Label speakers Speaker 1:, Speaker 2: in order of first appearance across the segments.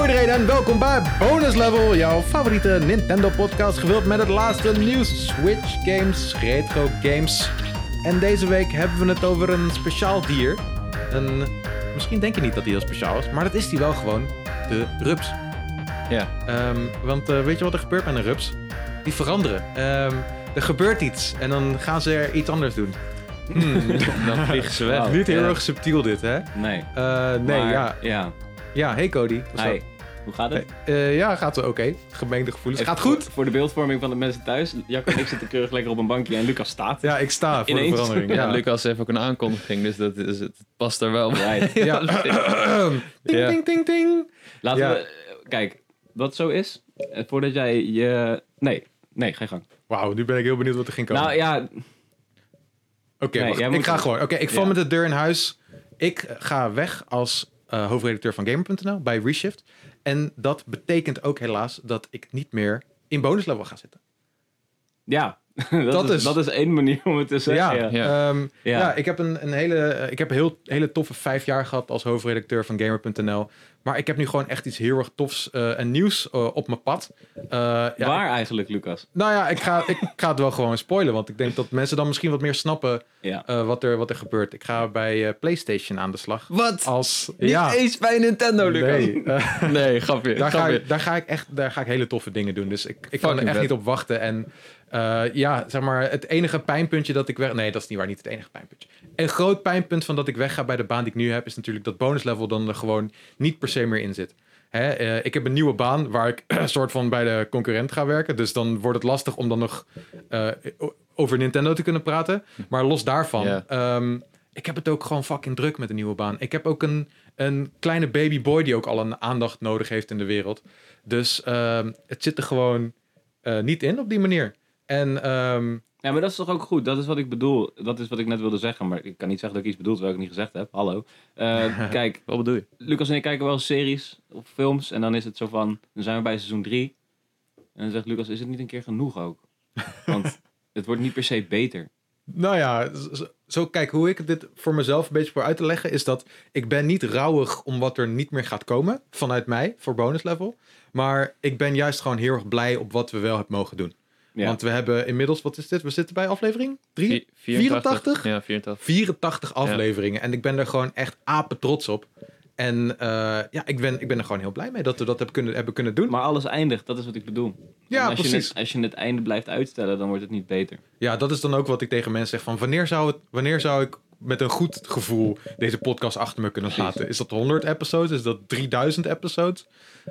Speaker 1: iedereen en welkom bij Bonus Level, jouw favoriete Nintendo-podcast gevuld met het laatste nieuws, Switch games, retro games. En deze week hebben we het over een speciaal dier. Een, misschien denk je niet dat hij heel speciaal is, maar dat is hij wel gewoon, de rups.
Speaker 2: Ja.
Speaker 1: Ehm, want eh, weet je wat er gebeurt met een rups? Die veranderen. Ehm, er gebeurt iets en dan gaan ze er iets anders doen. Hmm,
Speaker 2: Dan vliegen ze weg.
Speaker 1: niet heel
Speaker 2: nou, Ja.
Speaker 1: erg subtiel dit, hè?
Speaker 2: Nee.
Speaker 1: Eh, nee,
Speaker 2: Maar-
Speaker 1: ja.
Speaker 2: Ja.
Speaker 1: Ja, hey Cody. Wat is dat?
Speaker 2: Hi. Hoe gaat het?
Speaker 1: Hey, eh, ja, gaat oké. Gemengde gevoelens.
Speaker 2: Even
Speaker 1: gaat goed.
Speaker 2: Voor, voor de beeldvorming van de mensen thuis. Jack en ik zitten keurig lekker op een bankje en Lucas staat.
Speaker 1: Ja, ik sta voor
Speaker 2: Ineens.
Speaker 1: de verandering.
Speaker 3: Ja,
Speaker 1: Ja,
Speaker 3: Lucas heeft ook een aankondiging, dus dat is, het past daar wel bij.
Speaker 2: Right.
Speaker 1: Ja. ding,
Speaker 3: Ja.
Speaker 1: ding, ding, ding.
Speaker 2: Laten
Speaker 1: Ja.
Speaker 2: we... eh, Kijk, wat zo is, eh, voordat jij je... Nee, nee, geen gang.
Speaker 1: Wauw, nu ben ik heel benieuwd wat er ging komen.
Speaker 2: Nou ja,
Speaker 1: Oké,
Speaker 2: nee,
Speaker 1: wacht,
Speaker 2: jij
Speaker 1: ik
Speaker 2: moet-
Speaker 1: ga gewoon. Oké, ik val
Speaker 2: Ja.
Speaker 1: met de deur in huis. Ik ga weg als eh, hoofdredacteur van Gamer.nl bij Reshift. En dat betekent ook helaas dat ik niet meer in bonuslevel ga zitten.
Speaker 2: ja. dat,
Speaker 1: Dat
Speaker 2: is,
Speaker 1: is-
Speaker 2: dat is één manier om het te
Speaker 1: Ja,
Speaker 2: zeggen. Ja.
Speaker 1: ja. ehm, ja.
Speaker 2: Ja.
Speaker 1: ik heb een, een hele, eh, ik heb een heel, hele toffe vijf jaar gehad als hoofdredacteur van Gamer.nl. Maar ik heb nu gewoon echt iets heel erg tofs eh, en nieuws eh, op mijn pad. Eh, ja,
Speaker 2: Waar eigenlijk, Lucas?
Speaker 1: Nou ja, ik ga, ik ga het wel gewoon spoilen. Want ik denk dat mensen dan misschien wat meer snappen
Speaker 2: Ja.
Speaker 1: eh, wat, er, wat er gebeurt. Ik ga bij eh, PlayStation aan de slag.
Speaker 3: Wat?
Speaker 1: Als.
Speaker 3: Niet
Speaker 1: ja.
Speaker 3: eens bij Nintendo, Lucas. Nee,
Speaker 1: Nee, eh,
Speaker 3: grapje.
Speaker 1: daar, ga
Speaker 3: grapje.
Speaker 1: ik, daar, ga ik echt, daar ga ik hele toffe dingen doen. Dus ik, ik kan er
Speaker 3: Fucking
Speaker 1: echt
Speaker 3: vet.
Speaker 1: niet op wachten. En eh, ja, zeg maar, het enige pijnpuntje dat ik weg... Nee, dat is niet waar, niet het enige pijnpuntje. Een groot pijnpunt van dat ik wegga bij de baan die ik nu heb... is natuurlijk dat bonuslevel dan er gewoon niet per se meer in zit. Hè, eh, ik heb een nieuwe baan waar ik soort van bij de concurrent ga werken. Dus dan wordt het lastig om dan nog eh, o- over Nintendo te kunnen praten. Maar los daarvan...
Speaker 3: Ja.
Speaker 1: ehm, ik heb het ook gewoon fucking druk met een nieuwe baan. Ik heb ook een, een kleine babyboy die ook al een aandacht nodig heeft in de wereld. Dus ehm, het zit er gewoon eh, niet in op die manier. En ehm,
Speaker 2: Ja, maar dat is toch ook goed? Dat is wat ik bedoel. Dat is wat ik net wilde zeggen. Maar ik kan niet zeggen dat ik iets bedoel terwijl ik het niet gezegd heb. Hallo. Eh, kijk,
Speaker 3: Wat bedoel je?
Speaker 2: Lucas en ik kijken wel series of films. En dan is het zo van, dan zijn we bij seizoen 3. En dan zegt Lucas, is het niet een keer genoeg ook? Want het wordt niet per se beter.
Speaker 1: nou ja, z- z- zo kijk hoe ik dit voor mezelf een beetje voor uit te leggen is dat ik ben niet rouwig om wat er niet meer gaat komen vanuit mij voor bonus level. Maar ik ben juist gewoon heel erg blij op wat we wel hebben mogen doen.
Speaker 2: Ja.
Speaker 1: Want we hebben inmiddels, wat is dit? We zitten bij aflevering 3?
Speaker 3: Vi-
Speaker 1: 84?
Speaker 3: Ja, 84.
Speaker 1: 84 afleveringen. En ik ben er gewoon echt apen trots op. En eh, ja, ik ben, ik ben er gewoon heel blij mee dat we dat hebben kunnen, hebben kunnen doen.
Speaker 2: Maar alles eindigt, dat is wat ik bedoel.
Speaker 1: Ja,
Speaker 2: En als Je
Speaker 1: precies.
Speaker 2: het, als je het einde blijft uitstellen, dan wordt het niet beter.
Speaker 1: Ja, dat is dan ook wat ik tegen mensen zeg. Van wanneer zou, het, wanneer zou ik met een goed gevoel deze podcast achter me kunnen laten? Is dat 100 episodes? Is dat 3000 episodes?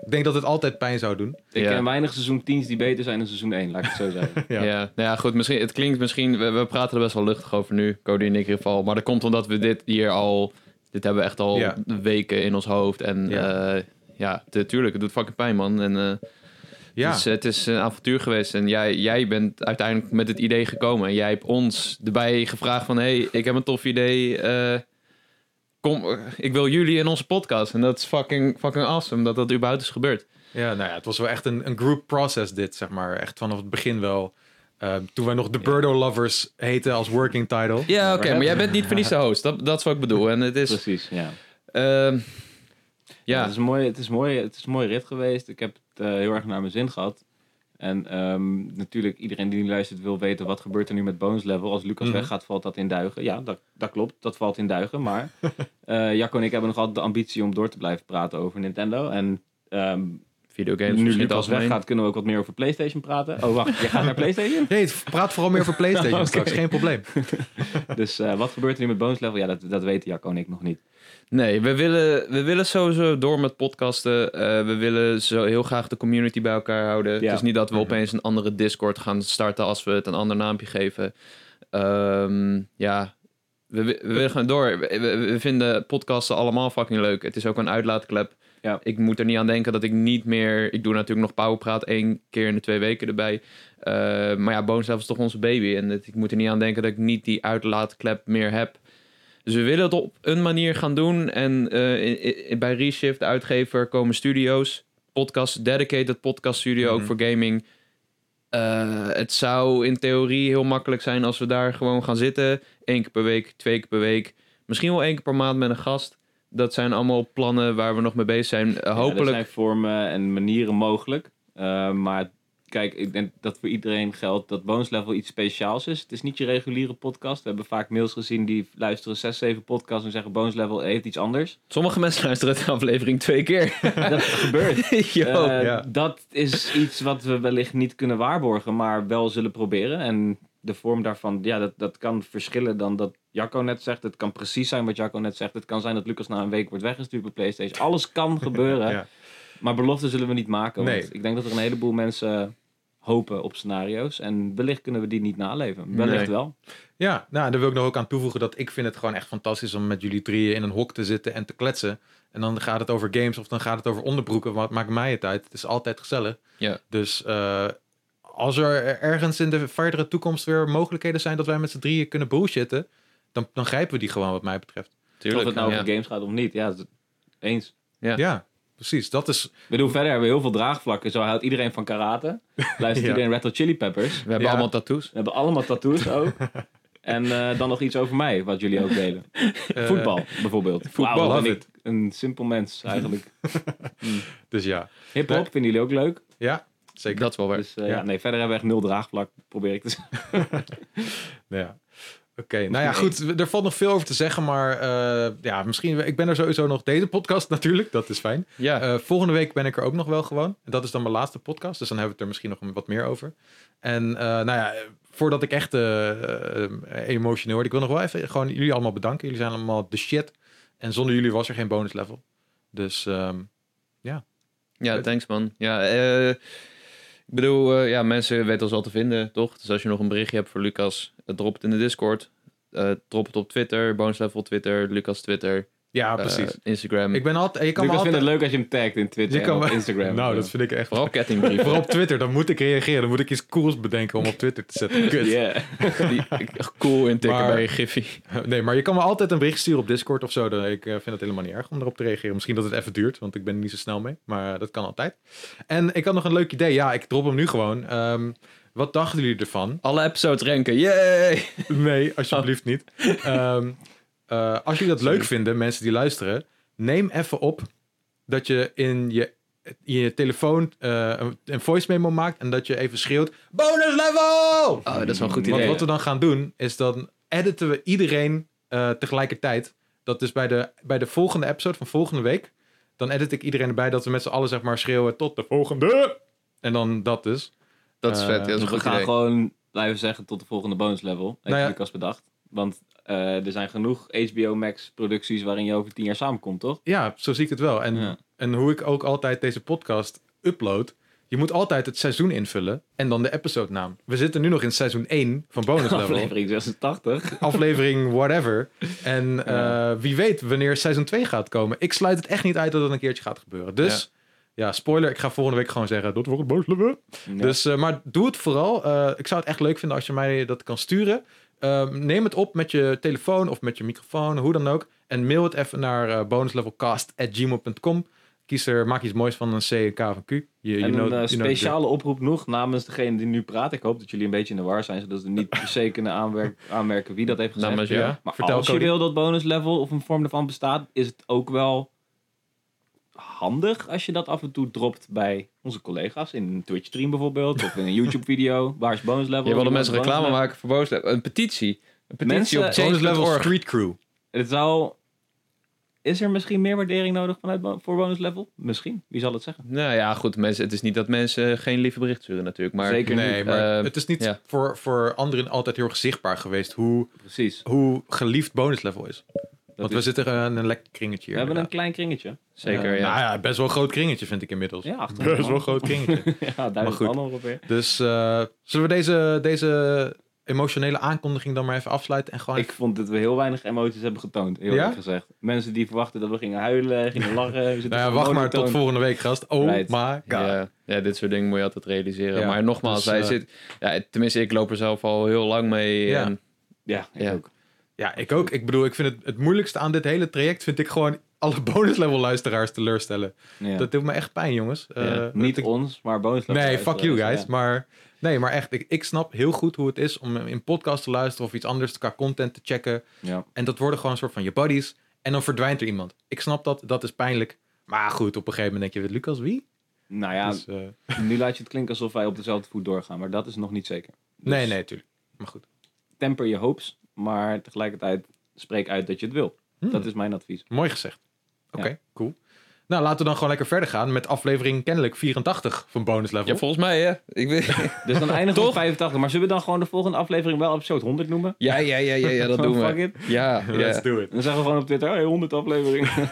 Speaker 1: Ik denk dat het altijd pijn zou doen.
Speaker 2: Ik
Speaker 3: Ja.
Speaker 2: ken weinig seizoen 10's die beter zijn dan seizoen 1, laat ik het zo zeggen.
Speaker 1: Ja.
Speaker 3: Ja. nou ja, goed. Misschien, het klinkt misschien... We, we praten er best wel luchtig over nu, Cody en ik in ieder geval. Maar dat komt omdat we dit hier al... Dit hebben we echt al
Speaker 1: Ja.
Speaker 3: weken in ons hoofd. En
Speaker 1: Ja.
Speaker 3: ja, ja tu- tuurlijk, het doet fucking pijn, man. En, eh,
Speaker 1: Ja,
Speaker 3: Dus het is een avontuur geweest. En jij, jij bent uiteindelijk met het idee gekomen. En jij hebt ons erbij gevraagd van... hey, ik heb een tof idee. eh, kom, eh, ik wil jullie in onze podcast. En dat is fucking, fucking awesome dat dat überhaupt is gebeurd.
Speaker 1: ja, nou ja, het was wel echt een, een group process dit, zeg maar. Echt vanaf het begin wel. Eh, toen wij nog de Birdo Lovers heten als working title.
Speaker 3: Ja, oké. maar jij bent niet voor niets de host. Dat, dat is wat ik bedoel. En het is...
Speaker 2: Precies, ja.
Speaker 3: ehm, ja, dus
Speaker 2: Het, is een mooie, het, is een mooie, het is een mooie rit geweest. Ik heb het eh, heel erg naar mijn zin gehad. En ehm, natuurlijk, iedereen die nu luistert wil weten wat gebeurt er nu met bonus level. Als Lucas
Speaker 1: Mhm.
Speaker 2: weggaat, valt dat in duigen. Ja, dat, dat klopt. Dat valt in duigen. Maar eh Jacco en ik hebben nog altijd de ambitie om door te blijven praten over Nintendo. En ehm,
Speaker 3: videogames.
Speaker 2: nu
Speaker 3: dus misschien
Speaker 2: Lucas
Speaker 3: algemeen.
Speaker 2: weggaat, kunnen we ook wat meer over PlayStation praten. Oh, wacht. Je gaat naar PlayStation?
Speaker 1: Nee, het- praat vooral meer over PlayStation
Speaker 2: Oké.
Speaker 1: straks. Geen probleem.
Speaker 2: dus eh, wat gebeurt er nu met bonus level? Ja, dat, dat weten Jacco en ik nog niet.
Speaker 3: Nee, we willen, we willen sowieso door met podcasten. Eh, we willen zo heel graag de community bij elkaar houden.
Speaker 2: Ja. Mhm.
Speaker 3: Het is niet dat we opeens een andere Discord gaan starten als we het een ander naampje geven. Ehm, ja, we, wi- we willen gewoon door. We, we- we vinden podcasten allemaal fucking leuk. Het is ook een uitlaatklep.
Speaker 2: Ja.
Speaker 3: Ik moet er niet aan denken dat ik niet meer... Ik doe natuurlijk nog Powerpraat één keer in de twee weken erbij. Eh, maar ja, Boonslap is toch onze baby. En het- ik moet er niet aan denken dat ik niet die uitlaatklep meer heb. Dus we willen het op een manier gaan doen. En eh, i- i- bij Reshift, de uitgever, komen studio's. Podcast, dedicated podcast studio,
Speaker 1: Mhm.
Speaker 3: ook voor gaming. Eh, het zou in theorie heel makkelijk zijn als we daar gewoon gaan zitten. Eén keer per week, twee keer per week. Misschien wel één keer per maand met een gast. dat zijn allemaal plannen waar we nog mee bezig zijn. Eh, hopelijk.
Speaker 2: er zijn vormen en manieren mogelijk. Eh, maar kijk, ik denk dat voor iedereen geldt dat bonuslevel iets speciaals is. Het is niet je reguliere podcast. We hebben vaak mails gezien die luisteren 6, 7 podcasts en zeggen bonuslevel heeft iets anders.
Speaker 3: Sommige mensen luisteren de aflevering twee keer.
Speaker 2: dat gebeurt.
Speaker 3: Yo.
Speaker 2: Eh,
Speaker 1: ja.
Speaker 2: Dat is iets wat we wellicht niet kunnen waarborgen, maar wel zullen proberen. En de vorm daarvan, ja, dat, dat kan verschillen dan dat Jacco net zegt. Het kan precies zijn wat Jacco net zegt. Het kan zijn dat Lucas na een week wordt weggestuurd bij PlayStation. Alles kan gebeuren.
Speaker 1: Ja.
Speaker 2: Maar beloften zullen we niet maken. Want
Speaker 1: Nee.
Speaker 2: ik denk dat er een heleboel mensen hopen op scenario's. En wellicht kunnen we die niet naleven. Wellicht
Speaker 3: Nee.
Speaker 2: wel.
Speaker 1: Ja, nou, en daar wil ik nog ook aan toevoegen dat ik vind het gewoon echt fantastisch om met jullie drieën in een hok te zitten en te kletsen. En dan gaat het over games of dan gaat het over onderbroeken. Wat maakt mij het uit? Het is altijd gezellig.
Speaker 3: Ja.
Speaker 1: Dus eh, als er ergens in de verdere toekomst weer mogelijkheden zijn dat wij met z'n drieën kunnen bullshitten, dan, dan grijpen we die gewoon wat mij betreft.
Speaker 2: of het nou
Speaker 3: ja.
Speaker 2: over games gaat of niet. Ja, dat- eens.
Speaker 1: Ja,
Speaker 3: Ja.
Speaker 1: precies. Dat is
Speaker 2: Ik bedoel, verder hebben we heel veel draagvlakken. Zo houdt iedereen van karate. Luistert
Speaker 1: Ja.
Speaker 2: iedereen Red Hot Chili Peppers.
Speaker 3: We hebben
Speaker 1: Ja.
Speaker 3: allemaal tattoos.
Speaker 2: We hebben allemaal tattoos ook. en eh, dan nog iets over mij, wat jullie ook delen.
Speaker 1: eh,
Speaker 2: Voetbal, bijvoorbeeld.
Speaker 1: voetbal,
Speaker 2: Wauw,
Speaker 1: love
Speaker 2: ben ik een simpel mens eigenlijk.
Speaker 1: Dus ja,
Speaker 2: Hip-hop
Speaker 1: Nee.
Speaker 2: vinden jullie ook leuk.
Speaker 1: ja zeker.
Speaker 3: Dat is wel waar.
Speaker 2: Dus eh,
Speaker 1: Ja.
Speaker 2: ja. nee, verder hebben we echt nul draagvlak, probeer ik te zeggen.
Speaker 1: Ja. Oké, nou ja, goed. we- Er valt nog veel over te zeggen, maar eh, ja, misschien. Ik ben er sowieso nog deze podcast natuurlijk. Dat is fijn.
Speaker 3: Ja.
Speaker 1: Eh, volgende week ben ik er ook nog wel gewoon. En Dat is dan mijn laatste podcast, dus dan hebben we het er misschien nog wat meer over. En eh, nou ja, voordat ik echt eh, eh, emotioneel word, ik wil nog wel even gewoon jullie allemaal bedanken. Jullie zijn allemaal de shit. En zonder jullie was er geen bonus level. Dus ehm,
Speaker 3: Ja,
Speaker 1: Vet.
Speaker 3: thanks man. Ja, eh, ik bedoel, eh, ja, mensen weten ons al te vinden, toch? Dus als je nog een berichtje hebt voor Lucas, eh, drop het in de Discord. Eh, drop het op Twitter, Bones Level Twitter, Lucas Twitter,
Speaker 1: ja,
Speaker 3: eh,
Speaker 1: precies.
Speaker 3: Instagram.
Speaker 1: ik ben altijd. Je kan
Speaker 2: Lucas
Speaker 1: me
Speaker 2: vindt
Speaker 1: altijd.
Speaker 2: het leuk als je hem tagt in Twitter
Speaker 1: Je kan
Speaker 2: en op
Speaker 1: me-
Speaker 2: Instagram.
Speaker 1: nou, dat vind ik echt.
Speaker 3: Vooral kettingbrieven.
Speaker 1: Vooral op Twitter, dan moet ik reageren. Dan moet ik iets cools bedenken om op Twitter te zetten. Kut.
Speaker 2: Yeah.
Speaker 3: Die, echt cool intikken
Speaker 1: Maar-
Speaker 3: bij je Giffy.
Speaker 1: Nee, maar je kan me altijd een bericht sturen op Discord of zo. Dan, ik eh, vind het helemaal niet erg om erop te reageren. Misschien dat het even duurt, want ik ben er niet zo snel mee. Maar eh, dat kan altijd. En ik had nog een leuk idee. Ja, ik drop hem nu gewoon. Ehm, wat dachten jullie ervan?
Speaker 3: Alle episodes ranken, yay!
Speaker 1: Nee, alsjeblieft niet. Ehm, eh, als jullie dat leuk
Speaker 3: Sorry.
Speaker 1: vinden, mensen die luisteren, neem even op dat je in je, in je telefoon eh, een- een voice memo maakt en dat je even schreeuwt: Bonus level!
Speaker 3: Oh, dat is wel een goed
Speaker 2: Want
Speaker 1: Want
Speaker 3: idee.
Speaker 1: wat we dan gaan doen, is dan editen we iedereen eh, tegelijkertijd. Dat is bij de, bij de volgende episode van volgende week. Dan edit ik iedereen erbij dat we met z'n allen zeg maar schreeuwen tot de volgende. En dan dat dus.
Speaker 3: dat is vet, ja, dat is
Speaker 2: Dus
Speaker 3: een
Speaker 2: we
Speaker 3: goed
Speaker 2: gaan
Speaker 3: idee.
Speaker 2: gewoon blijven zeggen tot de volgende bonus level. Heeft
Speaker 1: Nou ja.
Speaker 2: Lucas bedacht. Want eh, er zijn genoeg HBO Max producties waarin je over tien jaar samenkomt, toch?
Speaker 1: Ja, zo zie ik het wel. En,
Speaker 2: Ja.
Speaker 1: en hoe ik ook altijd deze podcast upload. Je moet altijd het seizoen invullen en dan de episode naam. We zitten nu nog in seizoen 1 van Bonus Level.
Speaker 2: Aflevering 86.
Speaker 1: aflevering whatever. En eh, wie weet wanneer seizoen 2 gaat komen. Ik sluit het echt niet uit dat het een keertje gaat gebeuren. Dus ja, spoiler, ik ga volgende week gewoon zeggen dat wordt boos. leuk. Dus, eh, maar doe het vooral. Eh, ik zou het echt leuk vinden als je mij dat kan sturen. Eh, neem het op met je telefoon of met je microfoon, hoe dan ook. En mail het even naar eh, bonuslevelcast.gmail.com. Kies er, maak iets moois van een C, een K of een Q. Je, you
Speaker 2: En
Speaker 1: know-
Speaker 2: een
Speaker 1: you
Speaker 2: eh,
Speaker 1: know the drill.
Speaker 2: speciale oproep nog namens degene die nu praat. Ik hoop dat jullie een beetje in de war zijn, zodat we niet per se kunnen aanwerk- aanmerken wie dat heeft gezegd.
Speaker 3: Namens
Speaker 1: Ja,
Speaker 3: jou.
Speaker 2: maar
Speaker 1: Nou, vertel
Speaker 2: als je
Speaker 1: Cody.
Speaker 2: wil dat bonus level of een vorm daarvan bestaat, is het ook wel handig als je dat af en toe dropt bij onze collega's. In een Twitch stream bijvoorbeeld, of in een YouTube video. Waar is bonus level?
Speaker 3: Je wilde
Speaker 2: Waar is
Speaker 3: mensen
Speaker 2: bonus
Speaker 3: reclame
Speaker 2: level?
Speaker 3: maken voor Bones Level. Een petitie. Een petitie
Speaker 2: Mensen-
Speaker 3: op
Speaker 1: Bonus level
Speaker 3: change.org.
Speaker 1: street crew.
Speaker 2: Het zou... Is er misschien meer waardering nodig vanuit bo- voor bonus level? Misschien. Wie zal het zeggen?
Speaker 3: Nou ja, goed, mensen, het is niet dat mensen geen lieve bericht sturen natuurlijk. Maar
Speaker 2: Zeker.
Speaker 1: Nee,
Speaker 3: niet.
Speaker 1: maar
Speaker 3: Eh,
Speaker 1: het is niet
Speaker 3: ja.
Speaker 1: voor, voor anderen altijd heel erg zichtbaar geweest hoe
Speaker 2: Precies.
Speaker 1: hoe geliefd bonus level is. Want we
Speaker 2: is-
Speaker 1: zitten eh, in een lekker kringetje
Speaker 2: We
Speaker 1: hier.
Speaker 2: hebben een
Speaker 1: inderdaad.
Speaker 2: klein kringetje.
Speaker 3: zeker,
Speaker 1: Eh,
Speaker 3: ja.
Speaker 1: Nou ja, best wel een groot kringetje vind ik inmiddels.
Speaker 2: Ja, achter
Speaker 1: Best wel een groot kringetje.
Speaker 2: Ja, duizend
Speaker 1: goed.
Speaker 2: man ongeveer.
Speaker 1: dus eh, zullen we deze, deze emotionele aankondiging dan maar even afsluiten en gewoon...
Speaker 2: Ik vond dat we heel weinig emoties hebben getoond, heel
Speaker 1: Ja?
Speaker 2: erg gezegd. Mensen die verwachten dat we gingen huilen, gingen lachen. we zitten
Speaker 1: nou ja,
Speaker 2: gewoon
Speaker 1: wacht maar
Speaker 2: monotone.
Speaker 1: tot volgende week, gast. Oh
Speaker 2: Right.
Speaker 1: my god.
Speaker 3: Ja, ja, dit soort dingen moet je altijd realiseren.
Speaker 1: Ja,
Speaker 3: maar nogmaals,
Speaker 1: dus,
Speaker 3: hij
Speaker 1: eh,
Speaker 3: zit, ja, tenminste, ik loop er zelf al heel lang mee.
Speaker 1: Ja.
Speaker 3: En,
Speaker 2: Ja, ik
Speaker 3: Ja.
Speaker 2: ook.
Speaker 1: Ja, ik ook. Ik bedoel, ik vind het, het moeilijkste aan dit hele traject vind ik gewoon alle bonus level luisteraars teleurstellen.
Speaker 2: Ja.
Speaker 1: Dat doet me echt pijn, jongens. Eh,
Speaker 3: Ja,
Speaker 1: dat
Speaker 2: Niet
Speaker 1: ik-
Speaker 2: ons, maar bonus.
Speaker 1: Nee, fuck you guys.
Speaker 2: eh, Ja.
Speaker 1: Maar nee, maar echt, ik, ik snap heel goed hoe het is om in podcast te luisteren of iets anders qua content te checken.
Speaker 2: Ja.
Speaker 1: En dat worden gewoon een soort van je buddies. En dan verdwijnt er iemand. Ik snap dat, dat is pijnlijk. Maar goed, op een gegeven moment denk je, Lucas, wie?
Speaker 2: Nou ja,
Speaker 1: Dus, eh,
Speaker 2: nu laat je het klinken alsof wij op dezelfde voet doorgaan, maar dat is nog niet zeker. Dus
Speaker 1: Nee, nee, tuurlijk. Maar goed.
Speaker 2: Temper je hopes, maar tegelijkertijd spreek uit dat je het wil.
Speaker 1: Hmm,
Speaker 2: Dat is mijn advies.
Speaker 1: Mooi gezegd. Oké,
Speaker 2: Ja.
Speaker 1: cool. Nou, laten we dan gewoon lekker verder gaan met aflevering kennelijk 84 van Bonus Level.
Speaker 3: Ja, volgens mij, hè? Ik weet...
Speaker 2: Dus dan eindigen we op
Speaker 3: Toch?
Speaker 2: 85. Maar zullen we dan gewoon de volgende aflevering wel episode 100 noemen?
Speaker 3: ja, ja, ja, ja, ja, dat
Speaker 2: Gewoon
Speaker 3: doen
Speaker 2: fuck
Speaker 3: we.
Speaker 2: it.
Speaker 3: Ja,
Speaker 1: Let's
Speaker 3: ja.
Speaker 1: do it.
Speaker 2: Dan zeggen we gewoon op Twitter, "Oh, hey, 100 aflevering.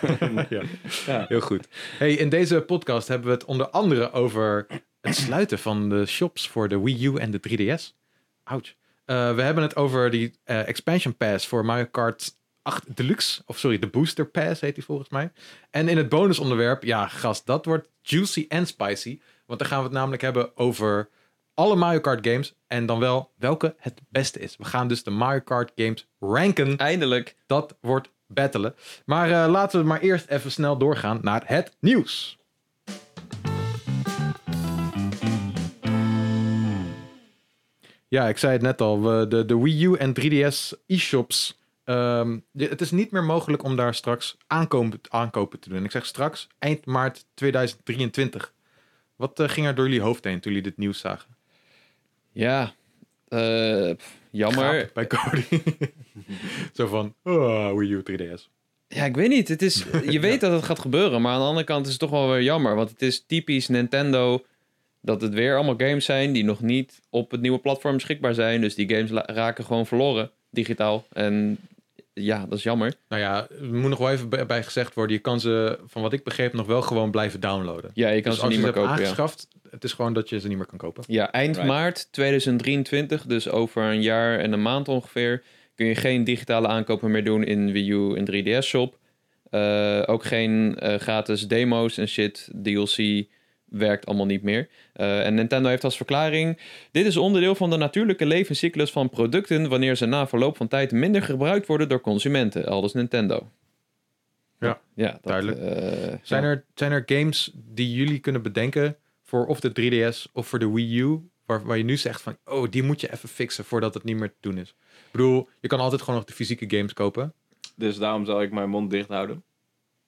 Speaker 1: ja.
Speaker 2: Ja.
Speaker 1: Heel goed. Hey, in deze podcast hebben we het onder andere over het sluiten van de shops voor de Wii U en de 3DS. Ouch. Eh, we hebben het over die eh, expansion pass voor Mario Kart 8 Deluxe. Of sorry, de Booster Pass heet die volgens mij. En in het bonusonderwerp, ja gast, dat wordt juicy en spicy. Want dan gaan we het namelijk hebben over alle Mario Kart games. En dan wel welke het beste is. We gaan dus de Mario Kart games ranken.
Speaker 3: Eindelijk.
Speaker 1: Dat wordt battelen. Maar eh, laten we maar eerst even snel doorgaan naar het nieuws. Ja, ik zei het net al. we- de, de Wii U en 3DS e-shops. ehm, de- het is niet meer mogelijk om daar straks aankopen, aankopen te doen. Ik zeg straks eind maart 2023. Wat eh, ging er door jullie hoofd heen toen jullie dit nieuws zagen?
Speaker 3: Ja. Eh, pff, jammer.
Speaker 1: Gaap bij Cody. Zo van, oh, Wii U 3DS.
Speaker 3: Ja, ik weet niet. Het is, je weet dat het gaat gebeuren, maar aan de andere kant is het toch wel weer jammer. Want het is typisch Nintendo dat het weer allemaal games zijn die nog niet op het nieuwe platform beschikbaar zijn. Dus die games la- raken gewoon verloren, digitaal. En ja, dat is jammer.
Speaker 1: Nou ja, er moet nog wel even bij bij gezegd worden. Je kan ze, van wat ik begreep, nog wel gewoon blijven downloaden.
Speaker 3: Ja, je kan
Speaker 1: dus
Speaker 3: ze
Speaker 1: als je
Speaker 3: niet meer
Speaker 1: ze hebt
Speaker 3: kopen. Ja.
Speaker 1: aangeschaft, het is gewoon dat je ze niet meer kan kopen.
Speaker 3: ja, eind
Speaker 2: Right.
Speaker 3: maart 2023, dus over een jaar en een maand ongeveer, kun je geen digitale aankopen meer doen in Wii U en 3DS shop. Eh, ook geen eh, gratis demo's en shit, DLC werkt allemaal niet meer. Eh, en Nintendo heeft als verklaring: dit is onderdeel van de natuurlijke levenscyclus van producten wanneer ze na verloop van tijd minder gebruikt worden door consumenten, aldus Nintendo.
Speaker 1: Ja,
Speaker 3: ja dat,
Speaker 1: duidelijk.
Speaker 3: eh,
Speaker 1: Zijn,
Speaker 3: ja.
Speaker 1: er, zijn er games die jullie kunnen bedenken voor of de 3DS of voor de Wii U, waar, waar je nu zegt van, oh, die moet je even fixen voordat het niet meer te doen is? Ik bedoel, je kan altijd gewoon nog de fysieke games kopen.
Speaker 2: dus daarom zal ik mijn mond dicht houden.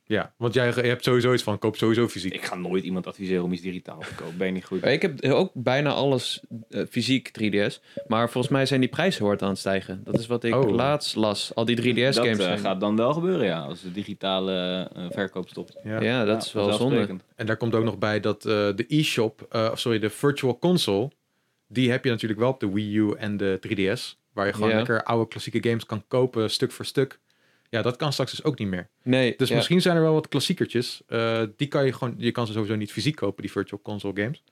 Speaker 1: Ja, want jij je hebt sowieso iets van, koop sowieso fysiek.
Speaker 2: Ik ga nooit iemand adviseren om iets digitaal te kopen. Ben je niet goed.
Speaker 3: Ja, Ik heb ook bijna alles eh, fysiek 3DS. Maar volgens mij zijn die prijzen hard aan het stijgen. Dat is wat ik
Speaker 1: Oh.
Speaker 3: laatst las. Al die 3DS-games.
Speaker 2: dat eh,
Speaker 3: zijn.
Speaker 2: gaat dan wel gebeuren, ja. Als de digitale eh, verkoop stopt.
Speaker 1: Ja.
Speaker 3: Ja, dat
Speaker 2: Ja,
Speaker 3: is wel zonde.
Speaker 2: vanzelfsprekend.
Speaker 1: En daar komt ook nog bij dat eh, de e-shop, eh, of sorry, de virtual console, die heb je natuurlijk wel op de Wii U en de 3DS, waar je gewoon
Speaker 3: Ja.
Speaker 1: lekker oude klassieke games kan kopen, stuk voor stuk. Ja, dat kan straks dus ook niet meer.
Speaker 3: Nee,
Speaker 1: Dus
Speaker 3: ja.
Speaker 1: misschien zijn er wel wat klassiekertjes. eh, die kan je gewoon, je kan ze sowieso niet fysiek kopen, die virtual console games.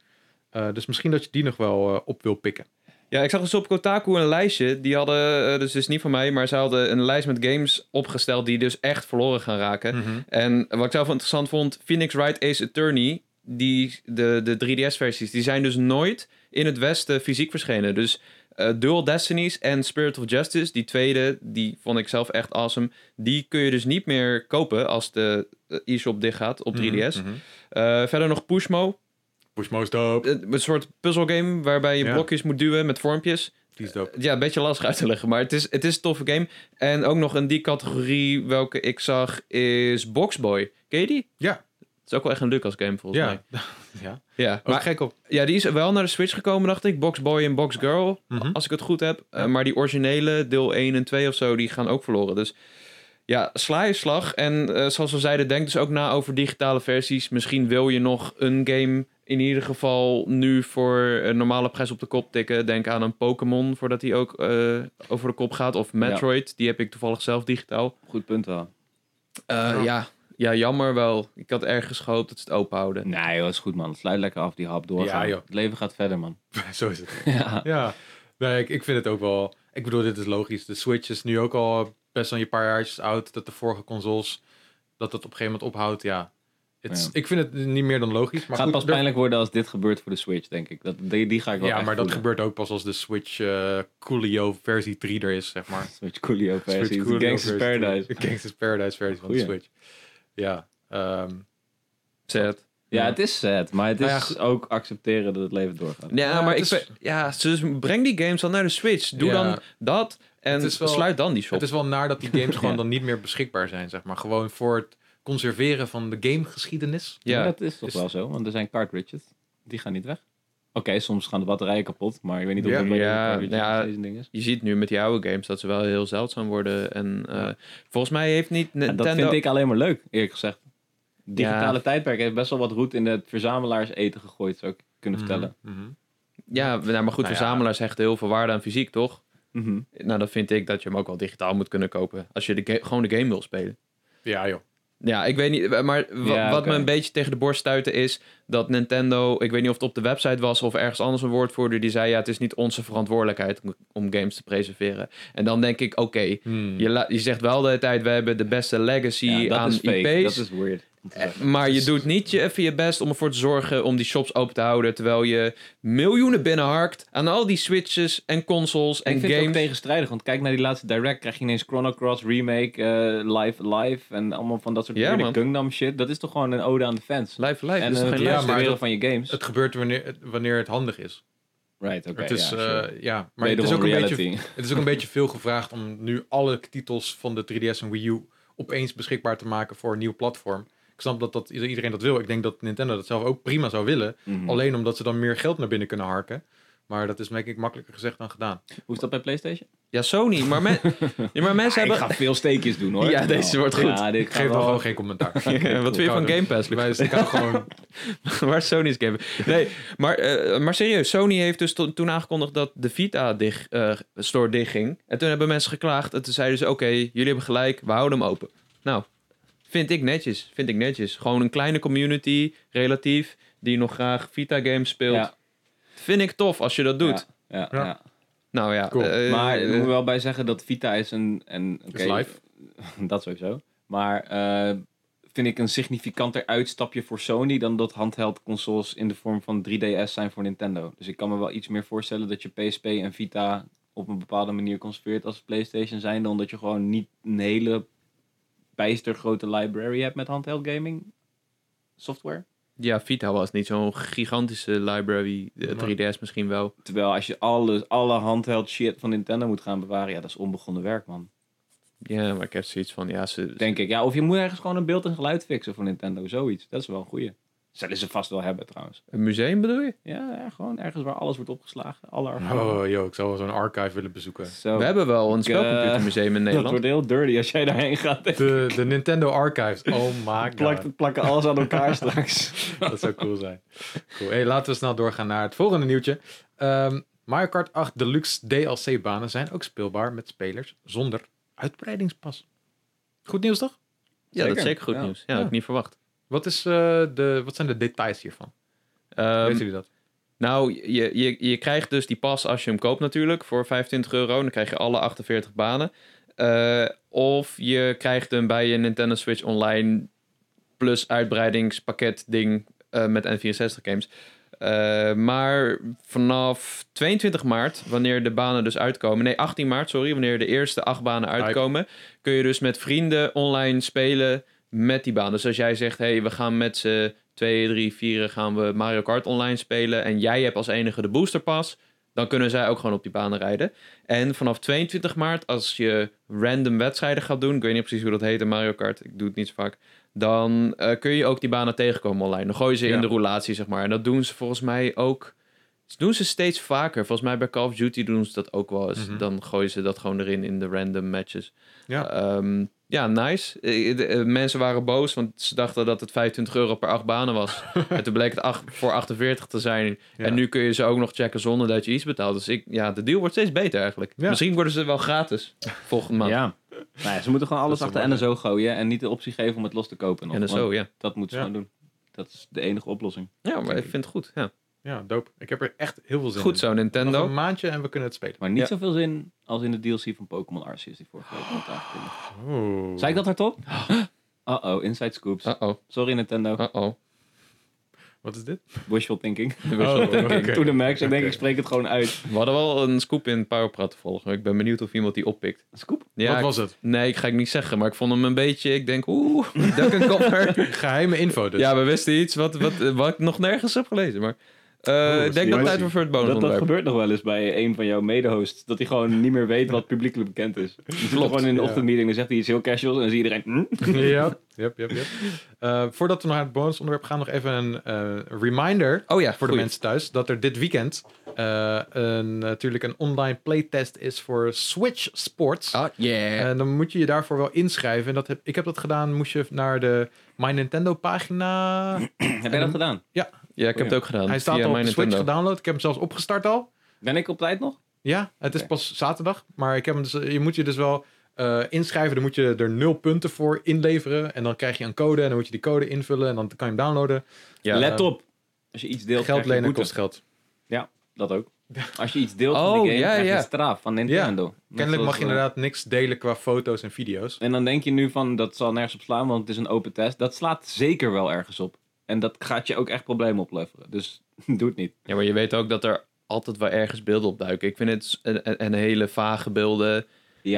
Speaker 1: Eh, dus misschien dat je die nog wel eh, op wil pikken.
Speaker 3: Ja, ik zag dus op Kotaku een lijstje. Die hadden, eh, dus het is niet van mij, maar ze hadden een lijst met games opgesteld die dus echt verloren gaan raken. En wat ik zelf wel interessant vond, Phoenix Wright Ace Attorney, die, de, de 3DS-versies, die zijn dus nooit in het Westen fysiek verschenen. Dus eh, Dual Destinies en Spirit of Justice, die tweede, die vond ik zelf echt awesome. Die kun je dus niet meer kopen als de eh, e-shop dichtgaat op 3DS.
Speaker 1: Mhm.
Speaker 3: Eh, verder nog Pushmo,
Speaker 1: Push most dope.
Speaker 3: eh, een soort puzzelgame waarbij je
Speaker 1: Ja.
Speaker 3: blokjes moet duwen met vormpjes.
Speaker 1: Die is dope.
Speaker 3: Ja, een beetje lastig uit te leggen, maar het is, het is een toffe game. En ook nog in die categorie welke ik zag is Boxboy. Ken je die?
Speaker 1: Ja.
Speaker 3: Het is ook wel echt een Lucas game volgens mij.
Speaker 1: Ja. ja.
Speaker 3: Ja,
Speaker 1: Ook
Speaker 3: maar,
Speaker 1: gek op.
Speaker 3: ja, die is wel naar de Switch gekomen, dacht ik. Boxboy en Boxgirl,
Speaker 1: Mhm.
Speaker 3: als ik het goed heb. Eh,
Speaker 1: Ja.
Speaker 3: maar die originele, deel 1 en 2 of zo, die gaan ook verloren. Dus ja, sla je slag. En eh, zoals we zeiden, denk dus ook na over digitale versies. Misschien wil je nog een game in ieder geval nu voor een normale prijs op de kop tikken. Denk aan een Pokémon, voordat die ook eh, over de kop gaat. Of Metroid, die heb ik toevallig zelf digitaal.
Speaker 2: Goed punt wel.
Speaker 3: Eh, ja. ja, jammer wel. Ik had ergens gehoopt dat ze het open houden.
Speaker 2: Nee, joh, is goed, man. Sluit lekker af, die hap doorgaan.
Speaker 1: Ja, joh.
Speaker 2: Het leven gaat verder, man.
Speaker 1: Zo is het.
Speaker 2: ja.
Speaker 1: Ja, nee, ik, ik vind het ook wel. Ik bedoel, dit is logisch. De Switch is nu ook al best wel een paar jaartjes oud. Dat de vorige consoles, dat dat op een gegeven moment ophoudt. Ja, It's-
Speaker 2: Ja.
Speaker 1: ik vind het niet meer dan logisch. Maar
Speaker 2: gaat
Speaker 1: goed,
Speaker 2: pas
Speaker 1: er-
Speaker 2: pijnlijk worden als dit gebeurt voor de Switch, denk ik. Dat, die, die ga ik wel
Speaker 1: Ja,
Speaker 2: echt
Speaker 1: maar dat
Speaker 2: voelen.
Speaker 1: gebeurt ook pas als de Switch eh Coolio versie 3 er is, zeg maar.
Speaker 2: Switch Coolio versie.
Speaker 1: Switch
Speaker 2: Switch
Speaker 1: Coolio
Speaker 2: Gangsters
Speaker 1: versie.
Speaker 2: Paradise.
Speaker 1: Gangsters Paradise versie van de
Speaker 2: Goeie.
Speaker 1: Switch. Ja, ehm,
Speaker 3: Zet.
Speaker 2: Ja, het is sad, maar het is
Speaker 1: Nou ja,
Speaker 2: ook accepteren dat het leven doorgaat.
Speaker 3: Ja,
Speaker 1: Ja,
Speaker 3: maar
Speaker 1: het
Speaker 3: ik
Speaker 1: is-
Speaker 3: ben- ja, dus breng die games dan naar de Switch. Doe
Speaker 1: Ja.
Speaker 3: dan dat en
Speaker 1: Het is wel-
Speaker 3: sluit dan die shop.
Speaker 1: Het is wel naar dat die games gewoon
Speaker 2: Ja.
Speaker 1: dan niet meer beschikbaar zijn, zeg maar. Gewoon voor het conserveren van de gamegeschiedenis.
Speaker 2: Maar
Speaker 3: ja.
Speaker 2: dat is toch
Speaker 1: Is-
Speaker 2: wel zo, want er zijn cartridges. Die gaan niet weg. Oké, soms gaan de batterijen kapot, maar ik weet niet of
Speaker 1: Ja.
Speaker 2: dat bij
Speaker 3: Ja,
Speaker 2: de
Speaker 3: nou
Speaker 2: cartridges
Speaker 3: ja.
Speaker 2: nog steeds een ding is.
Speaker 3: Je ziet nu met die oude games dat ze wel heel zeldzaam worden. En eh, volgens mij heeft niet
Speaker 2: Ja,
Speaker 3: Nintendo...
Speaker 2: dat vind ik alleen maar leuk, eerlijk gezegd. Digitale tijdperk heeft best wel wat roet in het verzamelaars eten gegooid, zou ik kunnen vertellen.
Speaker 1: Mhm, mhm.
Speaker 3: Ja, nou, maar goed,
Speaker 1: Nou ja.
Speaker 3: verzamelaars hechten heel veel waarde aan fysiek, toch?
Speaker 2: Mhm.
Speaker 3: Nou, dan vind ik dat je hem ook wel digitaal moet kunnen kopen. Als je de ga- gewoon de game wil spelen.
Speaker 1: Ja, joh.
Speaker 3: Ja, ik weet niet, maar wa-
Speaker 2: Ja,
Speaker 3: wat
Speaker 2: oké.
Speaker 3: me een beetje tegen de borst stuitte is dat Nintendo, ik weet niet of het op de website was of ergens anders een woordvoerder, die zei ja, het is niet onze verantwoordelijkheid om, om games te preserveren. En dan denk ik, oké,
Speaker 1: Hmm.
Speaker 3: je, la- je zegt wel de hele tijd, we hebben de beste legacy
Speaker 2: Ja, dat
Speaker 3: aan
Speaker 2: is fake,
Speaker 3: IP's,
Speaker 2: dat is weird. om te
Speaker 3: eh,
Speaker 2: zeggen.
Speaker 3: maar je doet niet je, even je best om ervoor te zorgen om die shops open te houden, terwijl je miljoenen binnenharkt aan al die switches en consoles en
Speaker 2: ik vind het ook
Speaker 3: games.
Speaker 2: tegenstrijdig, want kijk naar die laatste Direct, krijg je ineens Chrono Cross Remake, eh, Live Live en allemaal van dat soort
Speaker 3: Ja,
Speaker 2: weirde
Speaker 3: man.
Speaker 2: Gundam shit. Dat is toch gewoon een ode aan de fans.
Speaker 3: Live for life
Speaker 2: en
Speaker 3: is toch
Speaker 2: een
Speaker 3: geen
Speaker 1: ja,
Speaker 3: lijst?
Speaker 2: ja,
Speaker 1: maar
Speaker 2: wereld
Speaker 1: dat-
Speaker 2: van je games.
Speaker 1: Het gebeurt wanneer het, wanneer het handig is.
Speaker 2: right, oké.
Speaker 1: het is,
Speaker 2: ja,
Speaker 1: ja,
Speaker 2: sure.
Speaker 1: ja, maar het is, ook
Speaker 2: Wederom
Speaker 1: een beetje,
Speaker 2: reality.
Speaker 1: het is ook een beetje veel gevraagd om nu alle titels van de 3DS en Wii U opeens beschikbaar te maken voor een nieuw platform. Ik snap dat, dat ieder- iedereen dat wil. Ik denk dat Nintendo dat zelf ook prima zou willen.
Speaker 2: Mhm.
Speaker 1: Alleen omdat ze dan meer geld naar binnen kunnen harken. Maar dat is denk ik makkelijker gezegd dan gedaan.
Speaker 2: Hoe is dat bij PlayStation?
Speaker 3: Ja, Sony, maar, men- ja, maar mensen
Speaker 2: ik
Speaker 3: hebben...
Speaker 2: ga veel steekjes doen hoor.
Speaker 3: Ja, deze wordt goed.
Speaker 2: Ja, dit
Speaker 1: Ik
Speaker 2: gaat
Speaker 1: geef
Speaker 2: wel-
Speaker 1: nog gewoon geen commentaar.
Speaker 3: Ja, wat vind je van Game Pass, Luc?
Speaker 1: Wij staan gewoon
Speaker 3: Waar is Sony's game? Nee, maar, eh, maar serieus, Sony heeft dus to- toen aangekondigd dat de Vita dig, eh, store dichtging. En toen hebben mensen geklaagd en toen zeiden ze, oké, jullie hebben gelijk, we houden hem open. Nou, vind ik netjes, vind ik netjes. Gewoon een kleine community, relatief, die nog graag Vita games speelt.
Speaker 2: Ja.
Speaker 3: Vind ik tof als je dat doet.
Speaker 2: Ja, ja,
Speaker 1: Ja.
Speaker 2: ja.
Speaker 3: Nou ja.
Speaker 1: Cool.
Speaker 3: eh,
Speaker 2: maar ik
Speaker 3: eh,
Speaker 2: moet er wel bij zeggen dat Vita is een... En, oké,
Speaker 1: Is live.
Speaker 2: dat sowieso. Maar eh, vind ik een significanter uitstapje voor Sony... dan dat handheld consoles in de vorm van 3DS zijn voor Nintendo. Dus ik kan me wel iets meer voorstellen dat je PSP en Vita... op een bepaalde manier conserveert als PlayStation zijn... dan dat je gewoon niet een hele bijster grote library hebt met handheld gaming software.
Speaker 3: ja, Vita was niet zo'n gigantische library. eh,
Speaker 1: Nee.
Speaker 3: 3DS misschien wel.
Speaker 2: Terwijl als je alles, alle handheld shit van Nintendo moet gaan bewaren... ja, dat is onbegonnen werk, man.
Speaker 3: Ja, maar ik heb zoiets van, ja, ze,
Speaker 2: Denk ik. Ja, of je moet ergens gewoon een beeld en geluid fixen voor Nintendo. Zoiets. Dat is wel een goeie. Zullen ze vast wel hebben trouwens.
Speaker 3: een museum bedoel je?
Speaker 2: Ja, ja, gewoon ergens waar alles wordt opgeslagen. Alle archieven.
Speaker 1: Oh, joh, ik zou wel zo'n archive willen bezoeken.
Speaker 2: Zo.
Speaker 3: We hebben wel een spelcomputermuseum in
Speaker 2: dat
Speaker 3: Nederland.
Speaker 2: wordt heel dirty als jij daarheen gaat.
Speaker 1: De, de Nintendo Archives. Oh my god.
Speaker 2: Plak, plakken alles aan elkaar straks.
Speaker 1: Dat zou cool zijn. Cool. Hey, laten we snel doorgaan naar het volgende nieuwtje. Ehm, Mario Kart 8 Deluxe DLC-banen zijn ook speelbaar met spelers zonder uitbreidingspas. Goed nieuws toch?
Speaker 3: Ja, dat
Speaker 2: Zeker.
Speaker 3: is zeker goed
Speaker 2: Ja.
Speaker 3: nieuws. Ja,
Speaker 1: Ja.
Speaker 3: dat had ik niet verwacht.
Speaker 1: Wat, is, eh, de, wat zijn de details hiervan?
Speaker 3: Ehm,
Speaker 1: Weten jullie dat?
Speaker 3: nou, je, je, je krijgt dus die pas als je hem koopt natuurlijk voor 25 euro. Dan krijg je alle 48 banen. Eh, of je krijgt hem bij je Nintendo Switch Online plus uitbreidingspakket ding eh, met N64 games. Eh, maar vanaf 22 maart, wanneer de banen dus uitkomen... Nee, 18 maart, sorry, wanneer de eerste acht banen uitkomen... kun je dus met vrienden online spelen met die baan. Dus als jij zegt, hey, we gaan met z'n twee, drie, vieren gaan we Mario Kart online spelen... en jij hebt als enige de boosterpas... dan kunnen zij ook gewoon op die banen rijden. En vanaf 22 maart, als je random wedstrijden gaat doen... ik weet niet precies hoe dat heet in Mario Kart, ik doe het niet zo vaak... dan eh, kun je ook die banen tegenkomen online. Dan gooien ze in
Speaker 1: Ja.
Speaker 3: de roulatie, zeg maar. En dat doen ze volgens mij ook... Dat doen ze steeds vaker. Volgens mij bij Call of Duty doen ze dat ook wel eens.
Speaker 1: Mhm.
Speaker 3: Dan gooien ze dat gewoon erin in de random matches.
Speaker 1: Ja.
Speaker 3: Ehm, ja, nice. Eh, de- eh, mensen waren boos, want ze dachten dat het 25 euro per acht banen was. en toen bleek het acht, voor 48 te zijn.
Speaker 1: Ja.
Speaker 3: En nu kun je ze ook nog checken zonder dat je iets betaalt. Dus ik, ja, de deal wordt steeds beter eigenlijk.
Speaker 1: Ja.
Speaker 3: Misschien worden ze wel gratis volgende maand.
Speaker 2: Ja. Nou ja, ze moeten gewoon alles
Speaker 1: Dat is
Speaker 2: achter
Speaker 1: wel
Speaker 2: NSO gooien. En niet de optie geven om het los te kopen. Nog,
Speaker 3: En dan zo,
Speaker 2: want
Speaker 3: ja.
Speaker 2: Dat moeten ze
Speaker 1: Ja.
Speaker 2: gewoon doen. Dat is de enige oplossing.
Speaker 3: Ja, maar ik vind het goed. Ja.
Speaker 1: ja, dope. Ik heb er echt heel veel zin
Speaker 3: Goed
Speaker 1: in.
Speaker 3: zo,
Speaker 1: Nog
Speaker 3: Nintendo.
Speaker 1: een maandje en we kunnen het spelen.
Speaker 2: Maar niet
Speaker 3: Ja.
Speaker 2: zoveel zin als in de DLC van Pokémon Arceus die vorige week werd aangekondigd.
Speaker 1: Oeh.
Speaker 2: Zei ik dat hardop? Uh-oh, inside scoops.
Speaker 3: Uh-oh,
Speaker 2: Sorry Nintendo.
Speaker 3: uh-oh.
Speaker 1: Wat is dit?
Speaker 2: Wishful thinking.
Speaker 1: Oh, oké.
Speaker 2: To the max. Ik denk,
Speaker 1: Oké.
Speaker 2: ik spreek het gewoon uit.
Speaker 3: We hadden wel een scoop in Powerprat te volgen. Ik ben benieuwd of iemand die oppikt.
Speaker 2: Scoop.
Speaker 3: Ja,
Speaker 1: Wat
Speaker 3: ik-
Speaker 1: was het?
Speaker 3: Nee, ik ga ik niet zeggen, maar ik vond hem een beetje... Ik denk, oeh, duck een cover.
Speaker 1: Geheime info dus.
Speaker 3: Ja, we wisten iets wat, wat, eh, wat ik nog nergens heb gelezen. Maar eh,
Speaker 1: dat
Speaker 3: ik
Speaker 1: is
Speaker 3: denk dat
Speaker 1: juist.
Speaker 3: het tijd wordt voor
Speaker 2: Dat,
Speaker 3: het
Speaker 2: dat
Speaker 3: bonusonderwerp.
Speaker 2: gebeurt nog wel eens bij een van jouw mede-hosts. Dat hij gewoon niet meer weet wat publiekelijk bekend is. Je zit
Speaker 3: Klopt,
Speaker 2: gewoon in de
Speaker 1: ja.
Speaker 2: ochtendmeeting dan zegt hij iets heel casual en dan zie je iedereen... "Hm?"
Speaker 1: ja. Yep, yep, yep. Eh, voordat we naar het bonusonderwerp gaan, nog even een eh, reminder
Speaker 3: Oh ja,
Speaker 1: voor de
Speaker 3: goeie.
Speaker 1: mensen thuis dat er dit weekend eh, een, natuurlijk een online playtest is voor Switch Sports.
Speaker 3: Ah, yeah.
Speaker 1: En dan moet je je daarvoor wel inschrijven. En dat heb, ik heb dat gedaan, moest je naar de My Nintendo pagina.
Speaker 2: Heb jij dat gedaan?
Speaker 3: ja, ik heb
Speaker 2: oh
Speaker 3: het ook gedaan.
Speaker 1: Hij staat
Speaker 3: via
Speaker 1: al op
Speaker 3: mijn
Speaker 1: Switch
Speaker 3: Nintendo.
Speaker 1: gedownload. Ik heb hem zelfs opgestart al.
Speaker 2: Ben ik op tijd nog?
Speaker 1: Ja, het is
Speaker 2: Oké.
Speaker 1: pas zaterdag. Maar ik heb hem dus, je moet je dus wel eh, inschrijven. Dan moet je er nul punten voor inleveren. En dan krijg je een code. En dan moet je die code invullen. En dan kan je hem downloaden.
Speaker 3: Ja.
Speaker 2: Let op. Als je iets
Speaker 1: geld
Speaker 2: deelt, krijg je
Speaker 1: lenen
Speaker 2: boete.
Speaker 1: kost geld.
Speaker 2: Dat ook. Als je iets deelt van
Speaker 3: Oh,
Speaker 2: die game,
Speaker 3: ja,
Speaker 2: krijg je
Speaker 3: ja.
Speaker 2: een straf van Nintendo. Net
Speaker 1: Kennelijk mag
Speaker 2: zoals,
Speaker 1: je
Speaker 2: eh,
Speaker 1: inderdaad niks delen qua foto's en video's.
Speaker 2: En dan denk je nu van, dat zal nergens op slaan, want het is een open test. Dat slaat zeker wel ergens op. En dat gaat je ook echt problemen opleveren. Dus doe het niet.
Speaker 3: Ja, maar je weet ook dat er altijd wel ergens beelden opduiken. Ik vind het s- een, een, een hele vage beelden.
Speaker 2: Ja,
Speaker 3: Ik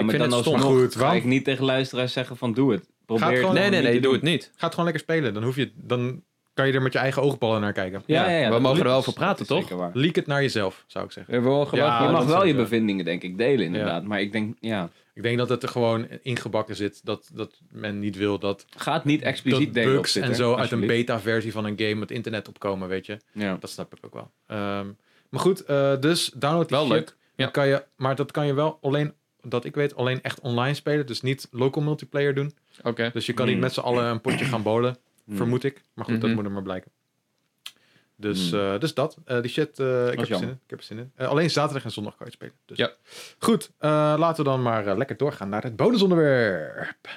Speaker 2: maar
Speaker 3: vind
Speaker 2: dan
Speaker 3: het stom.
Speaker 2: alsnog
Speaker 1: Goed,
Speaker 2: ga
Speaker 1: want-
Speaker 2: ik niet tegen luisteraars zeggen van, doe het. Probeer
Speaker 1: Gaat
Speaker 2: het
Speaker 1: gewoon-
Speaker 3: Nee,
Speaker 2: gewoon niet
Speaker 3: nee, nee,
Speaker 2: te
Speaker 3: doe
Speaker 2: doen.
Speaker 3: het niet.
Speaker 1: Ga het gewoon lekker spelen. Dan, hoef je, dan kan je er met je eigen oogballen naar kijken.
Speaker 2: Ja, ja, ja,
Speaker 3: we
Speaker 2: dat
Speaker 3: mogen er
Speaker 2: is-
Speaker 3: wel over praten,
Speaker 2: dat is
Speaker 3: toch?
Speaker 2: zeker waar.
Speaker 1: Leak het naar jezelf, zou ik zeggen.
Speaker 3: We mogen
Speaker 1: Ja,
Speaker 3: wel-
Speaker 1: dat
Speaker 2: je mag wel je
Speaker 1: sowieso.
Speaker 2: bevindingen, denk ik, delen inderdaad. Maar ik denk, ja,
Speaker 1: Ik denk dat het er gewoon ingebakken zit. Dat, dat men niet wil dat,
Speaker 2: ga het niet expliciet
Speaker 1: dat
Speaker 2: delen op
Speaker 1: bugs
Speaker 2: Twitter,
Speaker 1: en zo uit een
Speaker 2: alsjeblieft.
Speaker 1: beta-versie van een game het internet opkomen, weet je.
Speaker 2: Ja.
Speaker 1: Dat snap ik ook wel. Ehm, maar goed, eh, dus download die
Speaker 3: Wel
Speaker 1: shit.
Speaker 3: leuk, ja.
Speaker 1: Dan kan je, maar dat kan je wel alleen, dat ik weet, alleen echt online spelen. Dus niet local multiplayer doen.
Speaker 3: Oké.
Speaker 1: Dus je kan niet
Speaker 2: Hmm.
Speaker 1: met z'n allen een potje gaan bolen,
Speaker 2: mm.
Speaker 1: vermoed ik. Maar goed, dat
Speaker 3: Mm. Mhm. Mm.
Speaker 1: moet er maar blijken. Dus,
Speaker 2: Hmm.
Speaker 1: eh, dus dat. Eh, die shit, eh, ik, heb er
Speaker 2: jammer.
Speaker 1: zin in, ik heb er zin in. Eh, alleen zaterdag en zondag kan je spelen. Dus.
Speaker 3: Ja.
Speaker 1: Goed, eh, laten we dan maar eh, lekker doorgaan naar het bonusonderwerp.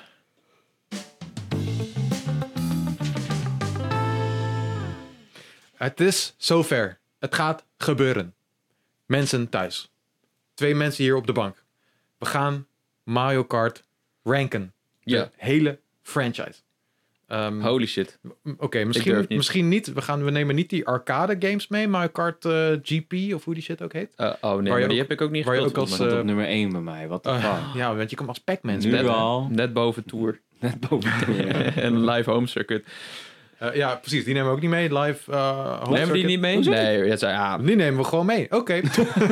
Speaker 1: Het is zover. Het gaat gebeuren. Mensen thuis. Twee mensen hier op de bank. We gaan Mario Kart ranken. De
Speaker 3: Ja.
Speaker 1: hele franchise. Ehm,
Speaker 3: Holy shit.
Speaker 1: m- Oké, misschien,
Speaker 3: durf niet.
Speaker 1: misschien niet. We, gaan, we nemen niet die arcade games mee. Mario Kart eh, GP of hoe die shit ook heet.
Speaker 3: Eh, oh nee,
Speaker 1: je
Speaker 3: maar die
Speaker 1: ook-
Speaker 3: heb ik ook niet
Speaker 1: waar je
Speaker 3: gespeeld.
Speaker 1: ook als,
Speaker 3: volgens
Speaker 2: Tot
Speaker 1: eh,
Speaker 2: op nummer 1 bij mij, wat de fuck.
Speaker 1: Eh, ja, want je kan als Pac-Man
Speaker 2: nu
Speaker 3: mij.
Speaker 1: spelen.
Speaker 3: net,
Speaker 2: al.
Speaker 3: net boven Tour.
Speaker 2: Net boven toe.
Speaker 3: en live home circuit.
Speaker 1: Eh, ja, precies. Die nemen we ook niet mee. Live eh home
Speaker 3: Nemen we die
Speaker 1: circuit.
Speaker 3: niet mee? Nee, ja, zei- ja,
Speaker 1: Die nemen we gewoon mee. Oké.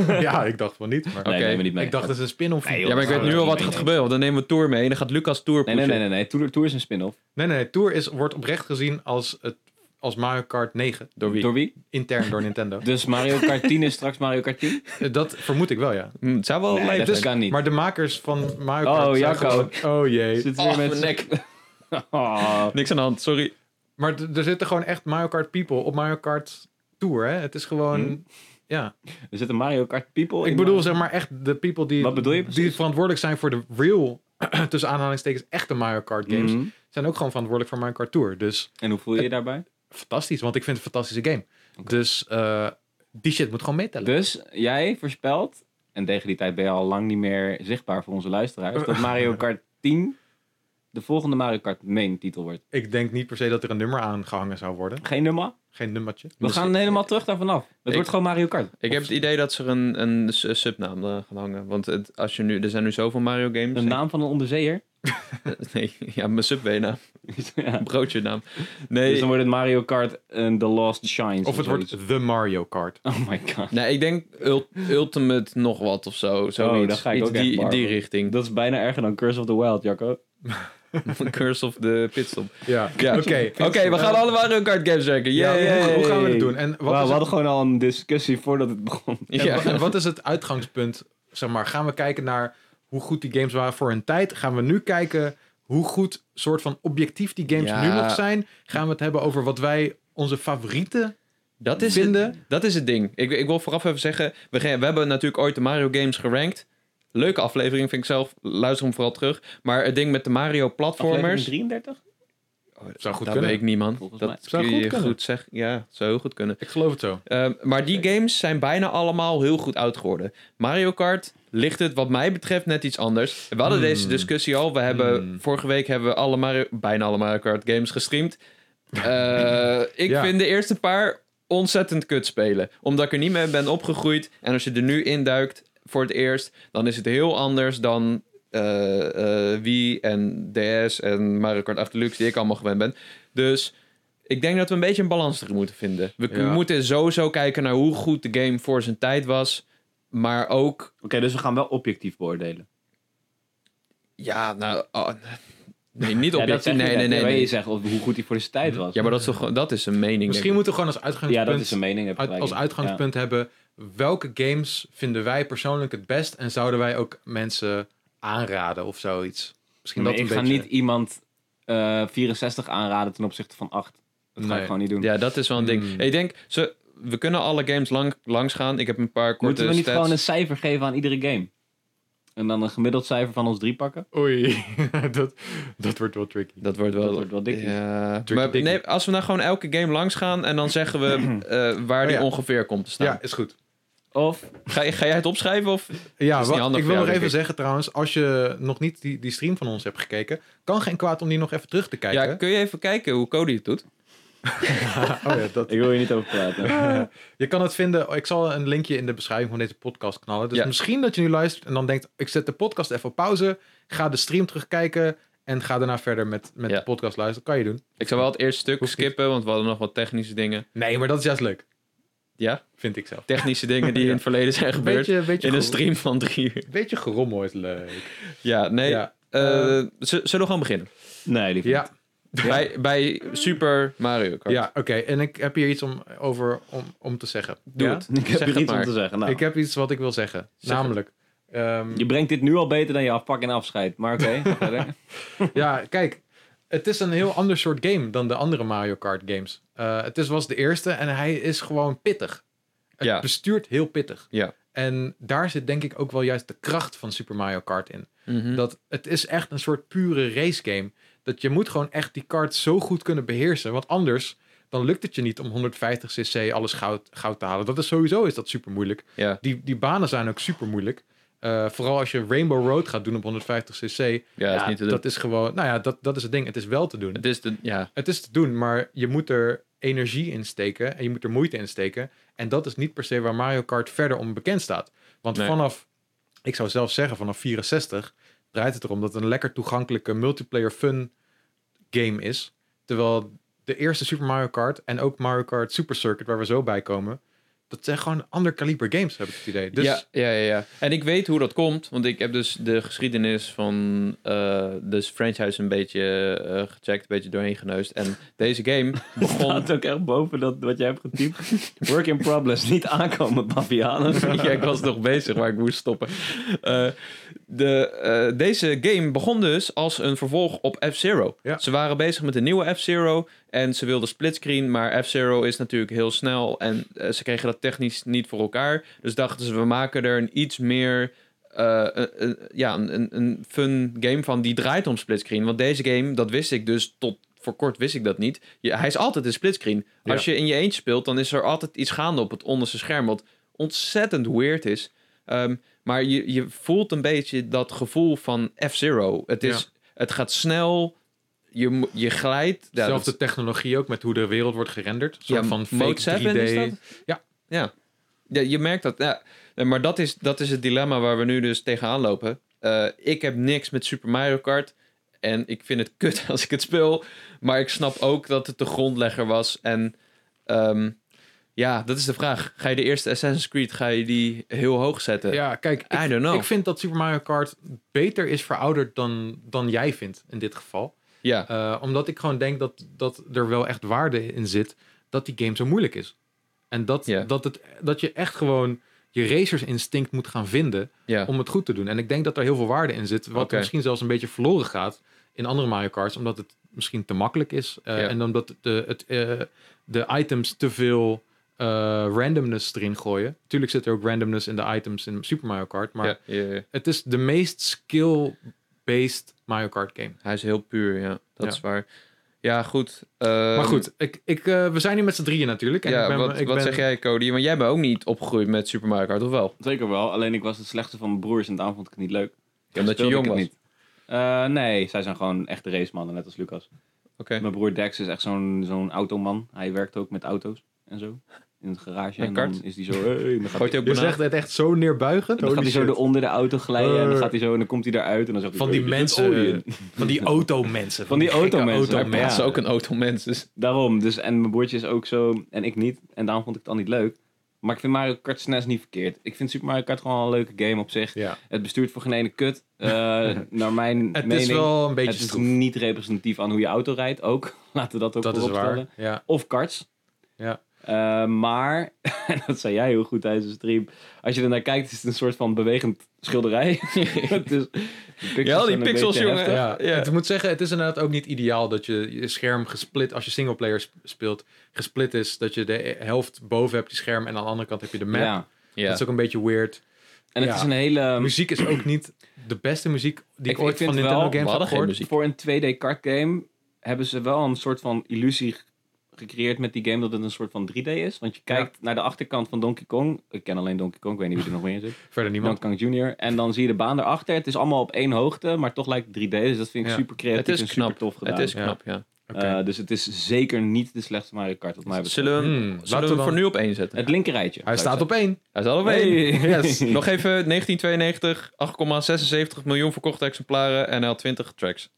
Speaker 1: ja, ik dacht van niet. Maar
Speaker 3: Oké.
Speaker 2: Oh, Nee, neem me niet mee.
Speaker 1: ik dacht dat is een spin-off.
Speaker 2: Nee,
Speaker 1: Nee,
Speaker 2: joh.
Speaker 3: Ja, maar ik weet nu al wat er gaat gebeuren. Want dan nemen we Tour mee en dan gaat Lucas Tour
Speaker 2: Nee,
Speaker 3: pushen.
Speaker 2: nee, nee, nee. nee. Tour, Tour is een spin-off.
Speaker 1: nee, nee. Tour is, wordt oprecht gezien als, het, als Mario Kart 9.
Speaker 3: Door wie?
Speaker 2: Door wie?
Speaker 1: Intern door Nintendo.
Speaker 2: Dus Mario Kart 10 is straks Mario Kart 10?
Speaker 1: Eh, dat vermoed ik wel, ja.
Speaker 3: Hm, het zou wel
Speaker 2: Nee,
Speaker 3: lijp
Speaker 2: dat
Speaker 3: zijn.
Speaker 2: kan niet.
Speaker 1: Maar de makers van Mario
Speaker 2: Oh,
Speaker 1: Kart... zijn
Speaker 2: Jacco.
Speaker 1: gewoon- Oh jee.
Speaker 2: Zit
Speaker 3: Oh, mijn nek.
Speaker 2: Oh.
Speaker 3: Niks aan de hand, sorry.
Speaker 1: Maar d- er zitten gewoon echt Mario Kart people op Mario Kart Tour, hè? Het is gewoon... Ja.
Speaker 2: Er zitten Mario Kart people
Speaker 1: Ik
Speaker 2: in. eh,
Speaker 1: bedoel,
Speaker 2: Hm? Mario-
Speaker 1: zeg maar echt de people die...
Speaker 2: Wat bedoel je precies?
Speaker 1: Die verantwoordelijk zijn voor de real, tussen aanhalingstekens, echte Mario Kart games.
Speaker 2: Mhm.
Speaker 1: Zijn ook gewoon verantwoordelijk voor Mario Kart Tour. Dus
Speaker 2: En hoe voel je je daarbij?
Speaker 1: fantastisch, want ik vind het een fantastische game. Dus eh, die shit moet gewoon meetellen.
Speaker 2: Dus jij voorspelt, en tegen die tijd ben je al lang niet meer zichtbaar voor onze luisteraars, dat Mario Kart 10 de volgende Mario Kart main titel wordt.
Speaker 1: Ik denk niet per se dat er een nummer aan gehangen zou worden.
Speaker 2: Geen nummer.
Speaker 1: Geen nummertje.
Speaker 2: We gaan helemaal terug daarvan af. Het wordt gewoon Mario Kart.
Speaker 3: Ik heb het idee dat ze er een, een su- subnaam eh, gaan hangen. Want het, als je nu, er zijn nu zoveel Mario games.
Speaker 2: Een naam van een onderzeeër.
Speaker 3: Nee, ja, mijn subway-naam.
Speaker 2: ja.
Speaker 3: Broodje naam. Nee,
Speaker 2: Dus dan wordt het Mario Kart en The Lost Shines.
Speaker 1: Of het
Speaker 2: zoiets.
Speaker 1: wordt The Mario Kart.
Speaker 2: Oh my god.
Speaker 3: nee, ik denk ult- Ultimate nog wat of zo. Zoiets.
Speaker 2: dan ga ik
Speaker 3: Iets
Speaker 2: ook echt
Speaker 3: die,
Speaker 2: Marvel.
Speaker 3: die richting.
Speaker 2: Dat is bijna erger dan Curse of the Wild, Jacco.
Speaker 3: Curse of the Pitstop.
Speaker 1: Ja,
Speaker 3: Ja.
Speaker 1: oké.
Speaker 3: Oké, we gaan alle Mario Kart games werken.
Speaker 1: Ja,
Speaker 3: Yeah,
Speaker 1: hoe-
Speaker 3: yeah.
Speaker 1: hoe gaan we het doen? En wat,
Speaker 2: Wauw,
Speaker 1: is
Speaker 2: we
Speaker 1: het,
Speaker 2: hadden gewoon al een discussie voordat het begon.
Speaker 1: en wa- en
Speaker 3: Ja.
Speaker 1: wat is het uitgangspunt? Zeg maar, gaan we kijken naar hoe goed die games waren voor hun tijd? Gaan we nu kijken hoe goed, soort van objectief, die games
Speaker 3: Ja.
Speaker 1: nu nog zijn? Gaan we het hebben over wat wij onze favorieten
Speaker 3: Dat is, het,
Speaker 1: vinden?
Speaker 3: dat is het ding. Ik, ik wil vooraf even zeggen, we, ge- we hebben natuurlijk ooit de Mario games gerankt. Leuke aflevering, vind ik zelf. Luister hem vooral terug. Maar het ding met de Mario platformers... Oh,
Speaker 2: Aflevering 33?
Speaker 1: Zou goed
Speaker 3: Dat
Speaker 1: kunnen.
Speaker 3: weet ik
Speaker 1: Ik,
Speaker 3: niet, man.
Speaker 2: Volgens mij.
Speaker 3: dat
Speaker 1: Zou
Speaker 3: kun
Speaker 1: goed
Speaker 3: je
Speaker 1: kunnen.
Speaker 3: goed zeggen. Ja, zou heel goed kunnen.
Speaker 1: geloof het zo.
Speaker 3: Ehm, maar die games zijn bijna allemaal heel goed oud geworden. Mario Kart ligt het wat mij betreft net iets anders. We hadden
Speaker 1: Hmm.
Speaker 3: deze discussie al. We hebben,
Speaker 1: Hmm.
Speaker 3: Vorige week hebben we alle Mario, bijna alle Mario Kart games gestreamd. Eh, ik
Speaker 1: Ja.
Speaker 3: vind de eerste paar ontzettend kut spelen. Omdat ik er niet mee ben opgegroeid. En als je er nu induikt voor het eerst, dan is het heel anders dan eh, eh, Wii en DS en Mario Kart 8 Deluxe die ik allemaal gewend ben. Dus ik denk dat we een beetje een balans erin moeten vinden. We k-
Speaker 1: Ja.
Speaker 3: moeten sowieso kijken naar hoe goed de game voor zijn tijd was. Maar ook,
Speaker 2: Oké, dus we gaan wel objectief beoordelen.
Speaker 3: ja, nou... oh, nee, niet
Speaker 2: Ja, dat zeg
Speaker 3: objectief.
Speaker 2: je
Speaker 3: nee,
Speaker 2: net.
Speaker 3: nee, nee,
Speaker 2: Maar Je
Speaker 3: nee.
Speaker 2: zegt of- hoe goed hij voor zijn tijd was.
Speaker 3: Ja, maar dat is, toch, gewoon- dat is een mening. denk
Speaker 1: Misschien
Speaker 3: ik.
Speaker 1: moeten we gewoon als
Speaker 2: Ja,
Speaker 1: uitgangspunt,
Speaker 2: dat is een mening. heb je
Speaker 1: uit-
Speaker 2: gelijk
Speaker 1: als
Speaker 2: in.
Speaker 1: uitgangspunt hebben... welke games vinden wij persoonlijk het best... en zouden wij ook mensen aanraden of zoiets?
Speaker 2: Ja.
Speaker 1: Misschien
Speaker 2: Maar
Speaker 1: dat
Speaker 2: ik
Speaker 1: een
Speaker 2: ga
Speaker 1: beetje...
Speaker 2: niet iemand eh, 64 aanraden ten opzichte van 8. Dat ga
Speaker 1: Nee.
Speaker 2: ik gewoon niet doen.
Speaker 3: Ja, dat is wel een ding.
Speaker 1: Hmm.
Speaker 3: Ik denk, ze, we kunnen alle games lang, langs gaan. Ik heb een paar korte
Speaker 2: Moeten we niet
Speaker 3: stats.
Speaker 2: gewoon een cijfer geven aan iedere game? En dan een gemiddeld cijfer van ons drie pakken?
Speaker 1: Oei, dat, dat wordt wel tricky.
Speaker 3: Dat wordt wel...
Speaker 2: Dat wordt wel dik.
Speaker 3: Ja.
Speaker 1: Tricky
Speaker 3: Maar
Speaker 1: dicky.
Speaker 3: nee, als we nou gewoon elke game langs gaan en dan zeggen we eh, waar
Speaker 1: Oh
Speaker 3: die
Speaker 1: ja.
Speaker 3: ongeveer komt te staan.
Speaker 1: Ja, is goed.
Speaker 2: Of
Speaker 3: Ga, ga jij het opschrijven? Of?
Speaker 1: Ja,
Speaker 3: Dat is
Speaker 1: wat-
Speaker 3: niet handig
Speaker 1: ik
Speaker 3: voor
Speaker 1: wil
Speaker 3: jou,
Speaker 1: nog even
Speaker 3: denk ik.
Speaker 1: zeggen trouwens, als je nog niet die, die stream van ons hebt gekeken, kan geen kwaad om die nog even terug te kijken.
Speaker 3: Ja, kun je even kijken hoe Cody het doet?
Speaker 1: Oh ja, dat,
Speaker 2: ik wil hier niet over praten.
Speaker 1: je kan het vinden, ik zal een linkje in de beschrijving van deze podcast knallen. Dus
Speaker 3: Ja.
Speaker 1: misschien dat je nu luistert en dan denkt, ik zet de podcast even op pauze, ga de stream terugkijken en ga daarna verder met, met
Speaker 3: Ja.
Speaker 1: de podcast luisteren. Kan je doen.
Speaker 3: Ik zou wel het eerste stuk
Speaker 1: Hoeft niet.
Speaker 3: skippen, want we hadden nog wat technische dingen.
Speaker 1: Nee, maar dat is juist leuk,
Speaker 3: Ja,
Speaker 1: vind ik zelf.
Speaker 3: technische dingen die
Speaker 1: Ja.
Speaker 3: in het verleden zijn gebeurd.
Speaker 1: Beetje, beetje,
Speaker 3: in een
Speaker 1: gero-
Speaker 3: stream van drie uur.
Speaker 1: beetje gerommel is leuk.
Speaker 3: Ja, nee.
Speaker 1: Ja.
Speaker 3: eh, z- zullen we gewoon beginnen?
Speaker 2: Nee, lief.
Speaker 1: Ja,
Speaker 3: Bij, bij Super Mario Kart.
Speaker 1: ja oké. En ik heb hier iets om, over om, om te zeggen.
Speaker 3: Doe
Speaker 1: Ja?
Speaker 3: het.
Speaker 2: Ik heb
Speaker 3: Zeg
Speaker 2: hier
Speaker 3: het
Speaker 2: niets om
Speaker 3: maar.
Speaker 2: te zeggen. Nou,
Speaker 1: Ik heb iets wat ik wil zeggen.
Speaker 3: Zeg het.
Speaker 1: namelijk, ehm,
Speaker 2: Je brengt dit nu al beter dan je afpak en afscheid. Maar oké, ga verder.
Speaker 1: Ja, kijk. Het is een heel ander soort game dan de andere Mario Kart games. Eh, het is, was de eerste en hij is gewoon pittig. Het
Speaker 3: Ja.
Speaker 1: bestuurt heel pittig.
Speaker 3: Ja.
Speaker 1: En daar zit denk ik ook wel juist de kracht van Super Mario Kart in.
Speaker 3: Mhm.
Speaker 1: Dat het is echt een soort pure race game. Dat je moet gewoon echt die kart zo goed kunnen beheersen. Want anders dan lukt het je niet om 150 cc alles goud, goud te halen. Dat is sowieso is dat super moeilijk.
Speaker 3: Ja.
Speaker 1: Die, die banen zijn ook super moeilijk. Eh, vooral als je Rainbow Road gaat doen op 150 cc.
Speaker 3: Ja, dat is niet te doen.
Speaker 1: Dat is gewoon, nou ja, dat, dat is het ding. Het is wel te doen.
Speaker 3: Het is de, ja,
Speaker 1: Het is te doen, maar je moet er energie in steken en je moet er moeite in steken. En dat is niet per se waar Mario Kart verder om bekend staat. Want
Speaker 3: Nee.
Speaker 1: vanaf, ik zou zelf zeggen, vanaf 64 draait het erom dat het een lekker toegankelijke multiplayer fun game is. Terwijl de eerste Super Mario Kart en ook Mario Kart Super Circuit, waar we zo bij komen, dat zijn gewoon ander kaliber games, heb ik het idee. Dus
Speaker 3: ja, ja, ja, ja. En ik weet hoe dat komt, want ik heb dus de geschiedenis van eh dus franchise een beetje eh, gecheckt, een beetje doorheen geneust. En deze game begon...
Speaker 2: staat ook echt boven dat, wat jij hebt getypt. Work in progress. Niet aankomen, Bavianen.
Speaker 3: ja, ik was nog bezig, maar ik moest stoppen. Eh, de, eh, deze game begon dus als een vervolg op F-Zero.
Speaker 1: Ja.
Speaker 3: Ze waren bezig met een nieuwe F-Zero en ze wilden splitscreen, maar F-Zero is natuurlijk heel snel en eh, ze kregen dat technisch niet voor elkaar. Dus dachten ze, we maken er een iets meer eh, een- een- ja, een, een- een fun game van die draait om splitscreen. Want deze game, dat wist ik dus tot voor kort wist ik dat niet. Je- hij is altijd een splitscreen.
Speaker 1: Ja.
Speaker 3: Als je in je eentje speelt, dan is er altijd iets gaande op het onderste scherm. Wat ontzettend weird is. Ehm, maar je, je voelt een beetje dat gevoel van F-Zero. Het, is, het gaat snel, je, mo- je glijdt. Ja, dat-
Speaker 1: zelfde technologie ook met hoe de wereld wordt gerenderd. Een soort
Speaker 3: ja,
Speaker 1: van fake
Speaker 3: Mode 7
Speaker 1: 3D.
Speaker 3: is dat?
Speaker 1: Ja.
Speaker 3: ja. Ja, je merkt dat. Ja. Eh, Maar dat is, dat is het dilemma waar we nu dus tegenaan lopen. Eh, ik heb niks met Super Mario Kart. En ik vind het kut als ik het speel. Maar ik snap ook dat het de grondlegger was. En ehm, ja, dat is de vraag. Ga je de eerste Assassin's Creed ga je die heel hoog zetten?
Speaker 1: Ja, kijk, ik,
Speaker 3: I don't know.
Speaker 1: ik vind dat Super Mario Kart beter is verouderd dan, dan jij vindt in dit geval.
Speaker 3: ja.
Speaker 1: Eh, omdat ik gewoon denk dat, dat er wel echt waarde in zit dat die game zo moeilijk is. En dat,
Speaker 3: Ja.
Speaker 1: dat, het, dat je echt gewoon je racersinstinct moet gaan vinden
Speaker 3: ja.
Speaker 1: om het goed te doen. En ik denk dat er heel veel waarde in zit, wat
Speaker 3: Oké.
Speaker 1: misschien zelfs een beetje verloren gaat in andere Mario Karts, omdat het misschien te makkelijk is eh,
Speaker 3: Ja.
Speaker 1: en omdat de, het, eh, de items te veel eh, randomness erin gooien. Tuurlijk zit er ook randomness in de items in Super Mario Kart, maar
Speaker 3: ja, ja, ja.
Speaker 1: het is de meest skill-based Mario Kart game.
Speaker 3: Hij is heel puur, ja. Dat
Speaker 1: Ja.
Speaker 3: is waar. Ja, goed.
Speaker 1: maar
Speaker 3: Ehm,
Speaker 1: goed, ik, ik, eh, we zijn hier met z'n drieën natuurlijk. En
Speaker 3: Ja,
Speaker 1: ik ben,
Speaker 3: wat,
Speaker 1: ik
Speaker 3: wat
Speaker 1: ben-
Speaker 3: zeg jij, Cody? Want jij bent ook niet opgegroeid met Super Mario Kart, of wel?
Speaker 2: Zeker wel. Alleen ik was het slechtste van mijn broers en daarom vond ik het niet leuk.
Speaker 3: Omdat je
Speaker 2: Speelde
Speaker 3: jong
Speaker 2: ik
Speaker 3: was.
Speaker 2: het niet. Eh, nee, zij zijn gewoon echte racemannen, net als Lucas. Mijn broer Dex is echt zo'n zo'n automan. Hij werkt ook met auto's en zo. In het garage.
Speaker 3: Met
Speaker 2: en
Speaker 3: kart?
Speaker 2: dan is hij zo... Hey, en dan gaat
Speaker 3: Gooit
Speaker 2: hij,
Speaker 3: hij ook
Speaker 1: Je
Speaker 3: banaan?
Speaker 1: zegt het echt zo neerbuigend.
Speaker 2: dan gaat
Speaker 1: Holy
Speaker 2: hij zo
Speaker 1: shit.
Speaker 2: de onder de auto glijden. En dan
Speaker 1: Eh.
Speaker 2: gaat hij zo... En dan komt hij daaruit. En dan zegt hij...
Speaker 1: Van die
Speaker 2: "Hey, dit is
Speaker 1: mensen,
Speaker 3: eh.
Speaker 2: olie."
Speaker 1: Van die automensen.
Speaker 2: Van die
Speaker 1: gekke
Speaker 2: automensen.
Speaker 3: Hij
Speaker 2: Maar ja.
Speaker 3: is ook een automens. Dus
Speaker 2: Daarom. Dus, en mijn broertje is ook zo. En ik niet. En daarom vond ik het al niet leuk. Maar ik vind Mario Kart SNES niet verkeerd. Ik vind Super Mario Kart gewoon al een leuke game op zich.
Speaker 1: Ja.
Speaker 2: Het bestuurt voor geen ene kut. Eh, naar mijn
Speaker 1: Het
Speaker 2: mening.
Speaker 1: is wel een beetje
Speaker 2: het is
Speaker 1: stroef.
Speaker 2: niet representatief aan hoe je auto rijdt ook. Laten we dat ook
Speaker 1: Dat is
Speaker 2: voorop
Speaker 1: waar.
Speaker 2: stellen.
Speaker 1: Ja.
Speaker 2: Of karts.
Speaker 1: Ja.
Speaker 2: Eh, maar, en dat zei jij heel goed tijdens de stream. Als je er naar kijkt, is het een soort van bewegend schilderij. Het is- de pixels
Speaker 3: Ja, die
Speaker 2: zijn een
Speaker 3: pixels,
Speaker 2: beetje
Speaker 3: jongen.
Speaker 2: heftig.
Speaker 1: Ja.
Speaker 3: Ja.
Speaker 1: Ik moet zeggen, het is inderdaad ook niet ideaal dat je je scherm gesplit, als je singleplayer sp- speelt, gesplit is. Dat je de helft boven hebt je scherm en aan de andere kant heb je de map.
Speaker 2: Ja.
Speaker 3: ja.
Speaker 1: Dat is ook een beetje weird.
Speaker 2: En het
Speaker 1: Ja.
Speaker 2: is een hele.
Speaker 1: muziek is ook niet de beste muziek die ik,
Speaker 2: Ik-
Speaker 1: ooit
Speaker 2: ik vind
Speaker 1: van
Speaker 2: wel-
Speaker 1: Nintendo
Speaker 3: we
Speaker 1: Games
Speaker 3: hadden
Speaker 1: heb
Speaker 3: geen
Speaker 1: gehoord.
Speaker 3: muziek.
Speaker 2: Voor een 2D kart game hebben ze wel een soort van illusie ge- gecreëerd met die game dat het een soort van 3D is. Want je kijkt naar de achterkant van Donkey Kong. Ik ken alleen Donkey Kong, ik weet niet wie er nog meer in zit.
Speaker 1: Verder niemand.
Speaker 2: Donkey Kong Jr. En dan zie je de baan erachter. Het is allemaal op één hoogte, maar toch lijkt het 3D. Dus dat vind ik
Speaker 1: Ja.
Speaker 2: super creatief
Speaker 3: Het is
Speaker 2: en
Speaker 3: knap.
Speaker 2: super tof gedaan.
Speaker 3: Het is
Speaker 1: Ja.
Speaker 3: knap, ja.
Speaker 1: Oké.
Speaker 2: Eh, dus het is zeker niet de slechtste Mario Kart wat mij betreft.
Speaker 3: Zullen we hem,
Speaker 1: Hmm,
Speaker 3: zullen
Speaker 1: laten
Speaker 3: we
Speaker 1: we
Speaker 3: hem voor
Speaker 1: dan-
Speaker 3: nu op één zetten?
Speaker 2: Het linkerrijtje.
Speaker 1: Hij
Speaker 2: zou ik
Speaker 1: staat op één.
Speaker 3: Hij is al op één.
Speaker 2: zeggen. Hey.
Speaker 1: Yes.
Speaker 3: Nog even 1992, 8,76 miljoen verkochte exemplaren en hij had 20 tracks.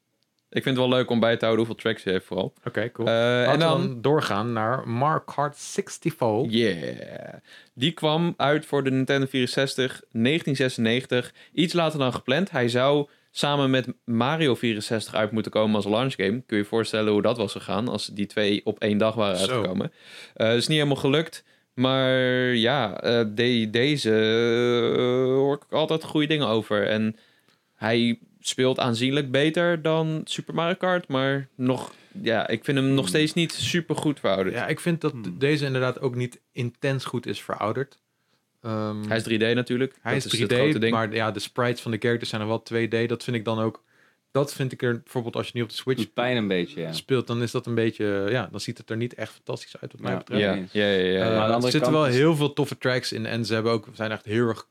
Speaker 3: Ik vind het wel leuk om bij te houden hoeveel tracks hij heeft vooral.
Speaker 1: Oké, cool.
Speaker 3: Eh, en
Speaker 1: Laten we
Speaker 3: dan,
Speaker 1: dan doorgaan naar Mark Kart 64.
Speaker 3: yeah. Die kwam uit voor de Nintendo 64 1996. Iets later dan gepland. Hij zou samen met Mario 64 uit moeten komen als launchgame. Kun je je voorstellen hoe dat was gegaan als die twee op één dag waren
Speaker 1: Zo.
Speaker 3: uitgekomen. Eh is niet helemaal gelukt. Maar ja, eh, de- deze eh, hoor ik altijd goede dingen over. En hij speelt aanzienlijk beter dan Super Mario Kart. Maar nog, ja, ik vind hem nog steeds niet super goed verouderd.
Speaker 1: Ja, ik vind dat
Speaker 2: Hmm.
Speaker 1: deze inderdaad ook niet intens goed is verouderd. Ehm,
Speaker 3: Hij is 3D natuurlijk.
Speaker 1: hij
Speaker 3: dat
Speaker 1: is 3D,
Speaker 3: het grote ding.
Speaker 1: maar ja, de sprites van de characters zijn er wel 2D. Dat vind ik dan ook... Dat vind ik er bijvoorbeeld als je nu op de
Speaker 2: Het
Speaker 1: Switch
Speaker 2: doet pijn een beetje, Hm. ja.
Speaker 1: speelt, dan is dat een beetje... eh, Ja, dan ziet het er niet echt fantastisch uit wat mij
Speaker 2: Ja.
Speaker 1: betreft.
Speaker 3: Ja, ja, ja. ja,
Speaker 1: Eh,
Speaker 3: ja.
Speaker 2: Maar aan de
Speaker 1: er
Speaker 2: andere
Speaker 1: zitten
Speaker 2: kant
Speaker 1: wel
Speaker 2: is-
Speaker 1: heel veel toffe tracks in. En ze hebben ook, zijn echt heel erg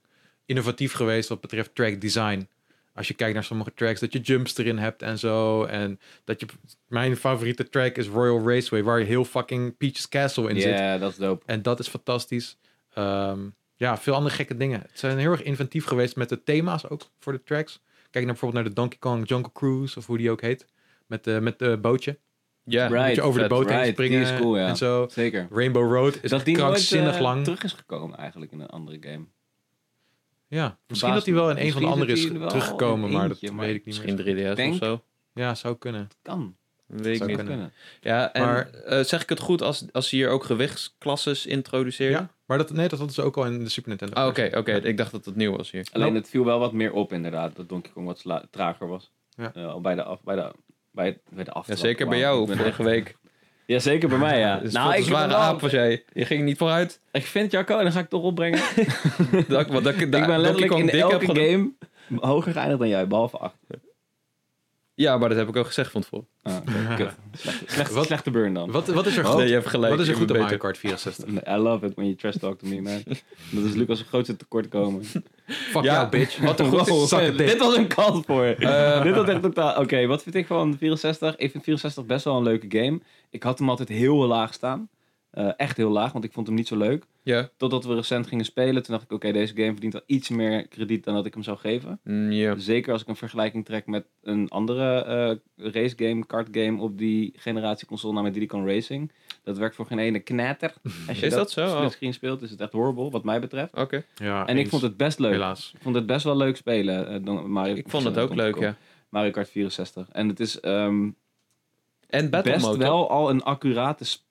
Speaker 1: innovatief geweest wat betreft track design. Als je kijkt naar sommige tracks, dat je jumps erin hebt en zo. En dat je. Mijn favoriete track is Royal Raceway, waar je heel fucking Peach's Castle in
Speaker 2: Ja,
Speaker 1: zit.
Speaker 2: dat is dope.
Speaker 1: En dat is fantastisch. Ehm, ja, veel andere gekke dingen. Het zijn heel erg inventief geweest met de thema's ook voor de tracks. Kijk naar bijvoorbeeld naar de Donkey Kong Jungle Cruise, of hoe die ook heet. Met, de met de bootje.
Speaker 3: Ja,
Speaker 2: Right,
Speaker 1: Moet je over de
Speaker 3: vet.
Speaker 1: boot heen
Speaker 2: right. Die
Speaker 1: springen
Speaker 2: is cool, ja.
Speaker 1: en zo.
Speaker 2: Zeker.
Speaker 1: Rainbow Road is
Speaker 2: dat die nooit
Speaker 1: krankzinnig
Speaker 2: eh,
Speaker 1: lang.
Speaker 2: terug is gekomen eigenlijk in een andere game.
Speaker 1: Ja, misschien
Speaker 2: Verbaast
Speaker 1: dat hij wel in een van de
Speaker 2: Misschien
Speaker 1: andere
Speaker 2: dat
Speaker 1: is
Speaker 2: hij er wel
Speaker 1: teruggekomen,
Speaker 2: in
Speaker 1: maar dat
Speaker 2: eentje, maar
Speaker 1: weet ik niet
Speaker 3: Misschien
Speaker 1: meer.
Speaker 3: 3DS
Speaker 2: Denk-
Speaker 3: of zo.
Speaker 1: Ja, zou kunnen.
Speaker 2: Kan.
Speaker 3: Weet ik
Speaker 1: Zou
Speaker 3: niet.
Speaker 1: kunnen.
Speaker 3: Ja, en
Speaker 1: Maar-
Speaker 3: eh, zeg ik het goed als, als ze hier ook gewichtsklasses introduceren?
Speaker 1: Ja, maar dat, nee, dat hadden ze ook al in de Super Nintendo.
Speaker 3: Ah, Oké, oké.
Speaker 1: versie. Ja.
Speaker 3: Ik dacht dat het nieuw was hier.
Speaker 2: Alleen
Speaker 1: Nope.
Speaker 2: het viel wel wat meer op inderdaad, dat Donkey Kong wat sla- trager was.
Speaker 1: Ja.
Speaker 2: Eh, al bij de af, bij de, bij, het- bij de
Speaker 3: Ja,
Speaker 2: aftrap.
Speaker 3: zeker bij
Speaker 2: Wauw, ik
Speaker 3: jou
Speaker 2: ben echt-
Speaker 3: vorige week.
Speaker 2: Ja, zeker bij mij, ja.
Speaker 3: Het is
Speaker 2: nou,
Speaker 3: nou,
Speaker 2: ik,
Speaker 3: een
Speaker 2: vind
Speaker 3: zware
Speaker 2: wel-
Speaker 3: aap was jij. Je ging niet vooruit.
Speaker 2: ik vind Jacco en dan ga ik het toch opbrengen.
Speaker 3: Dat, want dat, dat,
Speaker 2: ik ben
Speaker 3: Donkey
Speaker 2: letterlijk
Speaker 3: Kong
Speaker 2: in
Speaker 3: dik heb
Speaker 2: elke
Speaker 3: gedaan.
Speaker 2: game hoger geëindigd dan jij, behalve 8.
Speaker 3: Ja, maar dat heb ik ook gezegd van tevoren.
Speaker 2: Ah, oké, kut. Slechte, slechte,
Speaker 1: Wat-
Speaker 2: slechte burn dan.
Speaker 1: Wat, wat is er
Speaker 2: Oh,
Speaker 1: goed,
Speaker 3: nee, je hebt gelijk.
Speaker 1: wat is er
Speaker 3: je
Speaker 1: goed
Speaker 3: bent
Speaker 1: aan Mario
Speaker 3: beter.
Speaker 1: Kart 64?
Speaker 2: I love it when you trash talk to me, man. Dat is Lucas' grootste tekortkomen.
Speaker 1: Fuck
Speaker 3: Ja,
Speaker 1: jou, bitch.
Speaker 3: wat een goed-
Speaker 1: Wow, zak het dicht.
Speaker 2: dit was een kans voor.
Speaker 3: Eh,
Speaker 2: dit had echt totaal... Oké, wat vind ik van 64? Ik vind 64 best wel een leuke game. Ik had hem altijd heel laag staan. Eh, echt heel laag, want ik vond hem niet zo leuk.
Speaker 3: Ja.
Speaker 2: Totdat we recent gingen spelen, toen dacht ik... Oké, deze game verdient wel iets meer krediet dan dat ik hem zou geven.
Speaker 3: Mm, ja.
Speaker 2: Zeker als ik een vergelijking trek met een andere eh race game, kart game... op die generatie console, namelijk Diddy Kong Racing. Dat werkt voor geen ene knetter. Als je
Speaker 3: Is dat zo? Oh. Ah,
Speaker 2: splitscreen speelt, is het echt horrible, wat mij betreft.
Speaker 3: Oké.
Speaker 1: Ja,
Speaker 2: En ik vond het best leuk.
Speaker 1: Helaas.
Speaker 2: Ik vond het best wel leuk spelen. eh, dan Mario,
Speaker 3: Ik vond het ook
Speaker 2: Donkey
Speaker 3: leuk,
Speaker 2: Kong.
Speaker 3: ja.
Speaker 2: Mario Kart 64. En het is ehm,
Speaker 3: En Battle
Speaker 2: best
Speaker 3: Mode. toch?
Speaker 2: wel al een accurate s-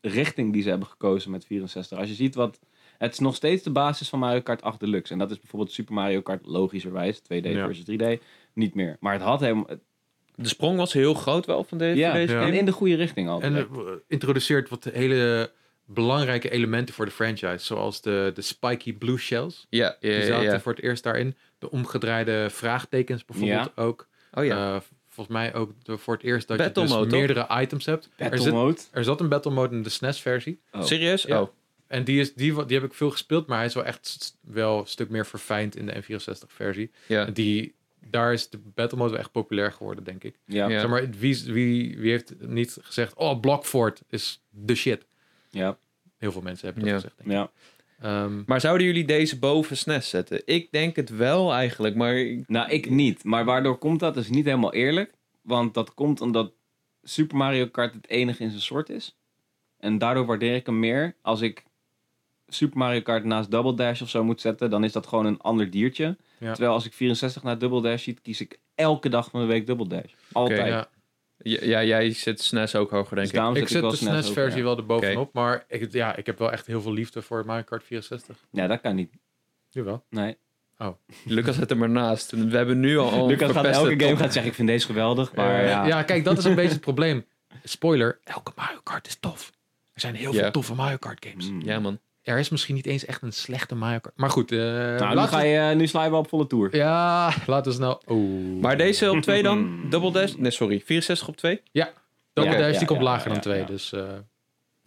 Speaker 2: richting die ze hebben gekozen met 64. Als je ziet wat... Het is nog steeds de basis van Mario Kart 8 Deluxe. En dat is bijvoorbeeld Super Mario Kart logischerwijs. 2D
Speaker 1: Ja.
Speaker 2: versus 3D. Niet meer. Maar het had helemaal... het-
Speaker 3: De sprong was heel groot wel van deze,
Speaker 2: ja,
Speaker 3: deze
Speaker 1: Ja.
Speaker 2: en
Speaker 3: game.
Speaker 2: in de goede richting altijd.
Speaker 1: En eh, introduceert wat hele belangrijke elementen voor de franchise. Zoals de, de spiky blue shells.
Speaker 3: Ja, ja,
Speaker 1: Die
Speaker 3: ja,
Speaker 1: zaten
Speaker 3: ja.
Speaker 1: voor het eerst daarin. De omgedraaide vraagtekens bijvoorbeeld ook.
Speaker 3: Oh ja.
Speaker 1: Eh, volgens mij ook de- voor het eerst dat
Speaker 3: Battle
Speaker 1: je dus
Speaker 3: mode, toch?
Speaker 1: meerdere items hebt. er,
Speaker 2: Battle
Speaker 1: zit,
Speaker 2: mode.
Speaker 1: er zat een battle mode in de SNES-versie.
Speaker 2: Oh.
Speaker 3: Serieus?
Speaker 1: Ja.
Speaker 3: Oh.
Speaker 1: En die, is, die, wa- die heb ik veel gespeeld, maar hij is wel echt st- wel een stuk meer verfijnd in de N64-versie.
Speaker 3: Ja.
Speaker 1: Die daar is de battle mode wel echt populair geworden, denk ik.
Speaker 2: Ja,
Speaker 3: Ja.
Speaker 2: ja.
Speaker 1: Zeg maar, wie, wie, wie heeft niet gezegd, oh, Blockfort is de shit.
Speaker 2: ja.
Speaker 1: Heel veel mensen hebben dat
Speaker 3: Ja.
Speaker 1: gezegd, denk ik. Ehm,
Speaker 3: Maar zouden jullie deze boven SNES zetten? Ik denk het wel eigenlijk, maar... ik-
Speaker 2: Nou,
Speaker 1: Eh,
Speaker 2: ik niet. Maar waardoor komt dat? is niet helemaal eerlijk. Want dat komt omdat Super Mario Kart het enige in zijn soort is. En daardoor waardeer ik hem meer. Als ik Super Mario Kart naast Double Dash of zo moet zetten, dan is dat gewoon een ander diertje.
Speaker 1: Ja.
Speaker 2: Terwijl als ik 64 naar Double Dash ziet, kies ik elke dag van de week Double Dash. Altijd.
Speaker 3: Oké,
Speaker 1: ja.
Speaker 3: Ja, ja, jij zet SNES ook hoger, denk
Speaker 2: Dus
Speaker 3: ik.
Speaker 2: daarom
Speaker 1: Ik zet
Speaker 2: wel
Speaker 1: de E
Speaker 2: SNES hoger,
Speaker 1: SNES-versie
Speaker 2: ja.
Speaker 1: wel erbovenop, maar ik, ja, ik heb wel echt heel veel liefde voor Mario Kart 64.
Speaker 2: Ja, dat kan niet.
Speaker 1: Jawel.
Speaker 2: Nee.
Speaker 3: Lucas zet hem ernaast. We hebben nu al al
Speaker 2: Lucas gaat
Speaker 3: verpeste
Speaker 2: elke game
Speaker 3: top-
Speaker 2: gaat zeggen, ik vind deze geweldig. Maar
Speaker 1: Eh,
Speaker 2: ja.
Speaker 1: ja, kijk, dat is een beetje het probleem. Spoiler, elke Mario Kart is tof. Er zijn heel
Speaker 3: Ja.
Speaker 1: veel toffe Mario Kart games.
Speaker 2: Mm.
Speaker 3: Ja, man.
Speaker 1: Er is misschien niet eens echt een slechte Mario Kart. Maar goed, eh,
Speaker 2: Nou, nu,
Speaker 1: laten
Speaker 2: ga
Speaker 1: we-
Speaker 2: je, nu sla je wel op volle toer.
Speaker 1: Ja, laten we snel... Oh.
Speaker 3: Maar deze op 2 dan? Double Dash? Nee, sorry. 64 op 2?
Speaker 1: Double
Speaker 2: Ja,
Speaker 1: Dash,
Speaker 2: ja,
Speaker 1: die komt
Speaker 2: ja,
Speaker 1: lager
Speaker 2: ja,
Speaker 1: dan 2,
Speaker 2: ja.
Speaker 1: dus... eh,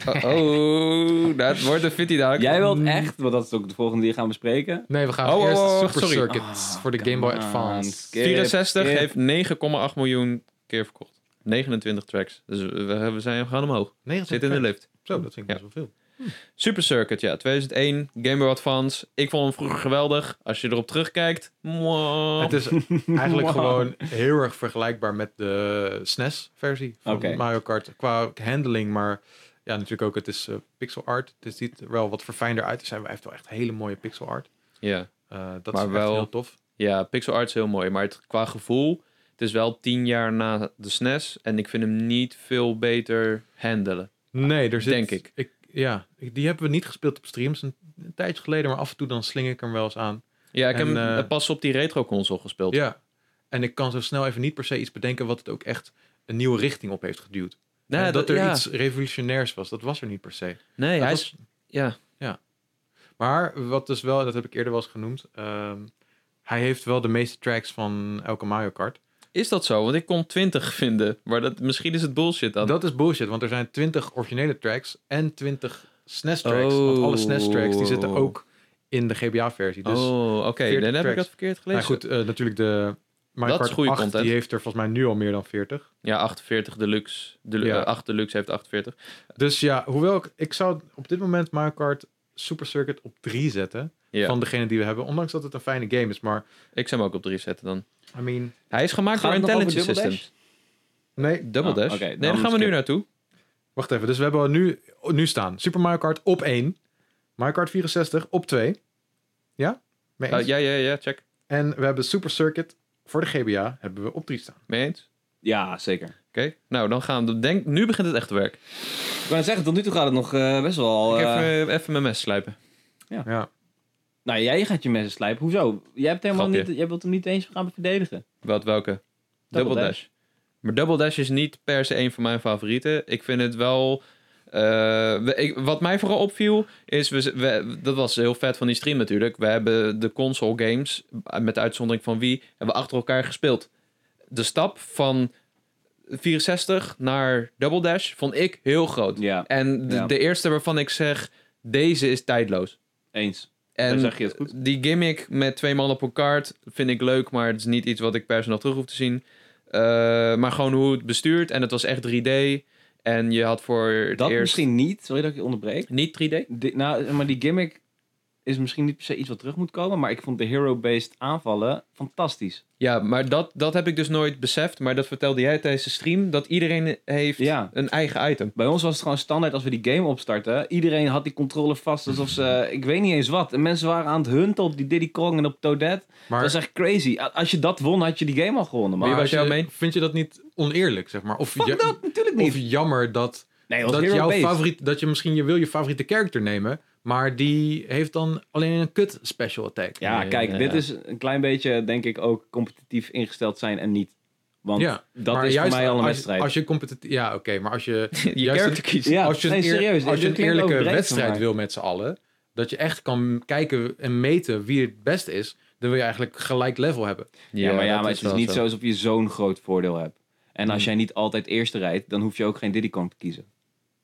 Speaker 3: Oh, oh, dat wordt een fitty dadelijk.
Speaker 2: Jij wilt
Speaker 1: Mm.
Speaker 2: echt, want dat is ook de volgende die gaan bespreken.
Speaker 1: nee, we gaan
Speaker 3: Oh, oh,
Speaker 1: eerst
Speaker 3: oh,
Speaker 1: Super
Speaker 3: sorry.
Speaker 1: Circuit
Speaker 2: Ah,
Speaker 1: voor de Game
Speaker 2: come
Speaker 1: Boy
Speaker 2: on,
Speaker 1: Advance.
Speaker 2: skip,
Speaker 3: 64
Speaker 2: skip.
Speaker 3: heeft 9,8 miljoen keer verkocht. 29 tracks. Dus we, we zijn, we gaan omhoog.
Speaker 1: 90
Speaker 3: Zit in de lift.
Speaker 1: Zo, dat vind ik
Speaker 3: Ja.
Speaker 1: best wel veel.
Speaker 3: Super Circuit, ja. 2001, Game Boy Advance. Ik vond hem vroeger geweldig. Als je erop terugkijkt... mwah.
Speaker 1: Het is eigenlijk
Speaker 2: Wow.
Speaker 1: gewoon heel erg vergelijkbaar met de SNES-versie van
Speaker 2: Oké.
Speaker 1: Mario Kart. Qua handling, maar ja, natuurlijk ook, het is eh, pixel art. Het ziet er wel wat verfijnder uit. Er zijn hij heeft wel echt hele mooie pixel art.
Speaker 3: Ja.
Speaker 1: Eh, dat
Speaker 3: Maar
Speaker 1: is
Speaker 3: wel-
Speaker 1: echt heel tof.
Speaker 3: ja, pixel art is heel mooi. Maar het, qua gevoel... Het is wel 10 jaar na de SNES. En ik vind hem niet veel beter handelen.
Speaker 1: Nee, er zit...
Speaker 3: Denk ik.
Speaker 1: ja, ik- die hebben we niet gespeeld op streams een, een tijdje geleden, maar af en toe dan sling ik hem wel eens aan.
Speaker 3: Ja, ik
Speaker 1: En,
Speaker 3: heb hem
Speaker 1: eh,
Speaker 3: eh, pas op die retro console gespeeld.
Speaker 1: Ja, en ik kan zo snel even niet per se iets bedenken wat het ook echt een nieuwe richting op heeft geduwd.
Speaker 3: nee,
Speaker 1: En
Speaker 3: Nou, dat,
Speaker 1: dat, er
Speaker 3: ja.
Speaker 1: iets revolutionairs was, dat was er niet per se.
Speaker 3: Nee,
Speaker 1: Dat
Speaker 3: hij
Speaker 1: was-
Speaker 3: is... Ja.
Speaker 1: Maar wat dus wel, en dat heb ik eerder wel eens genoemd, ehm, hij heeft wel de meeste tracks van elke Mario Kart.
Speaker 3: Is dat zo? Want ik kon 20 vinden. Maar dat, misschien is het bullshit dan.
Speaker 1: Dat is bullshit, want er zijn 20 originele tracks en 20 SNES tracks. Want alle SNES tracks die zitten
Speaker 3: Oh.
Speaker 1: ook in de GBA-versie. Dus
Speaker 3: oh, oké.
Speaker 1: 40
Speaker 3: Dan heb ik
Speaker 1: tracks.
Speaker 3: dat verkeerd gelezen.
Speaker 1: nou goed, eh, natuurlijk de Mario
Speaker 3: Dat
Speaker 1: Kart
Speaker 3: is goede
Speaker 1: 8,
Speaker 3: content.
Speaker 1: die heeft er volgens mij nu al meer dan 40.
Speaker 3: Ja, 48 Deluxe. De,
Speaker 1: Ja.
Speaker 3: 8 Deluxe heeft 48.
Speaker 1: Dus ja, hoewel ik, ik zou op dit moment Mario Kart Super Circuit op 3 zetten
Speaker 3: Ja,
Speaker 1: van degene die we hebben. Ondanks dat het een fijne game is, maar
Speaker 3: ik zou hem ook op 3 zetten dan.
Speaker 1: I mean,
Speaker 3: Hij is gemaakt
Speaker 2: Gaat
Speaker 3: door
Speaker 2: het nog over
Speaker 3: Intelligent
Speaker 2: Double
Speaker 3: Systems.
Speaker 2: Dash?
Speaker 1: nee,
Speaker 3: Double
Speaker 2: Oh,
Speaker 3: Dash?
Speaker 2: oké,
Speaker 3: nee,
Speaker 2: dan
Speaker 3: daar gaan we nu
Speaker 2: skip.
Speaker 3: naartoe.
Speaker 1: Wacht even, dus we hebben nu, nu staan Super Mario Kart op 1. Mario Kart 64 op 2. Ja? Mee
Speaker 2: Eh,
Speaker 1: eens?
Speaker 3: Oh, ja, ja, ja, check.
Speaker 1: En we hebben Super Circuit voor de GBA hebben we op 3 staan.
Speaker 3: Mee eens?
Speaker 2: Ja, zeker.
Speaker 3: Oké, nou dan gaan we. Denk, nu begint het echte werk.
Speaker 2: Ik wou net zeggen, tot nu toe gaat het nog eh, best wel...
Speaker 3: ik
Speaker 2: eh,
Speaker 3: even, even mijn mes slijpen.
Speaker 1: Ja.
Speaker 2: Nou, jij gaat je mensen slijpen. Hoezo? Jij, hebt helemaal
Speaker 3: Grapje.
Speaker 2: niet, jij wilt hem niet eens gaan verdedigen.
Speaker 3: Wat, welke? Double, Dash. Maar Double Dash is niet per se een van mijn favorieten. Ik vind het wel. eh, we- ik- wat mij vooral opviel is, we, z- we- dat was heel vet van die stream natuurlijk. We hebben de console games, eh, met de uitzondering van wie, hebben we achter elkaar gespeeld. De stap van 64 naar Double Dash vond ik heel groot.
Speaker 2: Ja,
Speaker 3: En de,
Speaker 2: Ja.
Speaker 3: de eerste waarvan ik zeg, deze is tijdloos.
Speaker 2: eens.
Speaker 3: En
Speaker 2: Dan zeg je het goed.
Speaker 3: die gimmick met twee man op een kaart vind ik leuk, maar het is niet iets wat ik per se nog terug hoef te zien. Eh, maar gewoon hoe het bestuurt. En het was echt 3D. En je had voor het
Speaker 2: Dat
Speaker 3: eerst...
Speaker 2: misschien niet. Sorry dat ik je onderbreek.
Speaker 3: Niet 3D?
Speaker 2: Di- nou, maar die gimmick is misschien niet per se iets wat terug moet komen. Maar ik vond de hero-based aanvallen fantastisch.
Speaker 3: Ja, maar dat, dat heb ik dus nooit beseft. Maar dat vertelde jij tijdens de stream. Dat iedereen heeft
Speaker 2: Ja.
Speaker 3: een eigen item.
Speaker 2: Bij ons was het gewoon standaard als we die game opstarten. Iedereen had die controller vast alsof ze... Ik weet niet eens wat. En mensen waren aan het hunten op die Diddy Kong en op Toadette.
Speaker 1: Maar,
Speaker 2: Dat is echt crazy. A- Als je dat won, had je die game al gewonnen.
Speaker 1: maar
Speaker 2: Maar
Speaker 3: was
Speaker 1: als je-
Speaker 3: jouw meen?
Speaker 1: vind je dat niet oneerlijk, zeg maar? Of, ja-
Speaker 2: dat natuurlijk
Speaker 1: of
Speaker 2: niet.
Speaker 1: jammer dat,
Speaker 2: nee,
Speaker 1: dat,
Speaker 2: dat hero
Speaker 1: jouw
Speaker 2: based.
Speaker 1: favoriet, dat je misschien je wil je favoriete character nemen, maar die heeft dan alleen een kut special attack.
Speaker 2: Ja,
Speaker 3: Ja,
Speaker 2: kijk,
Speaker 3: ja,
Speaker 2: dit
Speaker 3: ja.
Speaker 2: is een klein beetje, denk ik, ook competitief ingesteld zijn en niet. Want
Speaker 1: Ja,
Speaker 2: dat is voor mij al een
Speaker 1: als,
Speaker 2: wedstrijd.
Speaker 1: Als je competitief, ja, oké, maar als je
Speaker 3: Je
Speaker 1: Juist
Speaker 3: character kiezen.
Speaker 2: ja,
Speaker 1: als je een,
Speaker 2: nee,
Speaker 1: eer- als je
Speaker 2: serieus. dit
Speaker 1: een
Speaker 2: klinkt
Speaker 1: eerlijke
Speaker 2: overdreven
Speaker 1: wedstrijd
Speaker 2: van
Speaker 1: wil met z'n allen, dat je echt kan kijken en meten wie het beste is, dan wil je eigenlijk gelijk level hebben.
Speaker 2: mij. Ja, maar, ja,
Speaker 3: dat
Speaker 2: maar het is
Speaker 3: wel
Speaker 2: niet zo alsof je zo'n groot voordeel hebt. En als
Speaker 1: Hmm.
Speaker 2: jij niet altijd eerste rijdt, dan hoef je ook geen Diddy Kong te kiezen.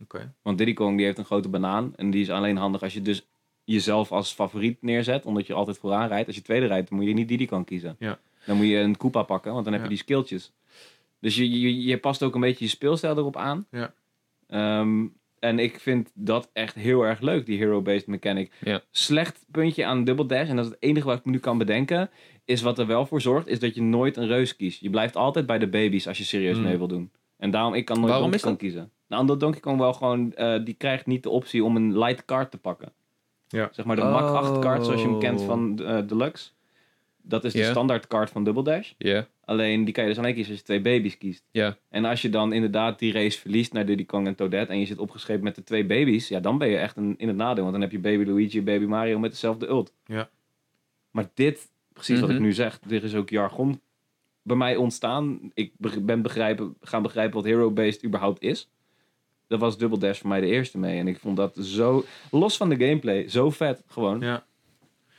Speaker 1: Oké.
Speaker 2: Want Diddy Kong die heeft een grote banaan. En die is alleen handig als je dus jezelf als favoriet neerzet. Omdat je altijd vooraan rijdt. Als je tweede rijdt, dan moet je niet Diddy Kong kiezen.
Speaker 1: Ja.
Speaker 2: Dan moet je een Koopa pakken, want dan heb
Speaker 1: Ja.
Speaker 2: je die skilltjes. Dus je, je, je past ook een beetje je speelstijl erop aan.
Speaker 1: Ja.
Speaker 2: Ehm, en ik vind dat echt heel erg leuk, die hero-based mechanic.
Speaker 3: Ja.
Speaker 2: Slecht puntje aan Double Dash, en dat is het enige wat ik me nu kan bedenken, is wat er wel voor zorgt, is dat je nooit een reus kiest. Je blijft altijd bij de baby's als je serieus
Speaker 1: Hmm.
Speaker 2: mee wil doen. En daarom, ik kan nooit
Speaker 3: Waarom
Speaker 2: Donkey
Speaker 3: is dat?
Speaker 2: Kong kiezen. Nou, omdat Donkey Kong wel gewoon, eh, die krijgt niet de optie om een light card te pakken.
Speaker 1: Ja.
Speaker 2: Zeg maar de Mach 8 kaart zoals je hem kent
Speaker 3: Oh.
Speaker 2: van eh, Deluxe. Dat is de
Speaker 3: Ja.
Speaker 2: standaard kaart van Double Dash.
Speaker 3: Ja.
Speaker 2: Alleen die kan je dus alleen kiezen als je twee baby's kiest.
Speaker 3: Ja.
Speaker 2: En als je dan inderdaad die race verliest naar Diddy Kong en Toadette en je zit opgeschreven met de twee baby's, ja, dan ben je echt een, in het nadeel. Want dan heb je baby Luigi en baby Mario met dezelfde ult.
Speaker 1: Ja.
Speaker 2: Maar dit, precies wat ik
Speaker 3: Mhm.
Speaker 2: nu zeg, er is ook jargon bij mij ontstaan. Ik be- ben begrijpen, gaan begrijpen wat hero-based überhaupt is. Dat was Double Dash voor mij de eerste mee. En ik vond dat zo, los van de gameplay, zo vet gewoon.
Speaker 1: Ja.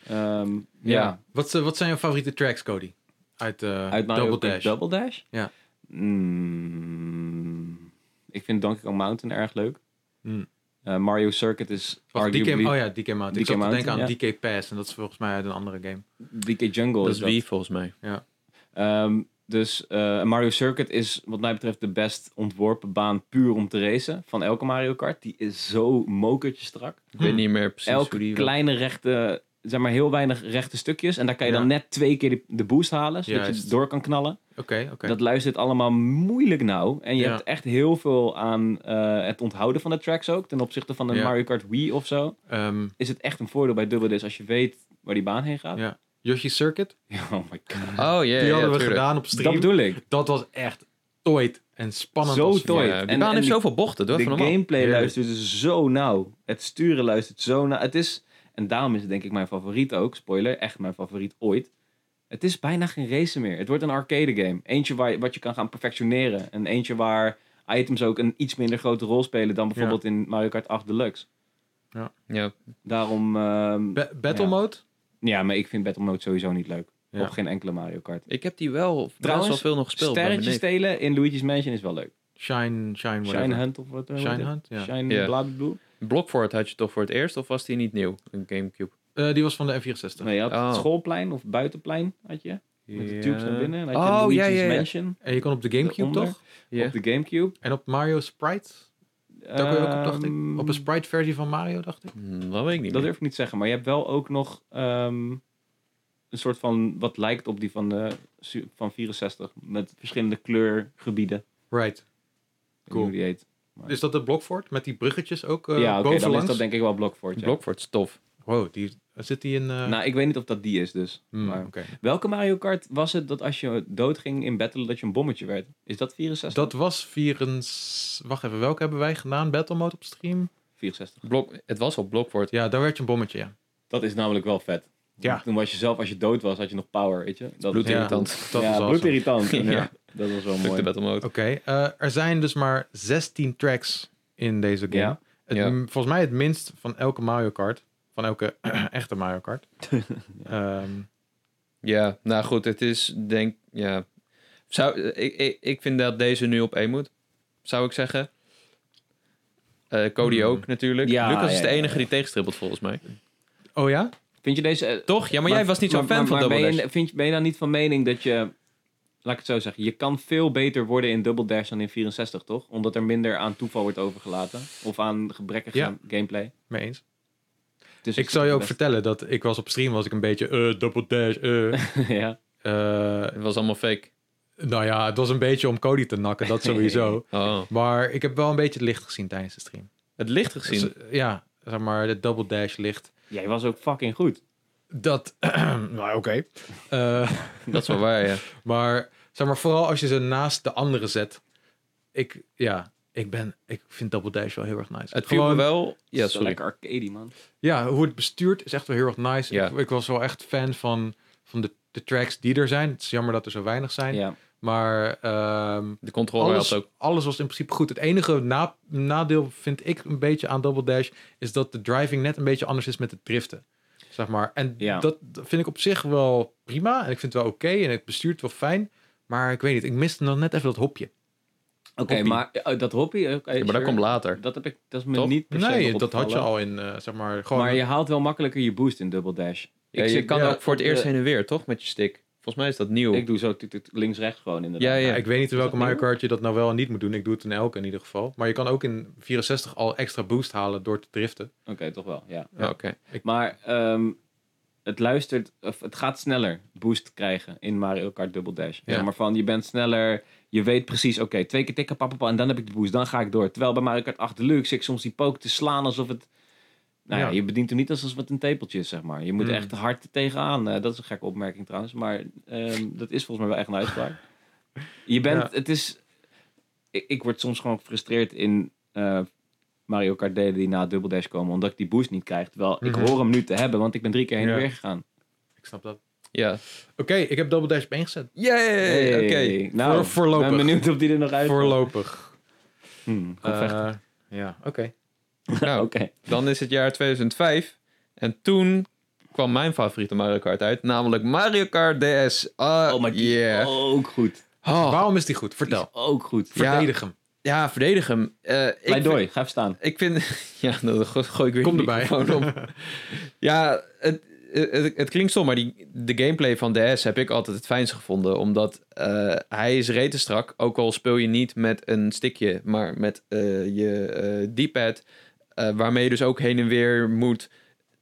Speaker 2: Ehm, ja.
Speaker 3: Ja.
Speaker 1: Wat, eh, wat zijn jouw favoriete tracks, Cody? Uit, eh,
Speaker 2: Uit Mario
Speaker 1: Double
Speaker 2: Double
Speaker 1: Dash.
Speaker 2: Double Dash?
Speaker 1: Ja.
Speaker 2: Mm, ik vind Donkey Kong Mountain erg leuk.
Speaker 1: Mm.
Speaker 2: Eh, Mario Circuit is
Speaker 1: Wacht, DK,
Speaker 2: arguably...
Speaker 1: oh ja, DK Mountain.
Speaker 2: DK
Speaker 1: ik zat te denken aan
Speaker 2: Mountain,
Speaker 1: DK Pass. En dat is volgens mij uit een andere game.
Speaker 2: DK Jungle
Speaker 3: Dat
Speaker 2: is
Speaker 3: is
Speaker 2: dat.
Speaker 3: wie volgens mij.
Speaker 2: Ehm, dus eh, Mario Circuit is wat mij betreft de best ontworpen baan puur om te racen van elke Mario Kart. Die is zo mokertje strak.
Speaker 3: Ik weet niet meer precies hoe
Speaker 2: Elke
Speaker 3: die...
Speaker 2: kleine rechte, zeg maar heel weinig rechte stukjes. En daar kan je
Speaker 1: Ja.
Speaker 2: dan net twee keer de, de boost halen, zodat je
Speaker 1: Juist.
Speaker 2: door kan knallen.
Speaker 1: Oké, oké.
Speaker 2: Dat luistert allemaal moeilijk nou. En je
Speaker 1: Ja.
Speaker 2: hebt echt heel veel aan eh, het onthouden van de tracks ook. Ten opzichte van een
Speaker 1: Ja.
Speaker 2: Mario Kart Wii of zo.
Speaker 1: Ehm,
Speaker 2: Is het echt een voordeel bij Double Dash als je weet waar die baan heen gaat.
Speaker 1: Ja. Yoshi's Circuit.
Speaker 2: Oh my god.
Speaker 3: Oh, ja, ja,
Speaker 1: die
Speaker 3: ja,
Speaker 1: hadden we
Speaker 3: tuurlijk.
Speaker 1: gedaan op
Speaker 2: Dat
Speaker 1: stream. Dat,
Speaker 2: bedoel ik.
Speaker 1: was echt tooit en spannend.
Speaker 2: Zo
Speaker 1: als-
Speaker 2: tooit.
Speaker 3: Ja, die
Speaker 2: En-
Speaker 3: baan
Speaker 2: en
Speaker 3: heeft
Speaker 2: die-
Speaker 3: zoveel bochten. Doe
Speaker 2: de
Speaker 3: even normaal.
Speaker 2: gameplay
Speaker 1: Heerlijk.
Speaker 2: luistert dus zo nauw. Het sturen luistert zo nauw. Het is, en daarom is het denk ik mijn favoriet ook. Spoiler, echt mijn favoriet ooit. Het is bijna geen race meer. Het wordt een arcade game. Eentje waar, je- wat je kan gaan perfectioneren. En eentje waar items ook een iets minder grote rol spelen dan bijvoorbeeld in Mario Kart 8 Deluxe.
Speaker 3: Ja.
Speaker 2: Daarom, ehm,
Speaker 1: Ba- battle
Speaker 2: Ja.
Speaker 1: mode?
Speaker 2: ja, maar ik vind Battle Mode sowieso niet leuk.
Speaker 1: Ja.
Speaker 2: Op geen enkele Mario Kart.
Speaker 3: Ik heb die wel
Speaker 2: Trouwens,
Speaker 3: trouwens wel veel nog gespeeld. bij mijn
Speaker 2: Sterretjes
Speaker 3: neef.
Speaker 2: stelen in Luigi's Mansion is wel leuk.
Speaker 1: Shine, shine, whatever.
Speaker 2: Shine Hunt of wat eh,
Speaker 1: Shine Hunt, ja.
Speaker 2: Shine
Speaker 3: Ja.
Speaker 2: Blablabla.
Speaker 3: Blockfort had je toch voor het eerst? Of was die niet nieuw? Een Gamecube?
Speaker 1: Eh, die was van de N64.
Speaker 2: Nee, je had
Speaker 3: Oh.
Speaker 2: het schoolplein of buitenplein had je. Met de tubes naar binnen. En dan had je
Speaker 3: Oh, ja,
Speaker 2: Luigi's
Speaker 3: ja, ja.
Speaker 2: Mansion
Speaker 1: En je kon op de Gamecube
Speaker 2: Daaronder.
Speaker 1: toch?
Speaker 3: Ja.
Speaker 2: op de Gamecube.
Speaker 1: En op Mario Sprite? Daar kon je ook op, dacht ik.
Speaker 2: Ehm,
Speaker 1: Op een Sprite versie van Mario, dacht ik.
Speaker 3: Hmm, Dat weet ik
Speaker 2: Dat
Speaker 3: niet meer.
Speaker 2: durf ik niet te zeggen, maar je hebt wel ook nog ehm, een soort van wat lijkt op die van, de, su- van 64. Met verschillende kleurgebieden. Ik
Speaker 1: Right.
Speaker 2: weet niet
Speaker 1: Cool.
Speaker 2: Hoe die heet.
Speaker 1: Is dat de Blokfort? Met die bruggetjes ook eh
Speaker 2: ja, oké, dan is
Speaker 1: bovenlangs?
Speaker 2: dat denk ik wel Blockfort. Ja.
Speaker 3: Blockfort is tof.
Speaker 1: Wow, die, zit die in... eh,
Speaker 2: Nou, ik weet niet of dat die is dus.
Speaker 1: hmm,
Speaker 2: maar-
Speaker 1: oké.
Speaker 2: Welke Mario Kart was het dat als je doodging in battle dat je een bommetje werd? Is dat 64?
Speaker 1: Dat was 64... Wacht even, welke hebben wij gedaan? Battle mode op stream?
Speaker 2: 64.
Speaker 3: Blok... Het was al Blockfort.
Speaker 1: Ja, daar werd je een bommetje, ja.
Speaker 2: Dat is namelijk wel vet.
Speaker 1: Ja.
Speaker 2: Toen was je zelf, als je dood was, had je nog power, weet je? Dat
Speaker 3: Bloedirritant.
Speaker 1: Ja,
Speaker 2: Dat
Speaker 1: dat
Speaker 2: ja,
Speaker 1: is awesome.
Speaker 2: bloedirritant.
Speaker 3: Ja.
Speaker 2: ja. Dat was wel
Speaker 3: Fuck
Speaker 2: mooi.
Speaker 3: de battle mode.
Speaker 1: Oké, eh, er zijn dus maar 16 tracks in deze game.
Speaker 2: Ja.
Speaker 1: Het,
Speaker 3: Ja.
Speaker 1: m- Volgens mij het minst van elke Mario Kart. Van elke echte Mario Kart. Ehm,
Speaker 3: Ja, nou goed, het is denk ja. Zou, ik, ik, ik vind dat deze nu op één moet, zou ik zeggen. Eh, Cody
Speaker 1: Hmm.
Speaker 3: ook natuurlijk.
Speaker 2: Ja,
Speaker 3: Lucas is
Speaker 2: ja,
Speaker 3: de
Speaker 2: ja,
Speaker 3: enige
Speaker 2: ja.
Speaker 3: die tegenstribbelt volgens mij.
Speaker 1: oh ja?
Speaker 2: Vind je deze... eh,
Speaker 3: Toch? Ja, maar, jij was niet zo'n
Speaker 2: maar-
Speaker 3: fan
Speaker 2: maar- maar
Speaker 3: van Double
Speaker 2: ben
Speaker 3: Dash.
Speaker 2: Je, vind je, ben je dan niet van mening dat je... Laat ik het zo zeggen. Je kan veel beter worden in Double Dash dan in 64, toch? Omdat er minder aan toeval wordt overgelaten. Of aan gebrekkige
Speaker 1: Ja.
Speaker 2: gameplay.
Speaker 1: Mee eens.
Speaker 2: Dus
Speaker 1: Ik zal je ook vertellen dat ik was op stream, was ik een beetje eh double dash, eh.
Speaker 2: vertellen. ja.
Speaker 1: Eh,
Speaker 3: Het was allemaal fake.
Speaker 1: nou ja, het was een beetje om Cody te nakken, dat sowieso.
Speaker 3: Oh.
Speaker 1: maar ik heb wel een beetje het licht gezien tijdens de stream.
Speaker 3: Het licht gezien.
Speaker 1: Dus, eh, ja, zeg maar, de double dash licht.
Speaker 2: Jij was ook fucking goed.
Speaker 1: Dat, nou oké. Eh,
Speaker 3: dat is wel waar, ja.
Speaker 1: Maar zeg maar, vooral als je ze naast de andere zet. Ik, ja, ik ben, ik vind Double Dash wel heel erg nice.
Speaker 3: Het viel me wel... Ja,
Speaker 2: Dat is wel
Speaker 3: sorry.
Speaker 2: Lekker arcade, man.
Speaker 1: Ja, hoe het bestuurt is echt wel heel erg nice.
Speaker 3: Ja.
Speaker 1: Ik, ik was wel echt fan van, van de, de tracks die er zijn. Het is jammer dat er zo weinig zijn.
Speaker 2: Ja.
Speaker 1: Maar ehm,
Speaker 3: De controller
Speaker 1: alles,
Speaker 3: had ook...
Speaker 1: alles was in principe goed. Het enige na- nadeel vind ik een beetje aan Double Dash... is dat de driving net een beetje anders is met het driften. Zeg maar. En
Speaker 2: Ja.
Speaker 1: dat dat vind ik op zich wel prima. En ik vind het wel oké. en het bestuurt wel fijn. Maar ik weet niet, ik miste nog net even dat hopje.
Speaker 2: Oké,
Speaker 1: Hoppie.
Speaker 2: maar eh, dat hobby... oké,
Speaker 3: Ja, maar dat
Speaker 2: sure.
Speaker 3: komt later.
Speaker 2: Dat heb ik, dat is me
Speaker 3: Toch?
Speaker 2: niet per se
Speaker 1: Nee,
Speaker 2: nog
Speaker 1: dat had je
Speaker 2: opgevallen.
Speaker 1: al in, eh, zeg maar, gewoon...
Speaker 2: Maar je haalt wel makkelijker je boost in Double Dash.
Speaker 3: Ja,
Speaker 2: Ik
Speaker 3: je
Speaker 2: zit-
Speaker 3: kan
Speaker 1: ja,
Speaker 3: ook voor het
Speaker 2: op de-
Speaker 3: eerst heen en weer, toch? Met je stick. Volgens mij is dat nieuw.
Speaker 2: Ik doe zo toet, toet, links-rechts gewoon inderdaad.
Speaker 3: ja, ja.
Speaker 1: Ja, ik weet niet in
Speaker 2: Is
Speaker 1: welke
Speaker 2: dat
Speaker 1: Mario Kart je dat nou wel en niet moet doen. Ik doe het in elke in ieder geval. Maar je kan ook in 64 al extra boost halen door te driften.
Speaker 2: Oké, toch wel, ja.
Speaker 1: ja.
Speaker 3: Oh, Oké.
Speaker 2: Maar ehm, het luistert, of het gaat sneller boost krijgen in Mario Kart Double Dash.
Speaker 1: Ja.
Speaker 2: Ja. Maar van, je bent sneller, je weet precies, oké, twee keer tikken, papa, en dan heb ik de boost, dan ga ik door. Terwijl bij Mario Kart 8 Deluxe ik soms die poke te slaan alsof het... Nou ja,
Speaker 1: Ja.
Speaker 2: je bedient hem niet alsof het een tepeltje is, zeg maar. Je moet
Speaker 1: Mm.
Speaker 2: echt hard er tegenaan. Eh, dat is een gekke opmerking trouwens, maar ehm, dat is volgens mij wel echt een uitspraak. Je bent,
Speaker 1: Ja.
Speaker 2: het is. Ik, ik word soms gewoon gefrustreerd in eh, Mario Kart delen die na Double Dash komen, omdat ik die boost niet krijg. Terwijl
Speaker 1: Mhm.
Speaker 2: ik hoor hem nu te hebben, want ik ben drie keer heen en
Speaker 1: Ja.
Speaker 2: weer gegaan.
Speaker 1: Ik snap dat.
Speaker 3: Ja.
Speaker 1: Oké, ik heb Double Dash op één gezet.
Speaker 3: Yay! Oké.
Speaker 2: Hey, Nou,
Speaker 1: Voor- voorlopig.
Speaker 2: ben benieuwd of die er nog uit.
Speaker 1: Voorlopig.
Speaker 2: Hmm, kom
Speaker 1: Eh,
Speaker 2: vechten.
Speaker 1: ja, oké.
Speaker 3: Nou,
Speaker 2: Oké.
Speaker 3: dan is het jaar 2005. En toen kwam mijn favoriete Mario Kart uit. Namelijk Mario Kart DS. Ah,
Speaker 2: Oh, maar die
Speaker 3: yeah.
Speaker 2: is ook goed.
Speaker 3: Oh,
Speaker 1: Waarom is die goed?
Speaker 2: Die is
Speaker 1: Vertel.
Speaker 2: ook goed.
Speaker 3: Ja.
Speaker 1: Verdedig hem.
Speaker 3: ja, verdedig hem. Eh, ik vind-
Speaker 2: Pleidooi, ga even staan.
Speaker 3: Ik vind... Ja, dan go- gooi ik weer
Speaker 1: Kom
Speaker 3: de
Speaker 1: erbij.
Speaker 3: microfoon om. ja, het, het, het klinkt stom, maar die, de gameplay van DS heb ik altijd het fijnste gevonden. Omdat eh, hij is retenstrak, ook al speel je niet met een stickje, maar met eh, je eh, D-pad. eh, waarmee je dus ook heen en weer moet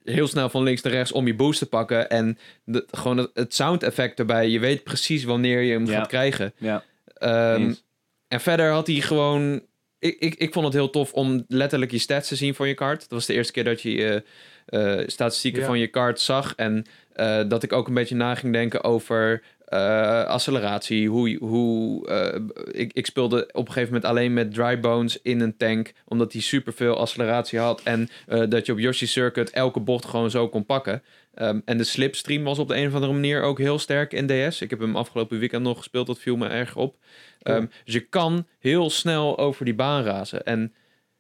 Speaker 3: heel snel van links naar rechts om je boost te pakken. En de, gewoon het, het sound effect erbij. Je weet precies wanneer je hem
Speaker 2: Ja.
Speaker 3: gaat krijgen.
Speaker 2: Ja,
Speaker 3: Ehm,
Speaker 2: eens.
Speaker 3: en verder had hij gewoon. Ik, ik, ik vond het heel tof om letterlijk je stats te zien van je kaart. Dat was de eerste keer dat je eh, eh, statistieken
Speaker 1: Ja.
Speaker 3: van je kaart zag. En eh, dat ik ook een beetje na ging denken over eh, acceleratie. Hoe, hoe, eh, ik, ik speelde op een gegeven moment alleen met dry bones in een tank. Omdat hij superveel acceleratie had. En eh, dat je op Yoshi Circuit elke bocht gewoon zo kon pakken. Ehm, en de slipstream was op de een of andere manier ook heel sterk in DS. Ik heb hem afgelopen weekend nog gespeeld. Dat viel me erg op. Ehm, Dus je kan heel snel over die baan razen. En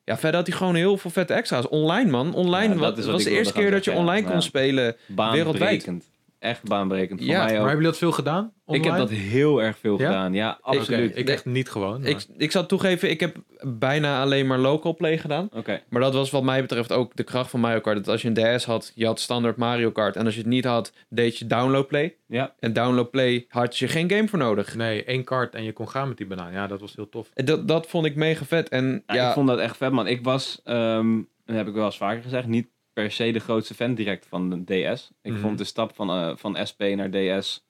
Speaker 3: ja, verder had hij gewoon heel veel vette extra's. Online, man. Online
Speaker 2: Ja, dat
Speaker 3: wa-
Speaker 2: is wat ik
Speaker 3: was de
Speaker 2: wilde
Speaker 3: eerste
Speaker 2: gaan
Speaker 3: keer dat je
Speaker 2: zeggen, ja.
Speaker 3: online kon
Speaker 2: Ja.
Speaker 3: spelen.
Speaker 2: Baanbrekend. Echt baanbrekend. Voor
Speaker 3: Ja,
Speaker 2: mij
Speaker 1: Maar
Speaker 2: ook.
Speaker 1: hebben jullie dat veel gedaan?
Speaker 2: Ik heb dat heel erg veel
Speaker 1: Ja?
Speaker 2: gedaan. Ja, absoluut.
Speaker 1: Ik echt niet gewoon. maar-
Speaker 3: Ik, ik zal toegeven, ik heb bijna alleen maar local play gedaan.
Speaker 2: Oké. Nou,
Speaker 3: Maar dat was wat mij betreft ook de kracht van Mario Kart. Dat als je een DS had, je had standaard Mario Kart. En als je het niet had, deed je download play.
Speaker 2: Ja.
Speaker 3: En download play had je geen game voor nodig.
Speaker 1: Nee, één kaart en je kon gaan met die banaan. Ja, dat was heel tof.
Speaker 3: En Dat, dat vond ik mega vet. En
Speaker 2: Ja,
Speaker 3: ja,
Speaker 2: Ik vond dat echt vet, man. Ik was, ehm dat heb ik wel eens vaker gezegd, niet per se de grootste fan direct van de DS. Ik
Speaker 1: Mhm.
Speaker 2: vond de stap van, eh, van SP naar DS.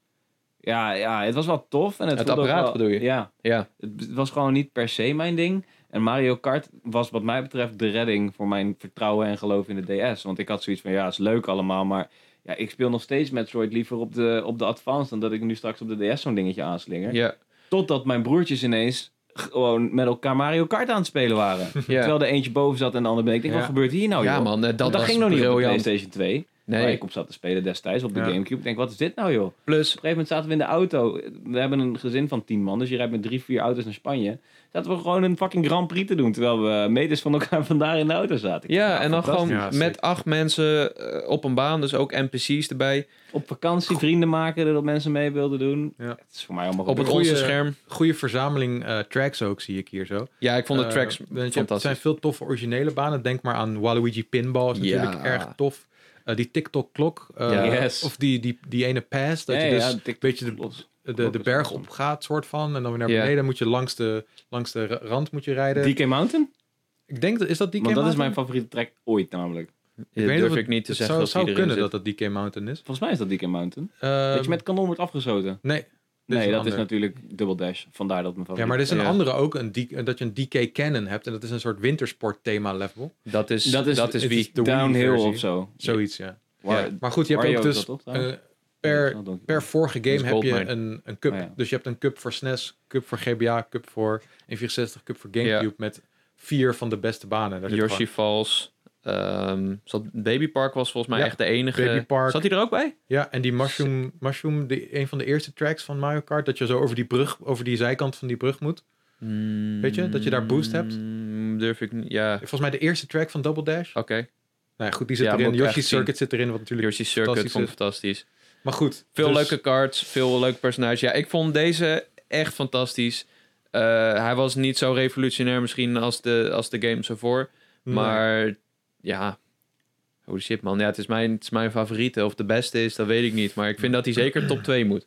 Speaker 2: Ja, ja, het was wel tof. En het,
Speaker 3: Het
Speaker 2: voelde ook
Speaker 3: apparaat
Speaker 2: wel-
Speaker 3: bedoel je?
Speaker 2: Ja,
Speaker 3: ja,
Speaker 2: het was gewoon niet per se mijn ding. En Mario Kart was wat mij betreft de redding voor mijn vertrouwen en geloof in de DS. Want ik had zoiets van, ja, is leuk allemaal, maar ja, ik speel nog steeds Metroid liever op de, op de Advance dan dat ik nu straks op de DS zo'n dingetje aanslinger.
Speaker 3: ja,
Speaker 2: Totdat mijn broertjes ineens gewoon met elkaar Mario Kart aan het spelen waren.
Speaker 3: ja.
Speaker 2: Terwijl er eentje boven zat en de ander beneden. Ik denk,
Speaker 1: Ja.
Speaker 2: wat gebeurt hier nou?
Speaker 3: ja
Speaker 2: joh?
Speaker 3: man, eh, dat,
Speaker 2: dat
Speaker 3: was
Speaker 2: ging nog niet op de
Speaker 3: briljant.
Speaker 2: PlayStation 2. Waar
Speaker 3: Nee,
Speaker 2: Oh, ik op zat te spelen destijds op de
Speaker 1: Ja.
Speaker 2: Gamecube. Ik denk, wat is dit nou joh? Op een
Speaker 3: plus
Speaker 2: gegeven moment zaten we in de auto. We hebben een gezin van 10 man, dus je rijdt met drie, vier auto's naar Spanje. Zaten we gewoon een fucking Grand Prix te doen, terwijl we meters van elkaar vandaar in de auto zaten. Ik
Speaker 3: Ja,
Speaker 2: dacht,
Speaker 3: en dan gewoon
Speaker 2: fantastisch.
Speaker 1: Ja, zeker.
Speaker 3: met acht mensen eh, op een baan, dus ook NPC's erbij.
Speaker 2: Op vakantie vrienden maken, dat mensen mee wilden doen.
Speaker 1: Ja.
Speaker 2: Het is voor mij allemaal
Speaker 3: Op het
Speaker 1: goeie-
Speaker 3: onze scherm.
Speaker 1: Goede verzameling eh, tracks ook, zie ik hier zo.
Speaker 3: Ja, ik vond de
Speaker 1: Eh,
Speaker 3: tracks
Speaker 1: want je hebt- Er zijn
Speaker 3: fantastisch.
Speaker 1: veel toffe originele banen. Denk maar aan Waluigi Pinball. is natuurlijk
Speaker 3: Ja.
Speaker 1: erg tof. Eh, die TikTok-klok. eh,
Speaker 3: Ja.
Speaker 2: Yes.
Speaker 1: Of die, die, die ene pass. Dat
Speaker 2: Ja,
Speaker 1: je
Speaker 2: ja,
Speaker 1: dus
Speaker 2: ja, tik-
Speaker 1: weet je, de-
Speaker 2: klopt.
Speaker 1: de,
Speaker 2: Klok
Speaker 1: de
Speaker 2: is
Speaker 1: berg
Speaker 2: awesome.
Speaker 1: op gaat, soort van. En dan weer naar
Speaker 3: Ja.
Speaker 1: beneden moet je langs de, langs de ra- rand moet je rijden.
Speaker 2: DK Mountain?
Speaker 1: Ik denk, dat is dat DK
Speaker 2: Want dat is
Speaker 1: Mountain?
Speaker 2: mijn favoriete track ooit namelijk.
Speaker 3: Dat
Speaker 1: weet
Speaker 3: durf
Speaker 1: of
Speaker 3: ik niet te
Speaker 1: het
Speaker 3: zeggen.
Speaker 1: zou,
Speaker 3: als
Speaker 1: zou
Speaker 3: die erin
Speaker 1: kunnen
Speaker 3: zit.
Speaker 1: dat dat DK Mountain is.
Speaker 2: Volgens mij is dat DK Mountain. dat je
Speaker 1: Ehm,
Speaker 2: met kanon wordt afgeschoten.
Speaker 1: Nee, dit een
Speaker 2: Nee, dat is
Speaker 1: ander.
Speaker 2: natuurlijk Double Dash. Vandaar dat mijn
Speaker 1: Ja,
Speaker 2: favoriet.
Speaker 1: maar er is een
Speaker 3: Ja.
Speaker 1: andere ook, een D- dat je een DK Cannon hebt. En dat is een soort wintersport thema level.
Speaker 3: dat is.
Speaker 2: dat is,
Speaker 3: dat is
Speaker 1: het
Speaker 3: wie.
Speaker 1: is de
Speaker 2: Downhill
Speaker 1: Wii-versie.
Speaker 2: of zo.
Speaker 1: Zoiets, ja.
Speaker 2: Waar-
Speaker 3: Ja.
Speaker 1: Maar goed, je hebt
Speaker 2: Wario
Speaker 1: ook
Speaker 2: is
Speaker 1: dus...
Speaker 2: dat toch,
Speaker 1: eh,
Speaker 2: trouwens?
Speaker 1: per,
Speaker 2: Dat is wel
Speaker 1: per vorige game
Speaker 3: Dat is
Speaker 1: heb je
Speaker 3: Goldmine.
Speaker 1: een, een cup.
Speaker 2: Oh, ja.
Speaker 1: Dus je hebt een cup voor SNES, cup voor GBA, cup voor N64, cup voor Gamecube.
Speaker 3: Ja.
Speaker 1: Met vier van de beste banen. Daar zit
Speaker 3: Yoshi
Speaker 1: gewoon-
Speaker 3: Falls. ehm, zat, Baby Park was volgens mij
Speaker 1: Ja,
Speaker 3: echt de enige.
Speaker 1: Baby Park.
Speaker 3: Zat hij er ook bij?
Speaker 1: Ja, en die Mushroom, mushroom die, een van de eerste tracks van Mario Kart. Dat je zo over die brug, over die zijkant van die brug moet. Hmm, Weet je, dat je daar boost hebt?
Speaker 3: Mm, Durf ik niet. Ja, oké.
Speaker 1: Volgens mij de eerste track van Double Dash. Nou ja, goed, die zit
Speaker 3: Ja,
Speaker 1: erin.
Speaker 3: moet ik
Speaker 1: Yoshi
Speaker 3: echt zien.
Speaker 1: Circuit zit erin, wat natuurlijk...
Speaker 3: Yoshi Circuit
Speaker 1: Fantastisch
Speaker 3: vond ik
Speaker 1: is.
Speaker 3: fantastisch.
Speaker 1: Maar goed.
Speaker 3: Veel
Speaker 1: dus-
Speaker 3: leuke cards, veel leuke personages. Ja, ik vond deze echt fantastisch. Eh, hij was niet zo revolutionair misschien als de, als de games ervoor.
Speaker 1: Nee.
Speaker 3: Maar ja, holy shit man. Ja, het, is mijn, het is mijn favoriete. Of de beste is, dat weet ik niet. Maar ik vind dat hij zeker top 2 moet.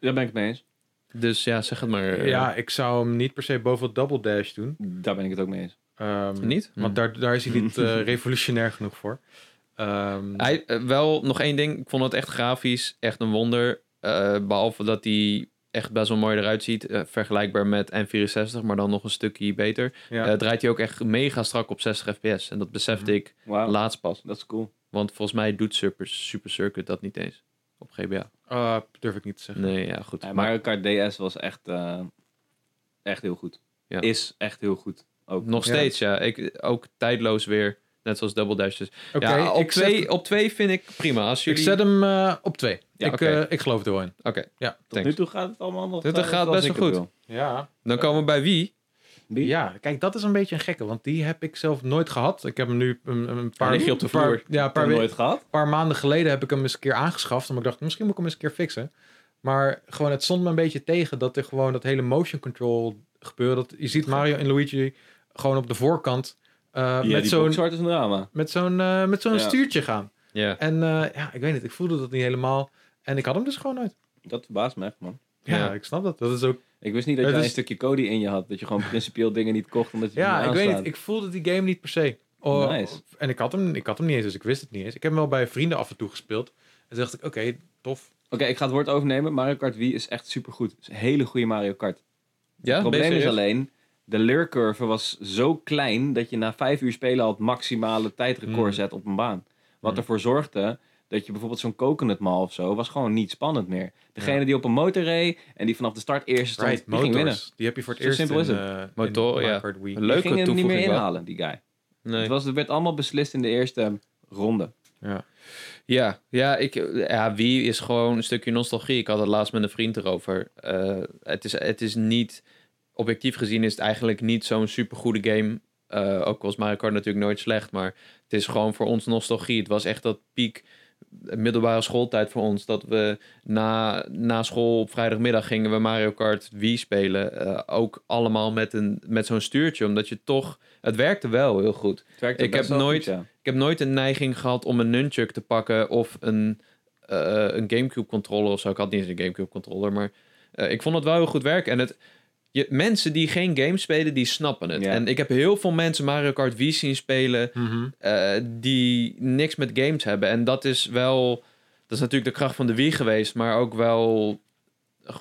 Speaker 2: Daar ben ik het mee eens.
Speaker 3: Dus ja, zeg het maar. eh,
Speaker 1: Ja, ik zou hem niet per se boven het double dash doen.
Speaker 2: Daar ben ik het ook mee eens.
Speaker 1: Ehm,
Speaker 3: Niet? Hm.
Speaker 1: Want daar, daar is hij niet eh, revolutionair genoeg voor. Ehm,
Speaker 3: Hij, eh, wel nog één ding. Ik vond het echt grafisch echt een wonder. Eh, behalve dat hij echt best wel mooi eruit ziet. eh, vergelijkbaar met N64, maar dan nog een stukje beter.
Speaker 1: ja.
Speaker 3: Eh, draait hij ook echt mega strak op 60 fps. En dat besefte
Speaker 1: Mhm.
Speaker 3: ik
Speaker 2: Wauw,
Speaker 3: laatst pas.
Speaker 2: dat is cool.
Speaker 3: Want volgens mij doet Super, Super Circuit dat niet eens. Op GBA.
Speaker 1: Ah, durf ik niet te zeggen.
Speaker 3: Nee, ja, goed.
Speaker 2: Ja,
Speaker 3: maar
Speaker 2: Mario Kart DS was echt, eh, echt heel goed.
Speaker 3: Ja. Mm,
Speaker 2: Is echt heel goed. Ook.
Speaker 3: nog
Speaker 1: Ja.
Speaker 3: steeds, ja. Ik, ook tijdloos weer. Net zoals Double Dash. Dus
Speaker 1: Oké,
Speaker 3: ja, op
Speaker 1: ik, zet-
Speaker 3: twee, op twee vind ik prima. Als
Speaker 1: ik
Speaker 3: jullie...
Speaker 1: zet hem eh, op twee.
Speaker 3: Ja,
Speaker 1: ik,
Speaker 3: oké.
Speaker 1: eh, ik geloof er wel in.
Speaker 3: Oké,
Speaker 2: Tot nu toe gaat het allemaal nog.
Speaker 3: Dit
Speaker 2: eh,
Speaker 3: gaat
Speaker 2: zoals
Speaker 3: best
Speaker 2: ik
Speaker 3: wel
Speaker 2: het
Speaker 3: goed.
Speaker 1: Ja.
Speaker 3: dan komen we bij wie?
Speaker 2: wil. Ja.
Speaker 1: ja, kijk, dat is een beetje een gekke, want die heb ik zelf nooit gehad. Ik heb hem nu een, een paar,
Speaker 3: lig je op de
Speaker 1: paar-
Speaker 3: vloer.
Speaker 1: ja, een paar,
Speaker 2: Heb
Speaker 1: we-
Speaker 2: je nooit gehad?
Speaker 1: een paar maanden geleden heb ik hem eens een keer aangeschaft. Omdat ik dacht, misschien moet ik hem eens een keer fixen. Maar gewoon, het stond me een beetje tegen dat er gewoon dat hele motion control gebeuren. Dat, je ziet Mario en Luigi gewoon op de voorkant eh,
Speaker 2: ja,
Speaker 1: met
Speaker 2: die
Speaker 1: zo'n
Speaker 2: boxart is een drama.
Speaker 1: met zo'n eh, met zo'n
Speaker 2: Ja.
Speaker 1: stuurtje gaan.
Speaker 3: Ja.
Speaker 1: En eh, ja, ik weet niet, ik voelde dat niet helemaal. En ik had hem dus gewoon nooit.
Speaker 2: Dat verbaast me echt, man.
Speaker 1: Ja,
Speaker 3: Ja.
Speaker 1: ik snap dat. Dat is ook.
Speaker 2: Ik wist niet dat
Speaker 1: Het
Speaker 2: je
Speaker 1: is-
Speaker 2: een stukje Cody in je had. Dat je gewoon principieel dingen niet kocht omdat je
Speaker 1: Ja,
Speaker 2: die
Speaker 1: ik weet
Speaker 2: aanstaat.
Speaker 1: niet. Ik voelde die game niet per se. Oh,
Speaker 2: Nice.
Speaker 1: En ik had, hem, ik had hem niet eens, dus ik wist het niet eens. Ik heb hem wel bij vrienden af en toe gespeeld. En toen dacht ik, oké, tof.
Speaker 2: Oké, ik ga het woord overnemen. Mario Kart Wii is echt supergoed. Het is een hele goede Mario Kart.
Speaker 3: Ja,
Speaker 2: Het
Speaker 3: ben je
Speaker 2: probleem is
Speaker 3: serieus?
Speaker 2: alleen, de leercurve was zo klein dat je na vijf uur spelen al het maximale tijdrecord
Speaker 3: Mm.
Speaker 1: Hmm.
Speaker 2: zet op een baan. Wat
Speaker 1: Hmm.
Speaker 2: ervoor zorgde dat je bijvoorbeeld zo'n coconut mall of zo, was gewoon niet spannend meer. Degene die op een motor reed en die vanaf de start eerst stond,
Speaker 1: Right,
Speaker 2: die ging winnen.
Speaker 1: motors. Die heb je voor het
Speaker 2: Zo
Speaker 1: eerst in,
Speaker 2: simpel is het.
Speaker 1: eh, in
Speaker 3: Motor,
Speaker 1: Mario
Speaker 3: ja.
Speaker 1: Kart Wii.
Speaker 3: Een
Speaker 2: Die
Speaker 3: leuke
Speaker 2: ging hem niet meer
Speaker 3: toevoeging wel.
Speaker 2: inhalen, die guy.
Speaker 3: Nee.
Speaker 2: Het, was, het werd allemaal beslist in de eerste ronde.
Speaker 3: Ja, ja, ik, ja, wie is gewoon een stukje nostalgie. Ik had het laatst met een vriend erover. Eh, het, is, het is niet, objectief gezien is het eigenlijk niet zo'n supergoede game. Eh, ook was Mario Kart natuurlijk nooit slecht, maar het is gewoon voor ons nostalgie. Het was echt dat piek eh, middelbare schooltijd voor ons. Dat we na, na school op vrijdagmiddag gingen we Mario Kart Wii spelen. Eh, ook allemaal met, een, met zo'n stuurtje, omdat je toch... Het werkte wel heel goed.
Speaker 2: Het werkte
Speaker 3: Ik
Speaker 2: best
Speaker 3: heb
Speaker 2: wel
Speaker 3: nooit-
Speaker 2: goed, ja.
Speaker 3: Ik heb nooit een neiging gehad om een nunchuk te pakken of een, eh, een Gamecube controller of zo. Ik had niet eens een Gamecube controller, maar eh, ik vond het wel heel goed werk. En het, je, mensen die geen game spelen, die snappen het.
Speaker 2: Ja.
Speaker 3: En ik heb heel veel mensen Mario Kart Wii zien spelen
Speaker 1: Mhm.
Speaker 3: eh, die niks met games hebben. En dat is wel, dat is natuurlijk de kracht van de Wii geweest, maar ook wel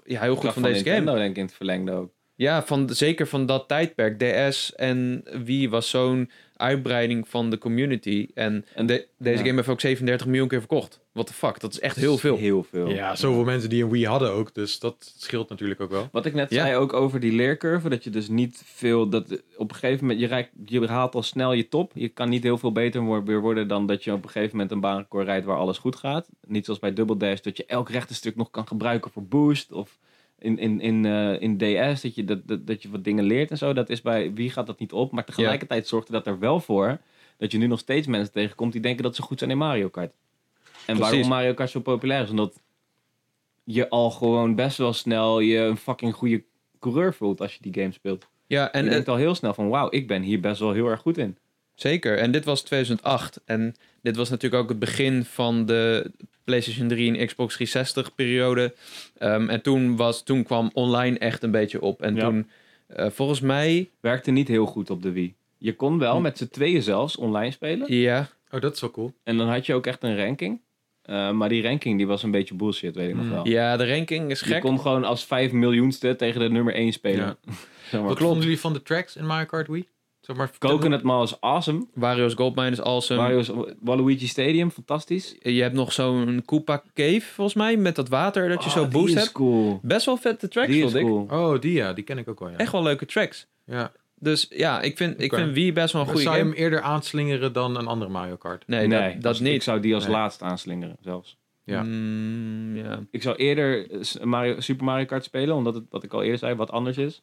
Speaker 3: ja, heel goed
Speaker 2: Kracht
Speaker 3: van, deze game.
Speaker 2: Nintendo, denk ik in het verlengde ook.
Speaker 3: Ja, van, zeker van dat tijdperk. DS en Wii was zo'n uitbreiding van de community. En,
Speaker 2: En-
Speaker 3: de- deze
Speaker 2: ja.
Speaker 3: game heeft ook 37 miljoen keer verkocht. What the fuck, dat is echt heel veel.
Speaker 2: Heel veel.
Speaker 1: Ja, zoveel mensen die een Wii hadden ook. Dus dat scheelt natuurlijk ook wel.
Speaker 2: Wat ik net
Speaker 3: Ja.
Speaker 2: zei ook over die leercurve, dat je dus niet veel, dat op een gegeven moment, je, reikt, je haalt al snel je top. Je kan niet heel veel beter wo- weer worden dan dat je op een gegeven moment een baanrecord rijdt waar alles goed gaat. Niet zoals bij Double Dash, dat je elk rechte stuk nog kan gebruiken voor boost of in, in, in, eh, in DS, dat je, dat, dat, dat je wat dingen leert en zo. Dat is bij wie gaat dat niet op, maar tegelijkertijd zorgde dat er wel voor dat je nu nog steeds mensen tegenkomt die denken dat ze goed zijn in Mario Kart. En
Speaker 3: Precies.
Speaker 2: waarom Mario Kart zo populair is, omdat je al gewoon best wel snel je een fucking goede coureur voelt als je die game speelt.
Speaker 3: Ja,
Speaker 2: En
Speaker 3: en
Speaker 2: je
Speaker 3: eh,
Speaker 2: denkt al heel snel van, wauw, ik ben hier best wel heel erg goed in.
Speaker 3: zeker. En dit was 2008. En dit was natuurlijk ook het begin van de PlayStation 3 en Xbox 360 periode. Ehm, en toen, was, toen kwam online echt een beetje op. En
Speaker 2: Ja.
Speaker 3: toen, eh, volgens mij,
Speaker 2: Werkte niet heel goed op de Wii. Je kon wel
Speaker 3: Hm.
Speaker 2: met z'n tweeën zelfs online spelen.
Speaker 3: ja,
Speaker 1: Oh, dat is wel cool.
Speaker 2: En dan had je ook echt een ranking. Eh, maar die ranking die was een beetje bullshit, weet ik nog
Speaker 1: Hm.
Speaker 2: wel.
Speaker 3: ja, de ranking is
Speaker 2: Je
Speaker 3: gek.
Speaker 2: kon gewoon als vijf miljoenste tegen de nummer 1 spelen.
Speaker 1: Ja.
Speaker 2: Zeg maar.
Speaker 1: Wat vonden jullie van de tracks in Mario Kart Wii? Zeg maar,
Speaker 2: Coconut Mall is awesome.
Speaker 3: Wario's Goldmine is awesome.
Speaker 2: Mario's Waluigi Stadium, fantastisch.
Speaker 3: Je hebt nog zo'n Koopa Cave, volgens mij, met dat water dat je zo boost
Speaker 2: Ah, die is
Speaker 3: hebt.
Speaker 2: cool.
Speaker 3: Best wel vette tracks,
Speaker 2: Die is
Speaker 3: vond ik.
Speaker 2: cool.
Speaker 1: Oh, die ja, die ken ik ook wel. Ja.
Speaker 3: Echt wel leuke tracks.
Speaker 1: Ja.
Speaker 3: Dus ja, ik vind, ik
Speaker 1: Oké.
Speaker 3: vind Wii best wel een goede
Speaker 1: Zou
Speaker 3: game.
Speaker 1: je hem eerder aanslingeren dan een andere Mario Kart?
Speaker 3: Nee, dat, dat
Speaker 2: als- Ik
Speaker 3: niet.
Speaker 2: zou die als
Speaker 1: Nee.
Speaker 2: laatst aanslingeren zelfs.
Speaker 1: Ja.
Speaker 3: Mm, ja.
Speaker 2: Ik zou eerder eh, S- Mario, Super Mario Kart spelen, omdat het, wat ik al eerder zei, wat anders is.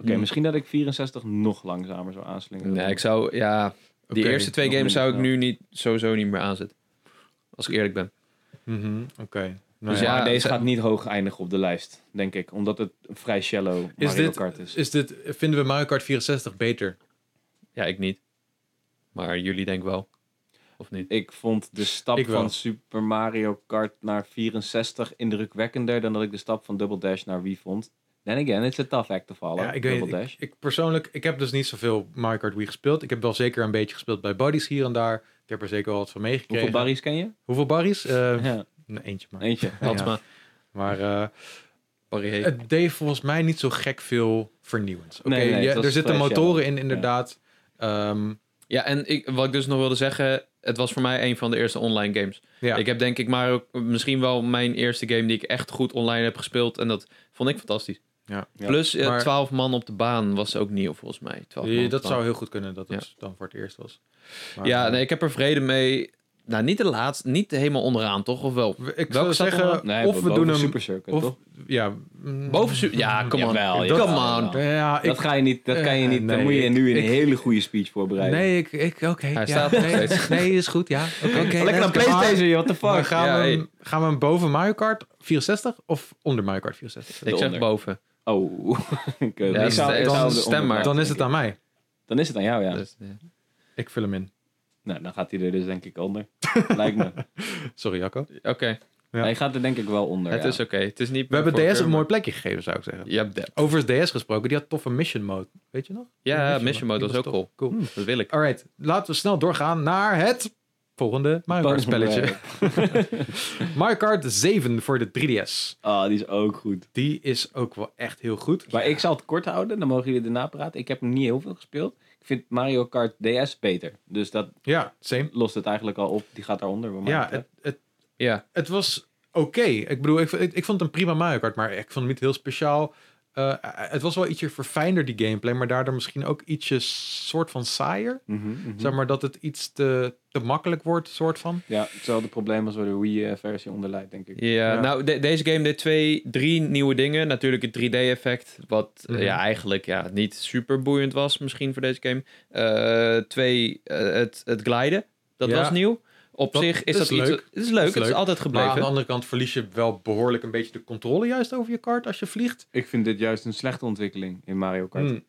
Speaker 2: Oké,
Speaker 3: Hmm.
Speaker 2: misschien dat ik 64 nog langzamer zou aanslingeren.
Speaker 3: Nee, ik zou, ja,
Speaker 1: Oké.
Speaker 3: die eerste twee
Speaker 2: nog
Speaker 3: games zou ik
Speaker 2: minder
Speaker 3: nu niet, sowieso niet meer aanzetten. Als ik eerlijk ben.
Speaker 1: Mhm, Oké. Nou
Speaker 3: Dus
Speaker 1: ja.
Speaker 3: ja,
Speaker 2: maar deze
Speaker 3: zou-
Speaker 2: gaat niet hoog eindigen op de lijst, denk ik. Omdat het een vrij shallow Mario
Speaker 1: dit-
Speaker 2: Kart is.
Speaker 1: Is dit, vinden we Mario Kart 64 beter?
Speaker 3: Ja, ik niet. Maar jullie denk wel. of niet?
Speaker 2: Ik vond de stap
Speaker 1: Ik wel.
Speaker 2: van Super Mario Kart naar 64 indrukwekkender dan dat ik de stap van Double Dash naar Wii vond. Then again, it's a tough act to follow,
Speaker 1: Ja, ik weet
Speaker 2: Double
Speaker 1: ik,
Speaker 2: Dash.
Speaker 1: ik persoonlijk, ik heb dus niet zoveel Mario Kart Wii gespeeld. Ik heb wel zeker een beetje gespeeld bij buddies hier en daar. Ik heb er zeker wel wat van meegekregen.
Speaker 2: Hoeveel barries ken je?
Speaker 1: Hoeveel barries? Eh,
Speaker 2: Ja,
Speaker 1: nee, eentje maar.
Speaker 2: eentje.
Speaker 1: Ja.
Speaker 3: Had maar.
Speaker 1: Maar eh,
Speaker 3: Barry Hay.
Speaker 1: het deed volgens mij niet zo gek veel vernieuwends. Oké,
Speaker 2: Nee, nee, het
Speaker 1: ja,
Speaker 2: was
Speaker 1: er zitten
Speaker 2: vrij
Speaker 1: motoren in inderdaad. Ehm,
Speaker 3: Ja, en ik, wat ik dus nog wilde zeggen, het was voor mij een van de eerste online games.
Speaker 1: ja.
Speaker 3: Ik heb denk ik maar ook misschien wel mijn eerste game die ik echt goed online heb gespeeld. En dat vond ik fantastisch.
Speaker 1: Ja.
Speaker 2: Ja.
Speaker 3: Plus eh,
Speaker 1: Maar-
Speaker 3: 12 man op de baan was ook nieuw volgens mij. 12 man
Speaker 1: Ja,
Speaker 3: op
Speaker 1: dat
Speaker 3: de
Speaker 1: zou
Speaker 3: baan.
Speaker 1: heel goed kunnen dat het
Speaker 3: Ja.
Speaker 1: dan voor het eerst was. Maar,
Speaker 3: Ja,
Speaker 1: eh,
Speaker 3: nee, ik heb er vrede mee. Nou, niet de laatste, niet helemaal onderaan toch? Of wel?
Speaker 1: Ik
Speaker 3: Welke
Speaker 1: zou
Speaker 3: staat
Speaker 1: zeggen,
Speaker 3: onderaan?
Speaker 2: Nee,
Speaker 1: of we
Speaker 2: boven
Speaker 1: doen hem...
Speaker 2: Super Circuit,
Speaker 1: of,
Speaker 2: toch?
Speaker 1: ja, mm,
Speaker 3: Boven su- Ja, come on.
Speaker 2: Jawel,
Speaker 3: come
Speaker 2: jawel,
Speaker 3: on.
Speaker 2: jawel.
Speaker 1: Ja, ik,
Speaker 2: Dat ga je niet, dat kan je
Speaker 1: Eh,
Speaker 2: niet. dan
Speaker 1: nee,
Speaker 2: moet je nu een
Speaker 1: ik-
Speaker 2: hele goede speech voorbereiden.
Speaker 1: Nee, ik, ik oké. ja,
Speaker 3: staat er nog
Speaker 1: nee,
Speaker 3: steeds.
Speaker 1: nee, is goed, ja. Oké,
Speaker 2: Lekker
Speaker 1: let's
Speaker 2: aan
Speaker 1: go.
Speaker 2: Playstation, what the
Speaker 1: Maar
Speaker 2: fuck?
Speaker 1: gaan,
Speaker 3: Ja,
Speaker 1: we hem, gaan we hem boven Mario Kart 64 of onder Mario Kart 64?
Speaker 3: Ik zeg
Speaker 2: Eronder.
Speaker 3: boven.
Speaker 2: Oh, ik, eh,
Speaker 3: Ja,
Speaker 2: ik
Speaker 3: is-
Speaker 2: zou- ik
Speaker 3: is
Speaker 2: zou
Speaker 3: een
Speaker 2: de
Speaker 3: stem
Speaker 2: onderkant
Speaker 3: maar.
Speaker 1: Dan is het
Speaker 2: denken.
Speaker 1: aan mij.
Speaker 2: Dan is het aan jou, ja.
Speaker 3: Dus, ja.
Speaker 1: Ik vul hem in.
Speaker 2: Nou, dan gaat hij er dus denk ik onder. Lijkt me.
Speaker 1: Sorry, Jacco.
Speaker 3: Oké,
Speaker 1: Ja.
Speaker 2: Hij gaat er denk ik wel onder.
Speaker 3: het
Speaker 2: ja.
Speaker 3: is oké. Het is niet
Speaker 1: We hebben
Speaker 3: mijn
Speaker 1: DS een
Speaker 3: voorkeur,
Speaker 1: mooi plekje gegeven, zou ik zeggen.
Speaker 3: maar- Ja, dat-
Speaker 1: Overigens DS gesproken, die had toffe mission mode. Weet je nog?
Speaker 3: ja,
Speaker 1: Die
Speaker 3: Mission Mode was ook
Speaker 1: tof.
Speaker 3: cool. Dat wil ik.
Speaker 1: Alright, laten we snel doorgaan naar het volgende Mario Kart spelletje. Mario Kart 7 voor de 3DS.
Speaker 2: Ah, die is ook goed.
Speaker 1: Die is ook wel echt heel goed.
Speaker 2: Maar ik zal het kort houden, dan mogen jullie erna praten. Ik heb hem niet heel veel gespeeld. Ik vind Mario Kart DS beter. Dus dat
Speaker 1: Ja, same.
Speaker 2: lost het eigenlijk al op. Die gaat daaronder. wat mij
Speaker 1: Ja, het,
Speaker 2: betreft.
Speaker 1: het,
Speaker 3: Ja,
Speaker 1: het was oké. Ik bedoel, ik, ik, ik vond het een prima Mario Kart, maar ik vond hem niet heel speciaal. Eh, het was wel ietsje verfijnder, die gameplay, maar daardoor misschien ook ietsje soort van saaier.
Speaker 2: Mhm, mhm.
Speaker 1: Zeg maar dat het iets te, te makkelijk wordt, soort van.
Speaker 2: Ja, hetzelfde probleem als waar de Wii-versie onder lijdt, denk ik.
Speaker 3: ja,
Speaker 1: Ja.
Speaker 3: nou, de- deze game deed twee, drie nieuwe dingen. Natuurlijk het 3D-effect, wat eh,
Speaker 1: Mhm.
Speaker 3: ja, eigenlijk ja, niet super boeiend was misschien voor deze game. Eh, twee, eh, het, het gliden, dat
Speaker 1: Ja.
Speaker 3: was nieuw. Op
Speaker 1: Dat
Speaker 3: zich is
Speaker 1: is
Speaker 3: dat iets...
Speaker 1: leuk.
Speaker 3: Het is leuk, het is
Speaker 1: leuk.
Speaker 3: altijd
Speaker 1: Maar aan de
Speaker 3: gebleven.
Speaker 1: andere kant verlies je wel behoorlijk een beetje de controle juist over je kart als je vliegt.
Speaker 2: Ik vind dit juist een slechte ontwikkeling in Mario Kart.
Speaker 1: Hmm.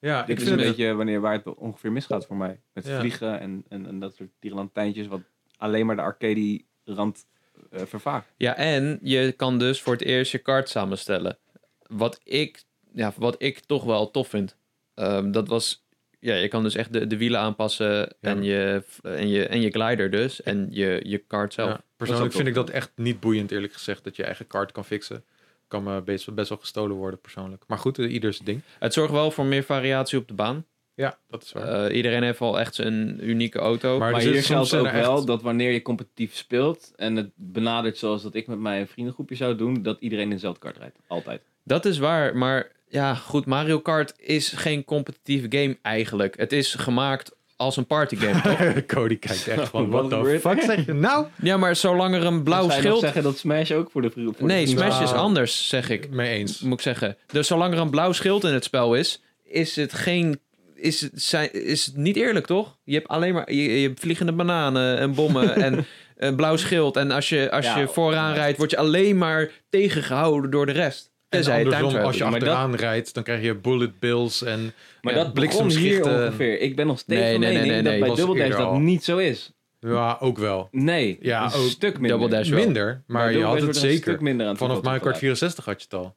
Speaker 1: Ja,
Speaker 2: Dit
Speaker 1: ik
Speaker 2: is een
Speaker 1: vind het-
Speaker 2: beetje wanneer waar het ongeveer misgaat voor mij. Met
Speaker 1: Ja.
Speaker 2: vliegen en, en, en dat soort tierenlantijntjes, wat alleen maar de arcade-rand eh, vervaagt.
Speaker 3: Ja, en je kan dus voor het eerst je kaart samenstellen. Wat ik, ja, wat ik toch wel tof vind. Ehm, dat was... Ja, je kan dus echt de, de wielen aanpassen en, je, en, je, en je glider dus. En je, je kaart zelf.
Speaker 1: Ja, persoonlijk
Speaker 2: Dat is
Speaker 1: vind
Speaker 2: ook
Speaker 1: ik dat echt niet boeiend, eerlijk gezegd, dat je eigen kaart kan fixen. Kan me best, best wel gestolen worden, persoonlijk. Maar goed, eh, ieder zijn ding.
Speaker 3: Het zorgt wel voor meer variatie op de baan.
Speaker 1: Ja, dat is waar.
Speaker 3: Eh, iedereen heeft wel echt zijn unieke auto.
Speaker 1: Maar-
Speaker 2: Maar,
Speaker 1: er zit
Speaker 2: hier
Speaker 1: soms
Speaker 2: geldt
Speaker 1: zijn
Speaker 2: ook
Speaker 1: er echt-
Speaker 2: wel dat wanneer je competitief speelt en het benadert zoals dat ik met mijn vriendengroepje zou doen, dat iedereen in dezelfde kart rijdt. Altijd.
Speaker 3: Dat is waar, maar ja, goed, Mario Kart is geen competitieve game eigenlijk. Het is gemaakt als een partygame, toch?
Speaker 1: Cody kijkt echt van,
Speaker 2: Eh. Wat
Speaker 1: what the
Speaker 2: gebeurt
Speaker 1: fuck zeg je nou?
Speaker 3: Ja, maar zolang er een blauw
Speaker 2: Zou je nog
Speaker 3: schild...
Speaker 2: zeggen dat Smash ook voor de vri- voor de
Speaker 3: Nee,
Speaker 2: vrienden-
Speaker 3: Smash is
Speaker 1: Nou.
Speaker 3: anders, zeg ik.
Speaker 1: Mee eens.
Speaker 3: Moet ik zeggen. Dus zolang er een blauw schild in het spel is, is het geen... Is het, zijn, is het niet eerlijk, toch? Je hebt alleen maar... Je, je hebt vliegende bananen en bommen en een blauw schild. En als je, als
Speaker 2: Ja,
Speaker 3: je vooraan
Speaker 2: maar-
Speaker 3: rijdt, word je alleen maar tegengehouden door de rest.
Speaker 1: En
Speaker 3: Tenzij je time
Speaker 1: andersom,
Speaker 3: travel
Speaker 1: als je
Speaker 3: doet.
Speaker 2: Maar dat-
Speaker 1: achteraan rijdt, dan krijg je bullet bills en
Speaker 2: Maar
Speaker 1: ja,
Speaker 2: dat begon hier
Speaker 1: bliksemschichten.
Speaker 2: ongeveer. Ik ben nog steeds
Speaker 3: Nee,
Speaker 2: van
Speaker 3: nee, nee,
Speaker 2: mening
Speaker 3: nee, nee.
Speaker 2: dat
Speaker 1: Was
Speaker 2: bij Double Dash
Speaker 1: eerder
Speaker 2: dat
Speaker 1: al.
Speaker 2: niet zo is.
Speaker 1: Ja, ook wel.
Speaker 2: Nee,
Speaker 1: Ja,
Speaker 2: een
Speaker 1: ook
Speaker 2: stuk minder.
Speaker 3: Double Dash wel.
Speaker 1: Minder, maar
Speaker 2: Bij
Speaker 1: je had
Speaker 2: Double Dash
Speaker 1: het
Speaker 2: wordt er Een stuk
Speaker 1: zeker.
Speaker 2: minder aan
Speaker 1: Vanaf
Speaker 2: toegevoegd
Speaker 1: Mario Kart
Speaker 2: geluid.
Speaker 1: 64 had je het al.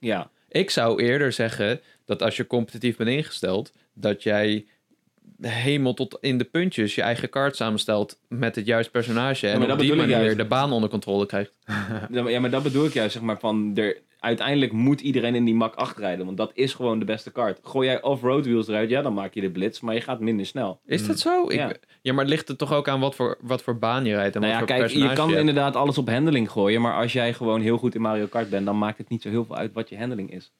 Speaker 2: Ja,
Speaker 3: Ik zou eerder zeggen dat als je competitief bent ingesteld, dat jij helemaal tot in de puntjes je eigen kaart samenstelt met het juiste personage. En
Speaker 2: maar
Speaker 3: op
Speaker 2: dat
Speaker 3: die
Speaker 2: bedoel ik
Speaker 3: manier
Speaker 2: juist.
Speaker 3: de baan onder controle krijgt.
Speaker 2: Ja, maar- ja, maar dat bedoel ik juist, zeg maar, van er, uiteindelijk moet iedereen in die mak rijden, want dat is gewoon de beste kaart. Gooi jij off-road wheels eruit, ja, dan maak je de blitz, maar je gaat minder snel.
Speaker 3: Is dat zo? Ik, ja.
Speaker 2: Ja.
Speaker 3: maar het ligt er toch ook aan wat voor, wat voor baan je rijdt en
Speaker 2: nou
Speaker 3: wat
Speaker 2: ja,
Speaker 3: voor
Speaker 2: kijk, je
Speaker 3: personage
Speaker 2: kan
Speaker 3: je hebt.
Speaker 2: inderdaad alles op handling gooien, maar als jij gewoon heel goed in Mario Kart bent, dan maakt het niet zo heel veel uit wat je handling is.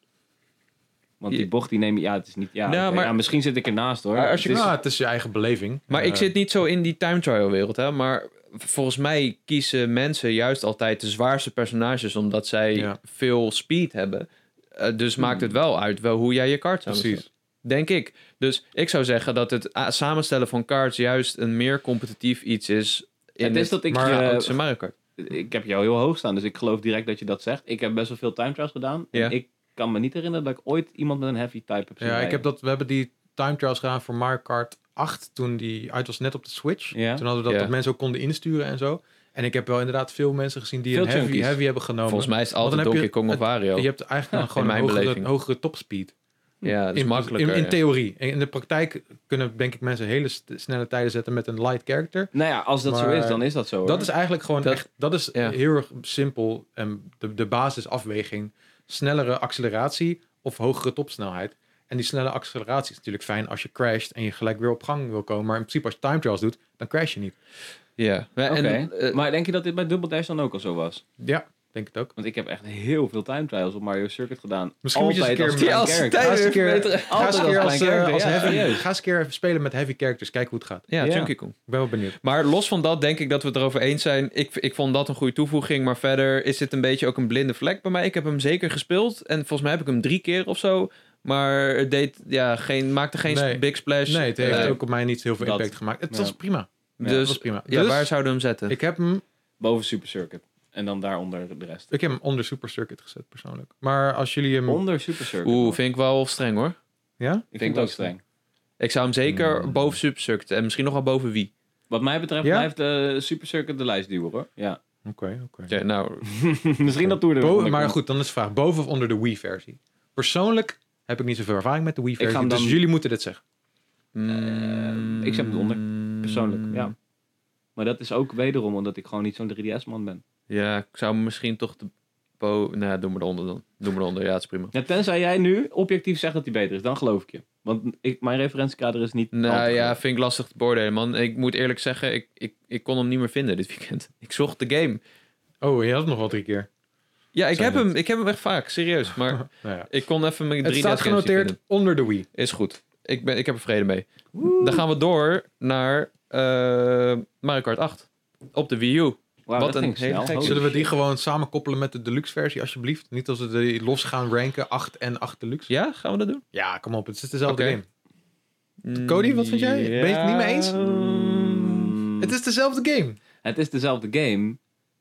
Speaker 2: Want die
Speaker 3: Je-
Speaker 2: bocht die neem je, ja, het is niet, ja,
Speaker 3: Nou,
Speaker 2: oké,
Speaker 3: maar-
Speaker 2: ja, misschien zit ik ernaast hoor.
Speaker 3: Maar als je-
Speaker 2: Het is-
Speaker 1: Ja, het is je eigen beleving.
Speaker 3: Maar ik
Speaker 1: Eh,
Speaker 3: zit niet zo in die time trial wereld, hè. Maar volgens mij kiezen mensen juist altijd de zwaarste personages, omdat zij
Speaker 1: Ja.
Speaker 3: veel speed hebben. Eh, dus maakt het wel uit wel hoe jij je kaart samenstelt.
Speaker 1: Precies.
Speaker 3: Denk ik. Dus ik zou zeggen dat het ah, samenstellen van kaarts juist een meer competitief iets is. In
Speaker 2: het is dat ik eh, Oh,
Speaker 1: maar
Speaker 2: je-
Speaker 3: ja, oudste Mario Kart.
Speaker 2: ik heb jou heel hoog staan, dus ik geloof direct dat je dat zegt. Ik heb best wel veel time trials gedaan. en
Speaker 3: Ja.
Speaker 2: ik kan me niet herinneren dat ik ooit iemand met een heavy type heb zien
Speaker 1: Ja, ik
Speaker 2: rijden.
Speaker 1: heb dat, we hebben die time trials gedaan voor Mario Kart 8, toen die uit was net op de Switch.
Speaker 2: Ja.
Speaker 1: Toen hadden we dat,
Speaker 3: Ja.
Speaker 1: dat mensen ook konden insturen en zo. En ik heb wel inderdaad veel mensen gezien die
Speaker 2: Veel
Speaker 1: een heavy,
Speaker 2: junkies.
Speaker 1: heavy hebben genomen.
Speaker 3: Volgens mij is het
Speaker 1: Want dan
Speaker 3: altijd
Speaker 1: heb je
Speaker 3: Donkey Kong of
Speaker 1: het-
Speaker 3: Wario.
Speaker 1: Je hebt eigenlijk
Speaker 3: Ja,
Speaker 1: gewoon
Speaker 3: in
Speaker 1: een
Speaker 3: mijn
Speaker 1: hogere,
Speaker 3: beleving.
Speaker 1: hogere topspeed.
Speaker 3: ja, dat is
Speaker 1: in,
Speaker 3: makkelijker.
Speaker 1: In, in
Speaker 3: ja.
Speaker 1: theorie. En in de praktijk kunnen denk ik mensen hele st- snelle tijden zetten met een light character.
Speaker 2: Nou ja, als dat zo
Speaker 1: Maar
Speaker 2: is, dan is dat zo.
Speaker 1: Dat is eigenlijk gewoon
Speaker 3: Dat-
Speaker 1: echt, dat is
Speaker 3: ja.
Speaker 1: heel erg simpel. En de, de basisafweging. Snellere acceleratie of hogere topsnelheid. En die snelle acceleratie is natuurlijk fijn als je crasht en je gelijk weer op gang wil komen. Maar in principe als je time trials doet, dan crash je niet.
Speaker 3: Ja. Ja,
Speaker 2: Oké.
Speaker 3: en, eh,
Speaker 2: maar denk je dat dit bij Double Dash dan ook al zo was?
Speaker 1: Ja, denk het ook.
Speaker 2: Want ik heb echt heel veel time trials op Mario Circuit gedaan.
Speaker 1: Misschien moet je eens
Speaker 2: Altijd
Speaker 1: een keer
Speaker 2: als
Speaker 1: met-
Speaker 2: klein kerk.
Speaker 3: als tijd-
Speaker 1: Ga eens een keer-
Speaker 3: Altijd
Speaker 1: ga eens een
Speaker 2: als
Speaker 1: keer als,
Speaker 2: klein
Speaker 1: eh,
Speaker 2: character,
Speaker 1: als
Speaker 2: ja,
Speaker 1: heavy-
Speaker 2: serieus.
Speaker 1: Ga eens een keer even spelen met heavy characters. Kijk hoe het gaat.
Speaker 3: ja,
Speaker 2: Ja.
Speaker 3: Donkey Kong.
Speaker 1: Ik ben wel benieuwd.
Speaker 3: Maar los van dat denk ik dat we het erover eens zijn. Ik, ik vond dat een goede toevoeging. Maar verder is dit een beetje ook een blinde vlek bij mij. Ik heb hem zeker gespeeld. En volgens mij heb ik hem drie keer of zo. Maar het deed, ja, geen, maakte geen
Speaker 1: Nee.
Speaker 3: big splash.
Speaker 1: Nee, het heeft
Speaker 3: Eh,
Speaker 1: ook op mij niet heel veel
Speaker 2: Dus dat-
Speaker 1: impact gemaakt. Het
Speaker 2: ja.
Speaker 1: was prima.
Speaker 2: Ja,
Speaker 1: Het
Speaker 3: dus
Speaker 1: was prima.
Speaker 3: ja,
Speaker 1: Dus
Speaker 3: waar zouden we hem zetten?
Speaker 1: ik heb hem
Speaker 2: Boven Super Circuit. En dan daaronder de rest.
Speaker 1: Ik heb hem onder Super Circuit gezet, persoonlijk. Maar als jullie hem...
Speaker 2: Onder Super Circuit.
Speaker 3: Oeh,
Speaker 2: man.
Speaker 3: vind ik wel streng hoor.
Speaker 1: Ja?
Speaker 2: ik
Speaker 3: vind
Speaker 2: vind
Speaker 3: ik
Speaker 2: het
Speaker 3: ook
Speaker 2: ook streng.
Speaker 3: Ik zou hem zeker
Speaker 1: Hmm.
Speaker 2: Mm.
Speaker 3: boven Subcircuit en misschien nog wel boven wie.
Speaker 2: Wat mij betreft
Speaker 1: Ja?
Speaker 2: blijft eh, Super Circuit de lijstduwer hoor. Ja.
Speaker 1: Oké, oké.
Speaker 3: Ja, nou,
Speaker 2: Misschien dat Tour de
Speaker 1: Bo- Maar goed, dan is de vraag. Boven of onder de Wii-versie? Persoonlijk heb ik niet zoveel ervaring met de
Speaker 2: ga
Speaker 1: Wii-versie.
Speaker 2: hem
Speaker 1: Dus
Speaker 2: dan-
Speaker 1: jullie moeten dit zeggen. Eh,
Speaker 3: mm,
Speaker 2: ik zet hem onder, persoonlijk,
Speaker 1: Mm.
Speaker 2: ja. Maar dat is ook wederom omdat ik gewoon niet zo'n 3DS-man ben.
Speaker 3: Ja, ik zou hem misschien toch de bo... Nou, doe maar eronder dan. Doe maar eronder, ja, het is prima.
Speaker 2: Ja, tenzij jij nu objectief zegt dat hij beter is, dan geloof ik je. Want ik, mijn referentiekader is niet. al
Speaker 3: Nou
Speaker 2: te
Speaker 3: ja,
Speaker 2: groot.
Speaker 3: vind ik lastig te beoordelen, man. Ik moet eerlijk zeggen, ik, ik, ik kon hem niet meer vinden dit weekend. Ik zocht de game.
Speaker 1: Oh, je had hem nog wel drie keer.
Speaker 3: Ja, ik
Speaker 1: Zijn
Speaker 3: heb
Speaker 1: het.
Speaker 3: hem. Ik heb hem echt vaak, serieus. Maar
Speaker 1: Nou ja.
Speaker 3: ik kon even mijn 3
Speaker 1: Het staat genoteerd onder de Wii.
Speaker 3: Is goed. Ik, ben, ik heb er vrede mee. Dan gaan we door naar eh, Mario Kart 8. Op de Wii U.
Speaker 2: Wauw,
Speaker 3: wat
Speaker 2: dat
Speaker 3: een
Speaker 2: ging snel.
Speaker 3: hele gekke-
Speaker 2: Holy
Speaker 1: Zullen we die
Speaker 2: shit.
Speaker 1: gewoon samen koppelen met de Deluxe-versie, alsjeblieft? Niet als we die los gaan ranken, 8 en 8 Deluxe.
Speaker 3: Ja, gaan we dat doen?
Speaker 1: Ja, kom op. Het is dezelfde
Speaker 3: Oké.
Speaker 1: game. Cody, wat vind jij? Ben je het niet mee eens?
Speaker 2: Mm,
Speaker 1: Het is dezelfde game.
Speaker 2: het is dezelfde game,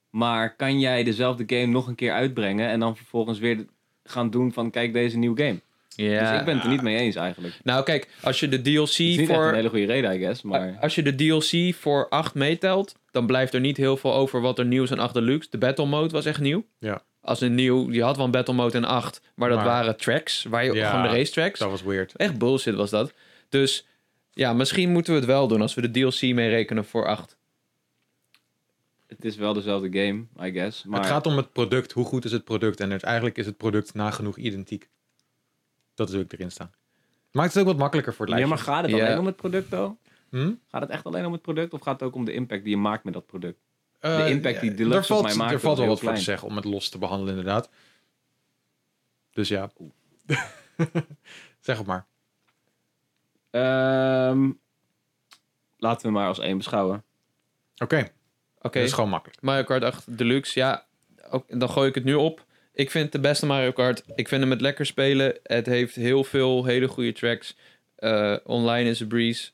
Speaker 2: maar kan jij dezelfde game nog een keer uitbrengen en dan vervolgens weer gaan doen van kijk deze nieuwe game?
Speaker 3: Ja.
Speaker 2: Dus ik ben het er niet mee eens eigenlijk. Het
Speaker 3: Nou, kijk, als je de
Speaker 2: is
Speaker 3: DLC
Speaker 2: niet echt een
Speaker 3: voor...
Speaker 2: hele goede reden, I guess, maar...
Speaker 3: Als je de DLC voor 8 meetelt, dan blijft er niet heel veel over wat er nieuw is aan 8 Deluxe. De Battle Mode was echt nieuw.
Speaker 1: Ja.
Speaker 3: Als een nieuw, je had wel een Battle Mode in 8, maar dat
Speaker 1: Maar-
Speaker 3: waren tracks, waar je,
Speaker 1: Ja,
Speaker 3: gewoon de racetracks.
Speaker 1: Dat was weird.
Speaker 3: Echt bullshit was dat. Dus ja, misschien moeten we het wel doen als we de DLC mee rekenen voor 8.
Speaker 2: Het is wel dezelfde game, I guess. Maar
Speaker 1: Het gaat om het product. Hoe goed is het product? En het- eigenlijk is het product nagenoeg identiek. Dat is hoe ik erin sta. Maakt het ook wat makkelijker voor het
Speaker 2: ja,
Speaker 1: lijstje.
Speaker 2: maar gaat het
Speaker 3: Ja.
Speaker 2: alleen om het product, dan?
Speaker 1: Hm?
Speaker 2: Gaat het echt alleen om het product? Of gaat het ook om de impact die je maakt met dat product?
Speaker 1: Eh,
Speaker 2: impact die
Speaker 1: ja,
Speaker 2: Deluxe
Speaker 1: daar
Speaker 2: op
Speaker 1: valt,
Speaker 2: mij maakt
Speaker 1: Er
Speaker 2: was
Speaker 1: valt wel
Speaker 2: heel
Speaker 1: wat voor te
Speaker 2: klein.
Speaker 1: zeggen om het los te behandelen, inderdaad. Dus ja. zeg het maar.
Speaker 2: Ehm, laten we maar als één beschouwen.
Speaker 1: Oké,
Speaker 3: Oké,
Speaker 1: dat is gewoon makkelijk.
Speaker 3: Mario Kart 8 Deluxe, ja, ook, dan gooi ik het nu op. Ik vind het de beste Mario Kart. Ik vind hem het lekker spelen. Het heeft heel veel hele goede tracks. Eh, online is een breeze.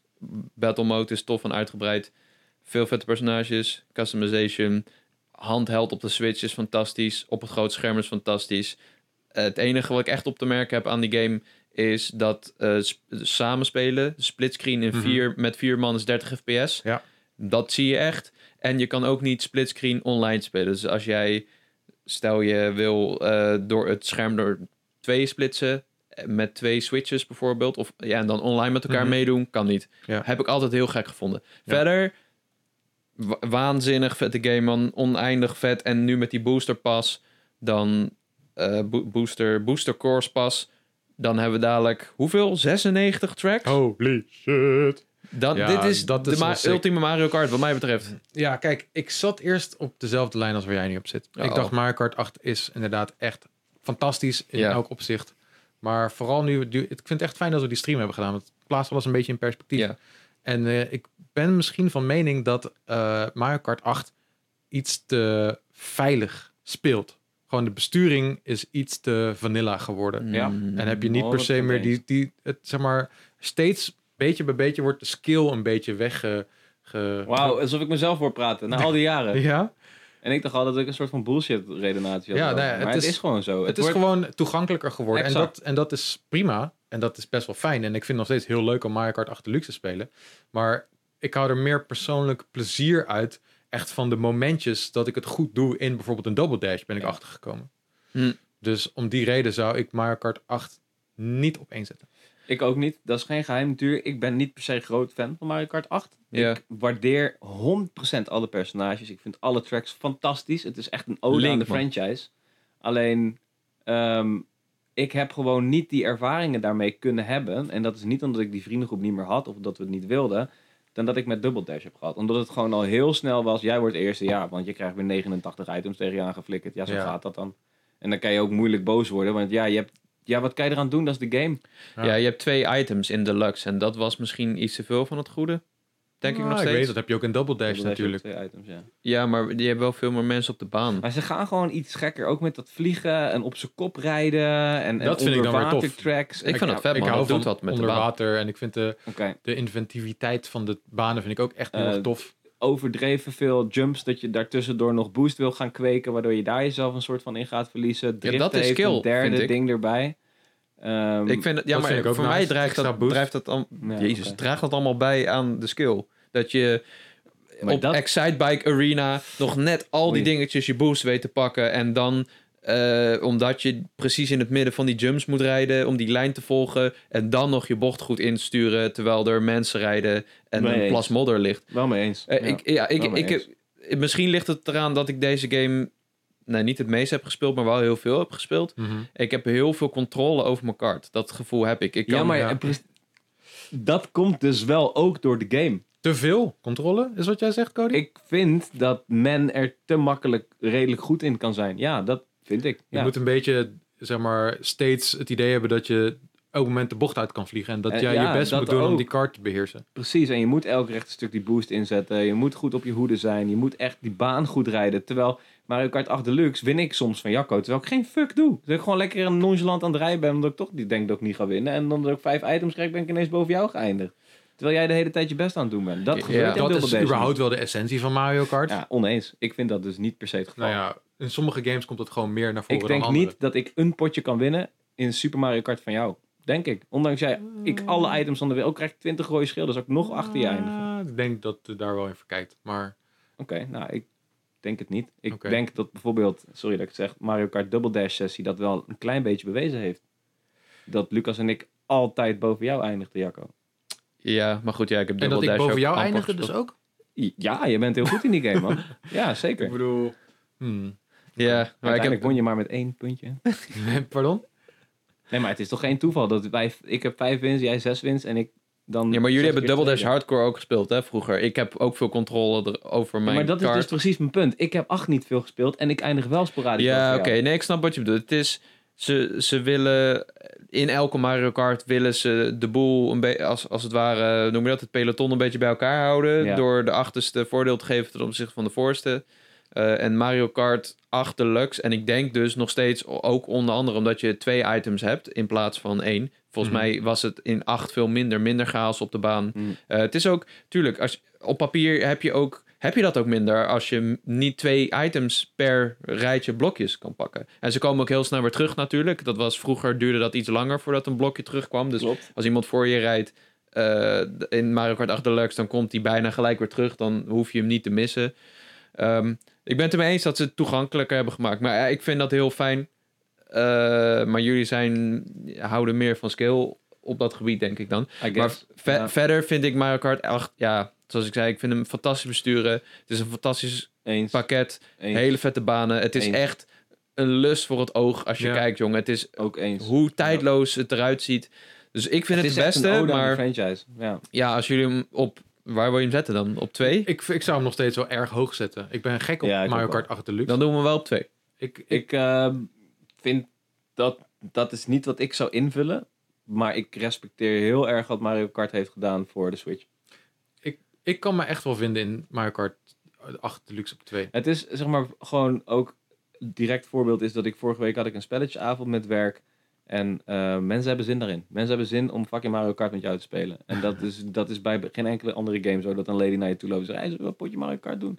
Speaker 3: Battle mode is tof en uitgebreid. Veel vette personages. Customization. Handheld op de Switch is fantastisch. Op het groot scherm is fantastisch. Eh, het enige wat ik echt op te merken heb aan die game is dat eh, sp- samenspelen, splitscreen in
Speaker 1: Mhm.
Speaker 3: vier, met vier man is 30 fps.
Speaker 1: Ja.
Speaker 3: Dat zie je echt. En je kan ook niet splitscreen online spelen. Dus als jij, stel je wil eh, door het scherm door twee splitsen, eh, met twee switches bijvoorbeeld, of ja, en dan online met elkaar
Speaker 1: Mhm.
Speaker 3: meedoen, kan niet.
Speaker 1: Ja.
Speaker 3: Heb ik altijd heel gek gevonden.
Speaker 1: Ja.
Speaker 3: Verder, wa- waanzinnig vette game man, oneindig vet. En nu met die booster pas, dan eh, bo- booster, booster course pas, dan hebben we dadelijk hoeveel? 96 tracks?
Speaker 1: Holy shit.
Speaker 3: Dan,
Speaker 1: Oh, Ja,
Speaker 3: dit is
Speaker 1: dat
Speaker 3: de
Speaker 1: is
Speaker 3: ma-
Speaker 1: wel sick.
Speaker 3: ultieme Mario Kart, wat mij betreft.
Speaker 1: Ja, kijk, ik zat eerst op dezelfde lijn als waar jij nu op zit.
Speaker 3: Oh.
Speaker 1: Ik dacht Mario Kart 8 is inderdaad echt fantastisch in
Speaker 3: Ja.
Speaker 1: elk opzicht. Maar vooral nu, nu- ik vind het echt fijn dat we die stream hebben gedaan. Want het plaatst alles een beetje in perspectief.
Speaker 3: Ja.
Speaker 1: En eh, ik ben misschien van mening dat eh, Mario Kart 8 iets te veilig speelt. Gewoon de besturing is iets te vanilla geworden.
Speaker 2: Ja.
Speaker 3: Mm.
Speaker 1: En heb je niet
Speaker 2: Oh,
Speaker 1: per
Speaker 2: dat
Speaker 1: se
Speaker 2: vind ik
Speaker 1: meer die, die het, zeg maar, steeds beetje bij beetje wordt de skill een beetje wegge... Ge,
Speaker 2: Wauw, alsof ik mezelf hoor praten. Na al die jaren.
Speaker 1: Ja.
Speaker 2: En ik dacht al dat ik een soort van bullshit redenatie had.
Speaker 1: Ja,
Speaker 2: erover.
Speaker 1: nee, het
Speaker 2: maar het
Speaker 1: is-
Speaker 2: is, gewoon zo.
Speaker 1: Het, is
Speaker 2: wordt-
Speaker 1: gewoon toegankelijker geworden. En
Speaker 2: Exact.
Speaker 1: dat, en dat is prima. En dat is best wel fijn. En ik vind het nog steeds heel leuk om Mario Kart 8 Deluxe te spelen. Maar ik hou er meer persoonlijk plezier uit. Echt van de momentjes dat ik het goed doe in bijvoorbeeld een Double Dash ben ik
Speaker 2: Ja.
Speaker 1: achtergekomen.
Speaker 3: Hm.
Speaker 1: Dus om die reden zou ik Mario Kart 8 niet op één zetten.
Speaker 2: Ik ook niet. Dat is geen geheim natuurlijk. Ik ben niet per se groot fan van Mario Kart 8.
Speaker 3: Ja.
Speaker 2: Ik waardeer 100% alle personages. Ik vind alle tracks fantastisch. Het is echt een ode aan
Speaker 3: Link,
Speaker 2: de
Speaker 3: man.
Speaker 2: franchise. Alleen, ehm, ik heb gewoon niet die ervaringen daarmee kunnen hebben. En dat is niet omdat ik die vriendengroep niet meer had of dat we het niet wilden. Dan dat ik met Double Dash heb gehad. Omdat het gewoon al heel snel was. Jij wordt eerste, ja. Want je krijgt weer 89 items tegen je aangeflikkerd. Ja, zo
Speaker 1: Ja.
Speaker 2: gaat dat dan. En dan kan je ook moeilijk boos worden. Want ja, je hebt, ja wat kan je eraan doen? Dat is de game.
Speaker 1: Ja.
Speaker 3: Ja, je hebt twee items in deluxe. En dat was misschien iets te veel van het goede. Denk
Speaker 1: Nou,
Speaker 3: ik nog steeds.
Speaker 1: weet, dat heb je ook in Double Dash
Speaker 2: Double Dash
Speaker 1: natuurlijk.
Speaker 2: heeft twee items, ja.
Speaker 3: Ja, maar die hebben wel veel meer mensen op de baan.
Speaker 2: Maar ze gaan gewoon iets gekker. Ook met dat vliegen en op zijn kop rijden. En,
Speaker 1: Dat
Speaker 2: en
Speaker 1: vind ik dan weer
Speaker 2: onderwater
Speaker 1: tof.
Speaker 2: tracks. Nou,
Speaker 3: Ik vind dat vet, man.
Speaker 1: ik hou
Speaker 3: Dat
Speaker 1: van
Speaker 3: doet wat met de
Speaker 1: onder
Speaker 3: baan.
Speaker 1: water. En ik vind de,
Speaker 2: Oké.
Speaker 1: de inventiviteit van de banen vind ik ook echt heel
Speaker 2: Eh,
Speaker 1: erg tof.
Speaker 2: Overdreven veel jumps dat je daartussendoor nog boost wil gaan kweken. Waardoor je daar jezelf een soort van in gaat verliezen. Drift
Speaker 3: dat is
Speaker 2: heeft
Speaker 3: skill,
Speaker 2: een derde
Speaker 3: vind ik.
Speaker 2: ding erbij. Ehm,
Speaker 3: Ik vind dat, ja,
Speaker 1: Dat
Speaker 3: maar
Speaker 1: vind ik ook
Speaker 3: voor
Speaker 1: nice.
Speaker 3: mij draagt
Speaker 1: Extra
Speaker 3: dat,
Speaker 1: boost.
Speaker 3: draagt dat al,
Speaker 2: Ja,
Speaker 3: Jezus,
Speaker 2: oké.
Speaker 3: draagt dat allemaal bij aan de skill. Dat je
Speaker 2: Maar
Speaker 3: op
Speaker 2: dat-
Speaker 3: Excitebike Arena nog net al die
Speaker 2: Oei.
Speaker 3: dingetjes je boost weet te pakken. En dan, eh, omdat je precies in het midden van die jumps moet rijden, om die lijn te volgen. En dan nog je bocht goed insturen, terwijl er mensen rijden en
Speaker 2: Nee
Speaker 3: een
Speaker 2: eens.
Speaker 3: plas modder ligt.
Speaker 2: wel mee eens.
Speaker 3: Eh,
Speaker 2: Ja. Nou,
Speaker 3: Ik, ja, ik,
Speaker 2: wel mee
Speaker 3: ik, heb- misschien ligt het eraan dat ik deze game nou, niet het meest heb gespeeld, maar wel heel veel heb gespeeld.
Speaker 1: Mhm.
Speaker 3: Ik heb heel veel controle over mijn kaart. Dat gevoel heb ik. ik kan,
Speaker 2: ja, maar
Speaker 1: ja.
Speaker 2: eh, pres- dat komt dus wel ook door de game.
Speaker 1: Te veel controle is wat jij zegt, Cody?
Speaker 2: Ik vind dat men er te makkelijk redelijk goed in kan zijn. Ja, dat vind ik.
Speaker 1: Je
Speaker 2: Ja.
Speaker 1: moet een beetje, zeg maar, steeds het idee hebben dat je elk moment de bocht uit kan vliegen. En dat
Speaker 2: Eh,
Speaker 1: jij
Speaker 2: ja,
Speaker 1: je best
Speaker 2: dat
Speaker 1: moet doen om
Speaker 2: ook.
Speaker 1: die kaart te beheersen.
Speaker 2: Precies, en je moet elk rechtstuk die boost inzetten. Je moet goed op je hoede zijn. Je moet echt die baan goed rijden. Terwijl Mario Kart 8 Deluxe win ik soms van Jacco. Terwijl ik geen fuck doe. Dat ik gewoon lekker een nonchalant aan het rijden ben. Omdat ik toch niet denk dat ik niet ga winnen. En omdat ik vijf items krijg, ben ik ineens boven jou geëindigd. Terwijl jij de hele tijd je best aan het doen bent.
Speaker 3: Ja,
Speaker 2: Dat gebeurt in
Speaker 1: dat
Speaker 2: Double
Speaker 1: is
Speaker 2: Dash
Speaker 1: überhaupt wel de essentie van Mario Kart.
Speaker 2: niet. Ja, oneens. Ik vind dat dus niet per se het geval.
Speaker 1: Nou ja, in sommige games komt dat gewoon meer naar voren
Speaker 2: ik denk
Speaker 1: dan andere.
Speaker 2: niet dat ik een potje kan winnen in Super Mario Kart van jou. Denk ik. Ondanks jij, ik alle items van de wereld krijg 20 rode schilders. Ook nog achter je eindigen.
Speaker 1: Ah, ik denk dat je daar wel in verkijkt. Maar
Speaker 2: Oké, nou, ik denk het niet. Ik
Speaker 1: Oké.
Speaker 2: denk dat bijvoorbeeld, sorry dat ik het zeg, Mario Kart Double Dash sessie dat wel een klein beetje bewezen heeft. Dat Lucas en ik altijd boven jou eindigden, Jacco.
Speaker 3: ja, maar goed, ja, ik heb
Speaker 1: en
Speaker 3: Double
Speaker 1: dat ik
Speaker 3: Dash
Speaker 1: boven
Speaker 3: ook
Speaker 1: jou
Speaker 3: amper
Speaker 1: eindigde dus
Speaker 3: gespeeld.
Speaker 1: ook?
Speaker 2: I- Ja, je bent heel goed in die game, man. Ja,
Speaker 1: Ik
Speaker 2: zeker.
Speaker 1: bedoel... hmm.
Speaker 3: Ja, maar ik
Speaker 2: Uiteindelijk
Speaker 3: heb...
Speaker 2: won je maar met één puntje.
Speaker 1: Pardon?
Speaker 2: Nee, maar het is toch geen toeval dat wij, ik heb vijf wins, jij zes wins en ik dan...
Speaker 3: Ja, maar jullie
Speaker 2: zes
Speaker 3: hebben
Speaker 2: keer
Speaker 3: Double Dash
Speaker 2: tweede.
Speaker 3: Hardcore ook gespeeld, hè, vroeger. Ik heb ook veel controle er- over
Speaker 2: Ja,
Speaker 3: mijn
Speaker 2: maar dat
Speaker 3: kaart.
Speaker 2: is dus precies mijn punt. Ik heb acht niet veel gespeeld en ik eindig wel sporadisch. boven
Speaker 3: Ja,
Speaker 2: jou.
Speaker 3: oké. Nee, ik snap wat je bedoelt. Het is, ze, ze willen, in elke Mario Kart willen ze de boel, een be- als, als het ware, noem je dat, het peloton een beetje bij elkaar houden.
Speaker 2: Ja.
Speaker 3: Door de achterste voordeel te geven ten opzichte van de voorste. Eh, en Mario Kart 8 Deluxe. En ik denk dus nog steeds, o- ook onder andere omdat je twee items hebt in plaats van één. Volgens
Speaker 1: Mhm.
Speaker 3: mij was het in 8 veel minder, minder chaos op de baan.
Speaker 2: Mm.
Speaker 3: Eh, het is ook, tuurlijk, als, op papier heb je, ook, heb je dat ook minder als je m- niet twee items per rijtje blokjes kan pakken. En ze komen ook heel snel weer terug natuurlijk. Dat was vroeger, duurde dat iets langer voordat een blokje terugkwam. Dus
Speaker 2: Klopt.
Speaker 3: als iemand voor je rijdt eh, in Mario Kart 8 Deluxe, dan komt hij bijna gelijk weer terug. Dan hoef je hem niet te missen. Ehm, ik ben het ermee eens dat ze het toegankelijker hebben gemaakt. Maar ja, ik vind dat heel fijn. Eh, maar jullie zijn, houden meer van skill op dat gebied, denk ik dan.
Speaker 2: I guess.
Speaker 3: Maar ve-
Speaker 2: Ja.
Speaker 3: verder vind ik Mario Kart 8, ja, zoals ik zei, ik vind hem fantastisch besturen. Het is een fantastisch
Speaker 2: Eens,
Speaker 3: pakket,
Speaker 2: eens,
Speaker 3: hele vette banen. Het is
Speaker 2: Eens.
Speaker 3: echt een lust voor het oog als je
Speaker 1: Ja.
Speaker 3: kijkt, jongen. Het is
Speaker 2: ook eens.
Speaker 3: hoe tijdloos het eruit ziet. Dus ik vind het,
Speaker 2: is
Speaker 3: het
Speaker 2: echt een
Speaker 3: beste,
Speaker 2: ode aan de
Speaker 3: maar
Speaker 2: franchise. Ja.
Speaker 3: ja, als jullie hem op, waar wil je hem zetten dan? Op twee?
Speaker 1: Ik, ik zou hem nog steeds wel erg hoog zetten. Ik ben gek op
Speaker 2: Ja, ik
Speaker 1: Mario
Speaker 2: ook wel.
Speaker 1: Kart 8 Deluxe.
Speaker 3: Dan doen we hem wel op twee.
Speaker 1: ik, ik,
Speaker 2: Ik eh, vind dat dat is niet wat ik zou invullen. Maar ik respecteer heel erg wat Mario Kart heeft gedaan voor de Switch.
Speaker 1: ik kan me echt wel vinden in Mario Kart 8 Deluxe op 2.
Speaker 2: Het is zeg maar gewoon ook direct voorbeeld is dat ik vorige week had ik een spelletjesavond met werk. En eh, mensen hebben zin daarin. Mensen hebben zin om fucking Mario Kart met jou te spelen. En
Speaker 1: Mhm.
Speaker 2: dat is, dat is bij geen enkele andere game zo dat een lady naar je toe loopt en zegt, hey, zullen we een potje Mario Kart doen?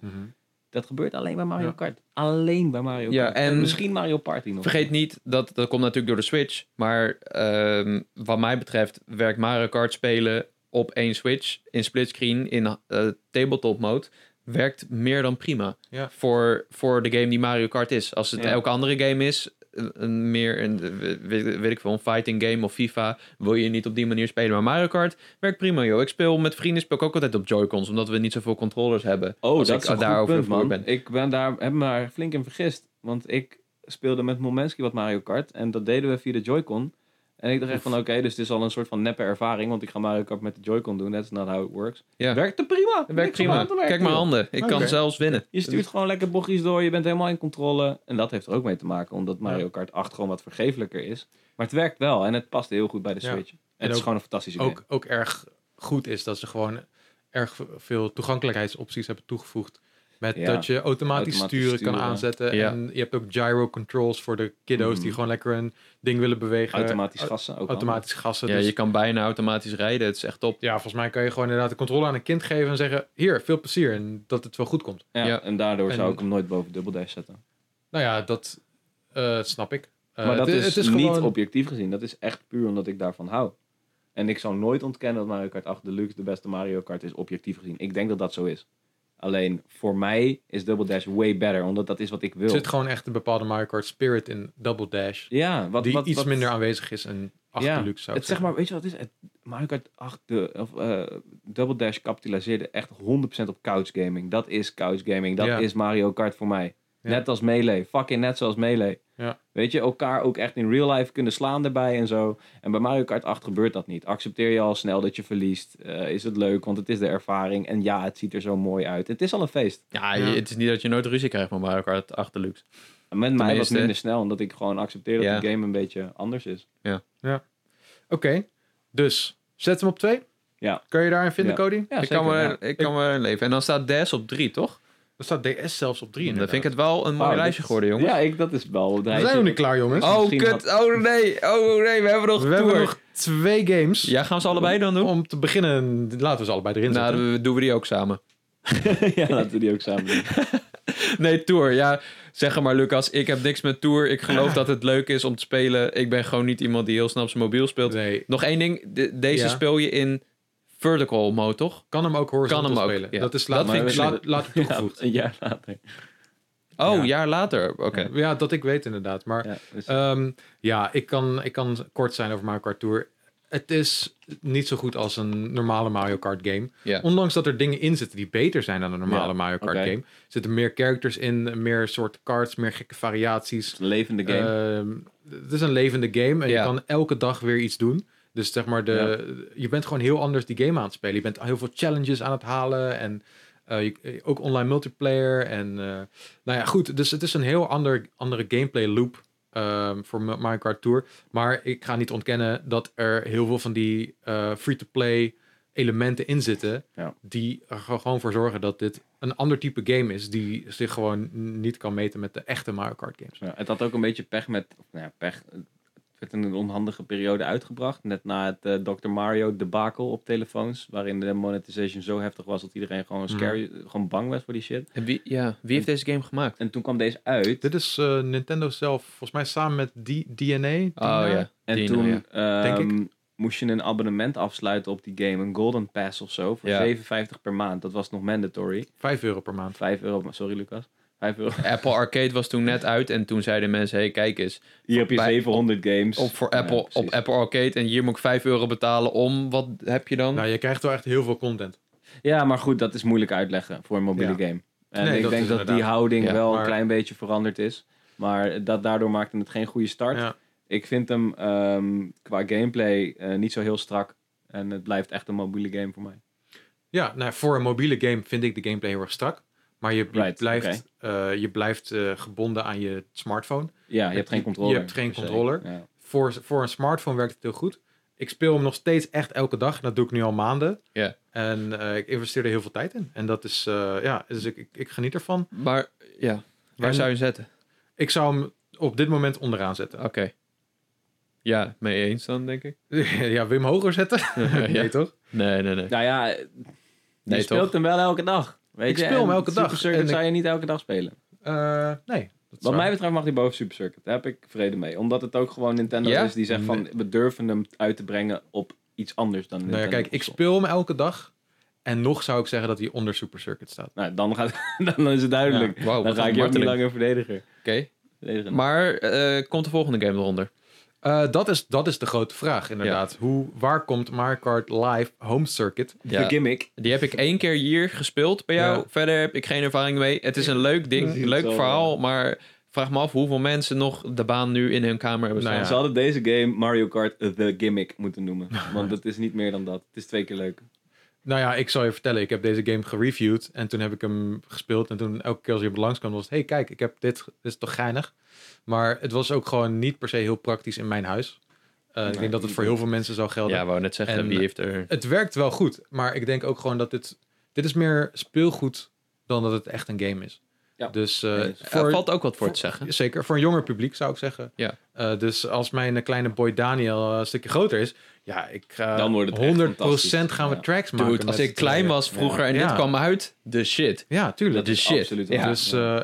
Speaker 2: Dat gebeurt alleen bij Mario
Speaker 1: Ja.
Speaker 2: Kart. Alleen bij Mario
Speaker 3: Ja,
Speaker 2: Kart.
Speaker 3: en-
Speaker 2: misschien Mario Party nog.
Speaker 3: Vergeet niet, dat, dat komt natuurlijk door de Switch. Maar ehm, wat mij betreft werkt Mario Kart spelen op één Switch in splitscreen in eh, tabletop mode werkt meer dan prima
Speaker 1: Ja.
Speaker 3: voor, voor de game die Mario Kart is. Als het
Speaker 2: Ja.
Speaker 3: elke andere game is, een, een meer een, eh, weet, weet ik veel, een fighting game of FIFA, wil je niet op die manier spelen. Maar Mario Kart werkt prima, joh. Ik speel met vrienden, speel ik ook altijd op Joy-Cons, omdat we niet zoveel controllers hebben.
Speaker 2: Oh,
Speaker 3: Als
Speaker 2: dat
Speaker 3: ik
Speaker 2: is een goed
Speaker 3: daarover
Speaker 2: punt,
Speaker 3: voor
Speaker 2: man.
Speaker 3: ben.
Speaker 2: Ik ben daar, heb me daar flink in vergist. Want ik speelde met Momenski wat Mario Kart. En dat deden we via de Joy-Con. En ik dacht echt van, oké, dus dit is al een soort van neppe ervaring. Want ik ga Mario Kart met de Joy-Con doen. That's not how it works.
Speaker 3: Ja.
Speaker 2: Werkt er prima.
Speaker 3: Het werkt
Speaker 2: Niks om
Speaker 3: prima.
Speaker 2: aan te werken,
Speaker 3: Kijk mijn
Speaker 2: joh.
Speaker 3: handen. Ik
Speaker 1: Oké.
Speaker 3: kan zelfs winnen.
Speaker 2: Je stuurt gewoon lekker bochtjes door. Je bent helemaal in controle. En dat heeft er ook mee te maken. Omdat Mario Kart 8 gewoon wat vergeeflijker is. Maar het werkt wel. En het past heel goed bij de
Speaker 1: Ja.
Speaker 2: Switch. En,
Speaker 1: En
Speaker 2: het is
Speaker 1: ook-
Speaker 2: gewoon een fantastische game.
Speaker 1: ook, ook erg goed is dat ze gewoon erg veel toegankelijkheidsopties hebben toegevoegd. Met
Speaker 2: Ja,
Speaker 1: dat je automatisch,
Speaker 2: automatisch
Speaker 1: sturen, kan
Speaker 2: sturen.
Speaker 1: aanzetten.
Speaker 3: Ja.
Speaker 1: En je hebt ook gyro controls voor de kiddo's
Speaker 2: Mhm.
Speaker 1: die gewoon lekker een ding willen bewegen.
Speaker 2: Automatisch
Speaker 1: Au-
Speaker 2: gassen. Ook
Speaker 1: eh, automatisch gassen.
Speaker 3: Ja,
Speaker 1: dus-
Speaker 3: je kan bijna automatisch rijden. Het is echt top.
Speaker 1: ja, volgens mij kan je gewoon inderdaad de controle aan een kind geven en zeggen: Hier, veel plezier. En dat het wel goed komt.
Speaker 2: handig. Ja,
Speaker 3: Ja.
Speaker 2: En daardoor zou
Speaker 1: En-
Speaker 2: ik hem nooit boven Double Dash zetten.
Speaker 1: Nou ja, dat eh, snap ik. Eh,
Speaker 2: maar dat
Speaker 1: het,
Speaker 2: is,
Speaker 1: het
Speaker 2: niet
Speaker 1: gewoon-
Speaker 2: objectief gezien. Dat is echt puur omdat ik daarvan hou. En ik zou nooit ontkennen dat Mario Kart 8 Deluxe de beste Mario Kart is, objectief gezien. Ik denk dat dat zo is. Alleen voor mij is Double Dash way better, omdat dat is wat ik wil.
Speaker 1: Er zit gewoon echt een bepaalde Mario Kart spirit in Double Dash.
Speaker 2: ja, wat,
Speaker 1: die
Speaker 2: wat,
Speaker 1: iets
Speaker 2: wat-
Speaker 1: minder aanwezig is en achter
Speaker 2: Ja,
Speaker 1: luxe zou ik
Speaker 2: Het, zeg
Speaker 1: zeggen.
Speaker 2: maar, weet je wat het is? Het, Mario Kart 8, de, of, eh, Double Dash kapitaliseerde echt 100% op couch gaming. Dat is couch gaming. Dat
Speaker 1: Ja.
Speaker 2: is Mario Kart voor mij.
Speaker 1: Ja.
Speaker 2: Net als Melee. Fucking net zoals Melee.
Speaker 1: Ja.
Speaker 2: Weet je, elkaar ook echt in real life kunnen slaan daarbij en zo. En bij Mario Kart 8 gebeurt dat niet. Accepteer je al snel dat je verliest. Eh, is het leuk, want het is de ervaring. En ja, het ziet er zo mooi uit. Het is al een feest.
Speaker 3: Ja,
Speaker 1: Ja.
Speaker 3: je- het is niet dat je nooit ruzie krijgt met Mario Kart 8 Deluxe.
Speaker 2: En met mij was
Speaker 3: Tenminste.
Speaker 2: het minder snel, omdat ik gewoon accepteer dat
Speaker 3: Ja.
Speaker 2: de game een beetje anders is.
Speaker 1: Oké, dus zet hem op twee.
Speaker 2: Ja.
Speaker 1: Kun je daarin vinden,
Speaker 2: Ja.
Speaker 1: Cody?
Speaker 2: Ja,
Speaker 3: ik,
Speaker 2: zeker,
Speaker 3: kan
Speaker 2: ja.
Speaker 3: maar, ik kan maar leven. En dan staat DS op 3, toch?
Speaker 1: Dan staat DS zelfs op drie.
Speaker 3: Dan
Speaker 1: inderdaad.
Speaker 3: vind ik het wel een mooi
Speaker 2: Oh, dit
Speaker 3: lijstje
Speaker 2: is-
Speaker 3: geworden, jongens.
Speaker 2: Ja, ik, dat is wel...
Speaker 1: We zijn nog niet klaar, jongens.
Speaker 2: Oh,
Speaker 3: Oh,
Speaker 2: misschien
Speaker 3: kut. Oh, nee. Oh, nee. We hebben nog
Speaker 1: we
Speaker 3: tour.
Speaker 1: hebben nog twee games.
Speaker 3: Ja, gaan we ze allebei dan doen?
Speaker 1: Om te beginnen, laten we ze allebei erin
Speaker 3: Nou,
Speaker 1: zetten.
Speaker 3: dan doen we die ook samen.
Speaker 2: ja, laten we die ook samen doen.
Speaker 3: Nee, Tour. Ja, zeg maar, Lucas. Ik heb niks met Tour. Ik geloof dat het leuk is om te spelen. Ik ben gewoon niet iemand die heel snel op zijn mobiel speelt.
Speaker 1: Nee,
Speaker 3: Nog één ding. De- deze
Speaker 1: Ja.
Speaker 3: speel je in vertical mode, toch?
Speaker 1: kan hem ook horizontal
Speaker 3: Kan hem ook,
Speaker 1: spelen.
Speaker 3: ja.
Speaker 1: Dat is laat,
Speaker 3: Dat
Speaker 2: vind ik
Speaker 1: laat,
Speaker 2: slim.
Speaker 1: laat toegevoegd.
Speaker 2: Een jaar later.
Speaker 3: Oh,
Speaker 1: Ja.
Speaker 3: een jaar later. Oké.
Speaker 1: Ja. dat ik weet inderdaad. Maar
Speaker 2: Ja, dus-
Speaker 1: Ehm, ja, ik kan, ik kan kort zijn over Mario Kart Tour. Het is niet zo goed als een normale Mario Kart game.
Speaker 3: Ja.
Speaker 1: Ondanks dat er dingen in zitten die beter zijn dan een normale
Speaker 2: Ja,
Speaker 1: Mario Kart
Speaker 2: oké.
Speaker 1: game. Er zitten meer characters in, meer soort cards, meer gekke variaties.
Speaker 2: het is een levende game.
Speaker 3: Eh,
Speaker 1: Ehm, het is een levende game en
Speaker 3: Ja.
Speaker 1: je kan elke dag weer iets doen. Dus zeg maar, de, je bent gewoon heel anders die game aan het spelen. Je bent heel veel challenges aan het halen en eh, je- ook online multiplayer. En eh, nou ja, goed. Dus het is een heel ander, andere gameplay loop ehm, voor Ma- Mario Kart Tour. Maar ik ga niet ontkennen dat er heel veel van die eh, free-to-play elementen in zitten.
Speaker 2: Ja.
Speaker 1: Die er ge- gewoon voor zorgen dat dit een ander type game is. Die zich gewoon niet kan meten met de echte Mario Kart games.
Speaker 2: Dus, Ja, het had ook een beetje pech met... of, Nou ja, pech... Het werd in een onhandige periode uitgebracht. Net na het eh, Dr. Mario debacle op telefoons. Waarin de monetization zo heftig was dat iedereen
Speaker 3: Mhm.
Speaker 2: gewoon, scary, gewoon bang was voor die shit.
Speaker 3: En Wie, ja, wie heeft deze game gemaakt?
Speaker 2: En toen kwam deze uit.
Speaker 1: Dit is eh, Nintendo zelf, volgens mij samen met die DNA.
Speaker 3: Oh ja.
Speaker 2: En
Speaker 3: Dino,
Speaker 2: toen
Speaker 3: ja.
Speaker 2: ehm,
Speaker 1: Denk
Speaker 2: moest je een abonnement afsluiten op die game. Een Golden Pass of zo. Voor
Speaker 3: Ja.
Speaker 2: 7,50 per maand. Dat was nog mandatory.
Speaker 1: 5 euro per maand.
Speaker 2: 5 euro. Sorry Lucas. 5 euro.
Speaker 3: Apple Arcade was toen net uit en toen zeiden mensen, hey, kijk eens,
Speaker 2: Hier heb je
Speaker 3: Bij-
Speaker 2: 700 games.
Speaker 3: op, voor
Speaker 2: Ja,
Speaker 3: Apple, op
Speaker 2: precies.
Speaker 3: Apple Arcade en hier moet ik 5 euro betalen om, wat heb je dan?
Speaker 1: Nou, je krijgt wel echt heel veel content.
Speaker 2: Ja, maar goed, dat is moeilijk uitleggen voor een mobiele game. En
Speaker 1: Nee,
Speaker 2: ik
Speaker 1: dat
Speaker 2: denk
Speaker 1: is
Speaker 2: dat die
Speaker 1: inderdaad.
Speaker 2: houding
Speaker 3: Ja,
Speaker 2: wel een
Speaker 1: maar-
Speaker 2: klein beetje veranderd is. Maar dat, daardoor maakte het geen goede start.
Speaker 1: Ja.
Speaker 2: Ik vind hem ehm, qua gameplay eh, niet zo heel strak. En het blijft echt een mobiele game voor mij.
Speaker 1: Ja, nou, voor een mobiele game vind ik de gameplay heel erg strak. Maar je, je
Speaker 2: Right,
Speaker 1: blijft, eh, je blijft eh, gebonden aan je smartphone.
Speaker 2: Ja, je hebt geen controller.
Speaker 1: Je hebt geen
Speaker 2: per se.
Speaker 1: controller.
Speaker 2: Ja.
Speaker 1: Voor, voor een smartphone werkt het heel goed. Ik speel hem nog steeds echt elke dag. En dat doe ik nu al maanden.
Speaker 3: Ja.
Speaker 1: En eh, ik investeer er heel veel tijd in. En dat is, eh, ja, dus ik, ik, ik geniet ervan.
Speaker 3: Maar ja, waar
Speaker 1: En-
Speaker 3: zou je Oh. zetten?
Speaker 1: Ik zou hem op dit moment onderaan zetten.
Speaker 3: Oké. Ja, mee eens dan, denk ik.
Speaker 1: ja, Wim hoger zetten?
Speaker 3: Ja.
Speaker 1: Nee, toch?
Speaker 3: Nee, nee, nee.
Speaker 2: Nou ja, je
Speaker 3: Nee,
Speaker 2: speelt
Speaker 3: toch?
Speaker 2: hem wel elke dag. Weet
Speaker 1: Ik
Speaker 2: je,
Speaker 1: speel hem
Speaker 2: en
Speaker 1: elke dag
Speaker 2: Super Circuit
Speaker 1: en ik-
Speaker 2: zou je niet elke dag spelen.
Speaker 1: Eh, nee. dat is
Speaker 2: Wat
Speaker 1: waar.
Speaker 2: mij betreft mag die boven Super Circuit. Daar heb ik vrede mee. Omdat het ook gewoon Nintendo
Speaker 3: Ja?
Speaker 2: is die zegt van... We durven hem uit te brengen op iets anders dan
Speaker 1: Nou
Speaker 2: Nintendo.
Speaker 1: ja, kijk, ik
Speaker 2: console.
Speaker 1: speel hem elke dag. En nog zou ik zeggen dat hij onder Super Circuit staat.
Speaker 2: Nou, dan, gaat, dan is het duidelijk.
Speaker 1: Oh,
Speaker 2: dan
Speaker 3: Wauw, wat
Speaker 2: ga
Speaker 3: een
Speaker 2: ik je ook niet
Speaker 3: marteling.
Speaker 2: langer verdedigen.
Speaker 3: Oké.
Speaker 2: verdedigen.
Speaker 3: Maar eh, komt de volgende game eronder?
Speaker 1: Eh, dat, is, dat is de grote vraag, inderdaad. Hoe, waar komt Mario Kart Live Home Circuit?
Speaker 3: Ja.
Speaker 2: De gimmick.
Speaker 3: Die heb ik één keer hier gespeeld bij jou.
Speaker 1: Ja.
Speaker 3: Verder heb ik geen ervaring mee. Het is een leuk
Speaker 2: Dat
Speaker 3: ding,
Speaker 2: is
Speaker 3: een leuk
Speaker 2: zo,
Speaker 3: verhaal, maar vraag me af hoeveel mensen nog de baan nu in hun kamer hebben
Speaker 1: Nou
Speaker 3: staan.
Speaker 1: Ja.
Speaker 2: Ze hadden deze game Mario Kart The Gimmick moeten noemen. Want het is niet meer dan dat. Het is twee keer leuk.
Speaker 1: Nou ja, ik zal je vertellen. Ik heb deze game gereviewd. En toen heb ik hem gespeeld. En toen elke keer als je op langs kwam, was het... hey, kijk, ik heb dit. Dit is toch geinig? Maar het was ook gewoon niet per se heel praktisch in mijn huis. Eh, ik
Speaker 2: Nee.
Speaker 1: denk dat het voor heel veel mensen zou gelden.
Speaker 3: Ja, wou net zeggen,
Speaker 1: En-
Speaker 3: wie heeft er...
Speaker 1: Het werkt wel goed. Maar ik denk ook gewoon dat dit... Dit is meer speelgoed dan dat het echt een game is.
Speaker 2: Ja.
Speaker 1: Dus eh,
Speaker 2: Eens.
Speaker 3: Er valt ook wat voor,
Speaker 1: voor-
Speaker 3: te zeggen.
Speaker 1: Zeker, voor een jonger publiek zou ik zeggen.
Speaker 3: Ja.
Speaker 1: Eh, dus als mijn eh, kleine boy Daniel eh, een stukje groter is, ja, ik ga
Speaker 2: Dan wordt het echt
Speaker 1: 100%
Speaker 2: fantastisch.
Speaker 1: gaan we
Speaker 2: Ja.
Speaker 1: tracks maken.
Speaker 3: Dude, als
Speaker 1: met
Speaker 3: ik klein
Speaker 1: z'n
Speaker 3: was vroeger en dit
Speaker 1: Ja.
Speaker 3: kwam uit, de shit.
Speaker 1: tweeën. Ja, tuurlijk.
Speaker 3: Dat is shit.
Speaker 2: absoluut
Speaker 3: Ja.
Speaker 2: waar.
Speaker 1: Dus, eh,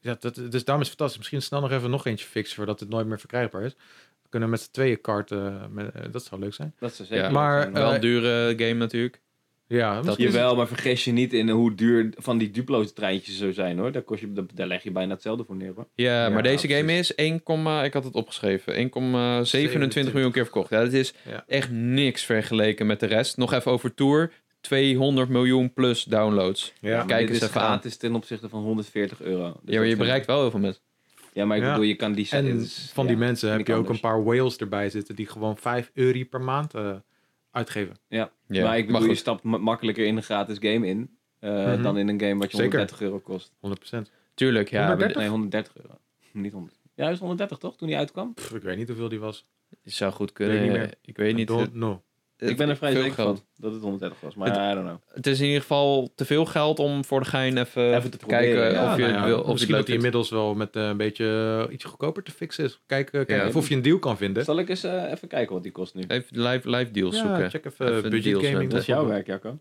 Speaker 1: ja, dat, dus daarom is het fantastisch. Misschien snel nog even nog eentje fixen voordat het nooit meer verkrijgbaar is. We kunnen met z'n tweeën karten, met, eh, dat zou leuk zijn.
Speaker 2: Dat zou zeker
Speaker 3: Ja.
Speaker 2: leuk
Speaker 1: Maar,
Speaker 2: zijn.
Speaker 1: eh,
Speaker 3: Wel een dure game natuurlijk.
Speaker 1: Ja, misschien is het-
Speaker 2: Jawel, maar vergis je niet in hoe duur van die Duplo-treintjes zo zijn hoor. Daar, kost je, daar- daar leg je bijna hetzelfde voor neer hoor.
Speaker 3: Ja,
Speaker 1: Ja,
Speaker 3: maar deze game
Speaker 1: precies.
Speaker 3: is 1, komma- ik had het opgeschreven, 1,27 miljoen keer verkocht. Ja, dat is
Speaker 1: Ja.
Speaker 3: echt niks vergeleken met de rest. Nog even over Tour, 200 miljoen plus downloads.
Speaker 1: Ja,
Speaker 2: maar
Speaker 3: kijk
Speaker 2: dit
Speaker 3: eens
Speaker 2: is
Speaker 3: even aan.
Speaker 2: gratis ten opzichte van 140 euro. Dus
Speaker 3: Ja,
Speaker 2: dat
Speaker 3: maar je
Speaker 2: vind
Speaker 3: bereikt
Speaker 2: ik-
Speaker 3: wel heel veel mensen.
Speaker 2: Ja, maar ik
Speaker 1: Ja.
Speaker 2: bedoel, je kan die...
Speaker 1: En
Speaker 2: dit is-
Speaker 1: van die
Speaker 2: ja.
Speaker 1: mensen heb
Speaker 2: ik
Speaker 1: je ook
Speaker 2: anders.
Speaker 1: een paar whales erbij zitten die gewoon 5 euro per maand eh, uitgeven.
Speaker 3: Ja,
Speaker 2: maar ik bedoel, je
Speaker 3: goed.
Speaker 2: stapt ma- makkelijker in een gratis game in eh,
Speaker 1: Mhm.
Speaker 2: dan in een game wat je
Speaker 1: Zeker.
Speaker 2: 130 euro kost.
Speaker 1: 100%.
Speaker 3: Tuurlijk, ja.
Speaker 1: 130?
Speaker 2: Nee, 130 euro. Niet 100. Ja, hij is 130 toch, toen hij uitkwam?
Speaker 1: Pff, ik weet niet hoeveel die was.
Speaker 3: maar Het zou goed kunnen.
Speaker 1: Weet
Speaker 3: Ik
Speaker 1: ik
Speaker 3: weet
Speaker 1: niet meer.
Speaker 3: niet. Ik weet niet. eh,
Speaker 1: Don't know.
Speaker 2: ik ben er vrij
Speaker 3: veel
Speaker 2: zeker van
Speaker 3: geld.
Speaker 2: dat het 130 was, maar
Speaker 3: Het-
Speaker 2: I don't know.
Speaker 3: Het is in ieder geval te veel geld om voor de gein even,
Speaker 2: Even te
Speaker 3: kijken
Speaker 2: proberen, ja.
Speaker 3: of je
Speaker 1: nou
Speaker 3: het wil. Of je het
Speaker 1: misschien
Speaker 3: leuk
Speaker 1: dat hij
Speaker 3: vindt.
Speaker 1: inmiddels wel met eh, een beetje eh, iets goedkoper te fixen is. Kijk, eh, kijk
Speaker 3: Ja.
Speaker 1: even of je een deal kan vinden.
Speaker 2: Zal ik eens eh, even kijken wat die kost nu?
Speaker 3: Even live, live deals
Speaker 1: ja,
Speaker 3: zoeken.
Speaker 1: check even, eh,
Speaker 3: Even
Speaker 1: budget
Speaker 3: deals
Speaker 1: gaming.
Speaker 3: met-
Speaker 2: Dat is jouw werk, Jacco.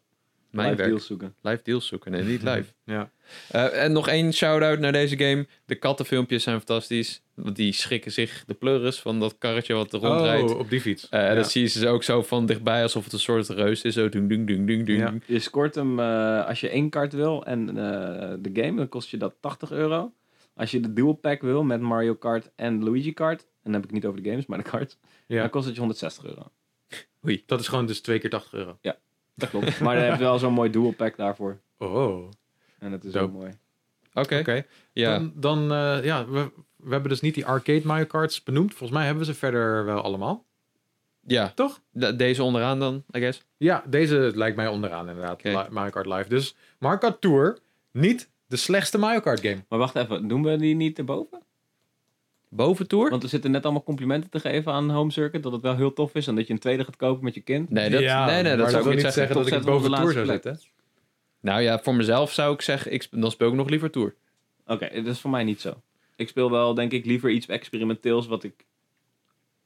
Speaker 3: Mijn
Speaker 2: Live
Speaker 3: werk.
Speaker 2: deals zoeken.
Speaker 3: Live deals zoeken. Nee, niet live.
Speaker 1: Ja.
Speaker 3: Eh, en nog één shout-out naar deze game. De kattenfilmpjes zijn fantastisch. Want die schrikken zich de pleuris van dat karretje wat er rondrijdt.
Speaker 1: Oh, op die fiets.
Speaker 3: Eh,
Speaker 1: Ja.
Speaker 3: Dat zie je ze ook zo van dichtbij, alsof het een soort reus is. Zo dung, dung, dung, dung, dung.
Speaker 1: Ja.
Speaker 2: Je scoort hem eh, als je één kaart wil en eh, de game, dan kost je dat 80 euro. Als je de dual pack wil met Mario Kart en Luigi Kart, en dan heb ik het niet over de games, maar de cards,
Speaker 1: Ja.
Speaker 2: dan kost het je 160 euro.
Speaker 1: Dat is gewoon dus twee keer 80 euro.
Speaker 2: Dat klopt. maar dan heb je wel zo'n mooi dual pack daarvoor.
Speaker 1: Oh, oké.
Speaker 2: En dat is
Speaker 1: Dope.
Speaker 2: ook mooi.
Speaker 3: Oké, ja.
Speaker 1: Dan, dan eh, ja, we, we hebben dus niet die arcade Mario Karts benoemd. Volgens mij hebben we ze verder wel allemaal.
Speaker 3: ja.
Speaker 1: Toch?
Speaker 3: De- deze onderaan dan, I guess.
Speaker 1: Ja, deze lijkt mij onderaan inderdaad.
Speaker 3: Oké.
Speaker 1: Li- Mario Kart Live. Dus Mario Kart Tour, niet de slechtste Mario Kart game.
Speaker 2: Maar wacht even, doen we die niet erboven?
Speaker 3: Boven Tour?
Speaker 2: Want we zitten net allemaal complimenten te geven aan Home Circuit, dat het wel heel tof is en dat je een tweede gaat kopen met je kind.
Speaker 3: Nee, dat,
Speaker 1: Ja,
Speaker 3: nee, nee, dat
Speaker 1: maar
Speaker 3: zou ik
Speaker 1: wil
Speaker 3: niet
Speaker 1: niet zeggen
Speaker 3: zeggen.
Speaker 2: Toch
Speaker 1: dat ik het
Speaker 2: zetten we
Speaker 1: boven
Speaker 2: hem op
Speaker 1: Tour
Speaker 2: de
Speaker 1: zou
Speaker 2: laatste
Speaker 1: zetten.
Speaker 3: Nou ja, voor mezelf zou ik zeggen, ik, sp- dan speel ik nog liever Tour.
Speaker 2: Oké, dat is voor mij niet zo. Ik speel wel, denk ik, liever iets experimenteels wat ik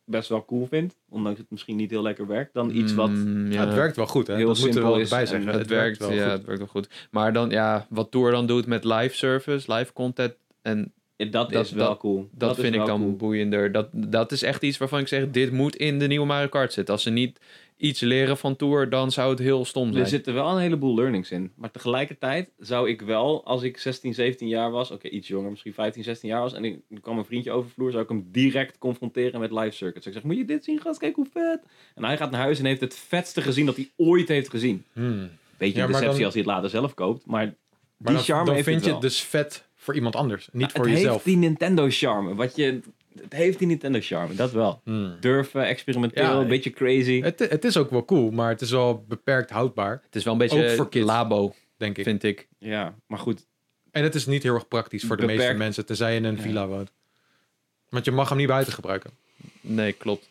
Speaker 2: best wel cool vind. Ondanks het misschien niet heel lekker werkt, dan iets wat...
Speaker 3: Mm,
Speaker 1: Ja, het werkt wel goed, hè?
Speaker 2: Heel
Speaker 1: dat moeten we wel
Speaker 2: simpel is
Speaker 1: erbij
Speaker 2: en
Speaker 1: zeggen.
Speaker 3: Het, werkt, ja,
Speaker 1: goed.
Speaker 3: het werkt wel goed. Maar dan, ja, wat Tour dan doet met live service, live content. En
Speaker 2: Ja, dat,
Speaker 3: Dat-
Speaker 2: is wel
Speaker 3: dat-
Speaker 2: cool.
Speaker 3: dat,
Speaker 2: is
Speaker 3: vind ik
Speaker 2: wel
Speaker 3: dan
Speaker 2: cool.
Speaker 3: boeiender. Dat, dat is echt iets waarvan ik zeg, dit moet in de nieuwe Mario Kart zitten. Als ze niet iets leren van Tour, dan zou het heel stom zijn.
Speaker 2: Er zitten wel een heleboel learnings in. Maar tegelijkertijd zou ik wel, als ik 16, 17 jaar was... Oké, iets jonger, misschien 15, 16 jaar was... En ik er kwam een vriendje over de vloer... zou ik hem direct confronteren met live circuits. Ik zeg, moet je dit zien, gast? Kijk hoe vet! En hij gaat naar huis en heeft het vetste gezien dat hij ooit heeft gezien.
Speaker 1: Hmm.
Speaker 2: Beetje
Speaker 1: Ja,
Speaker 2: een
Speaker 1: maar
Speaker 2: deceptie
Speaker 1: dan-
Speaker 2: als hij het later zelf koopt. Maar die
Speaker 1: Maar dan,
Speaker 2: charme
Speaker 1: dan
Speaker 2: heeft
Speaker 1: vind
Speaker 2: het
Speaker 1: je
Speaker 2: wel.
Speaker 1: het dus vet voor iemand anders, niet
Speaker 2: Ja,
Speaker 1: voor
Speaker 2: het
Speaker 1: jezelf.
Speaker 2: heeft die Nintendo-charme. Wat je... Het heeft die Nintendo-charme, dat wel.
Speaker 1: Hmm.
Speaker 2: Durven, experimenteel,
Speaker 1: Ja,
Speaker 2: een beetje crazy.
Speaker 1: Het, het is ook wel cool, maar het is wel beperkt houdbaar,
Speaker 3: het is wel een
Speaker 1: ook
Speaker 3: beetje
Speaker 1: voor kids.
Speaker 3: labo,
Speaker 1: denk ik.
Speaker 3: vind ik.
Speaker 2: Ja, maar goed.
Speaker 1: En het is niet heel erg praktisch voor de
Speaker 2: Beperkt.
Speaker 1: meeste mensen, tenzij je in een
Speaker 2: Ja.
Speaker 1: villa woont. Want je mag hem niet buiten gebruiken.
Speaker 3: Nee, klopt.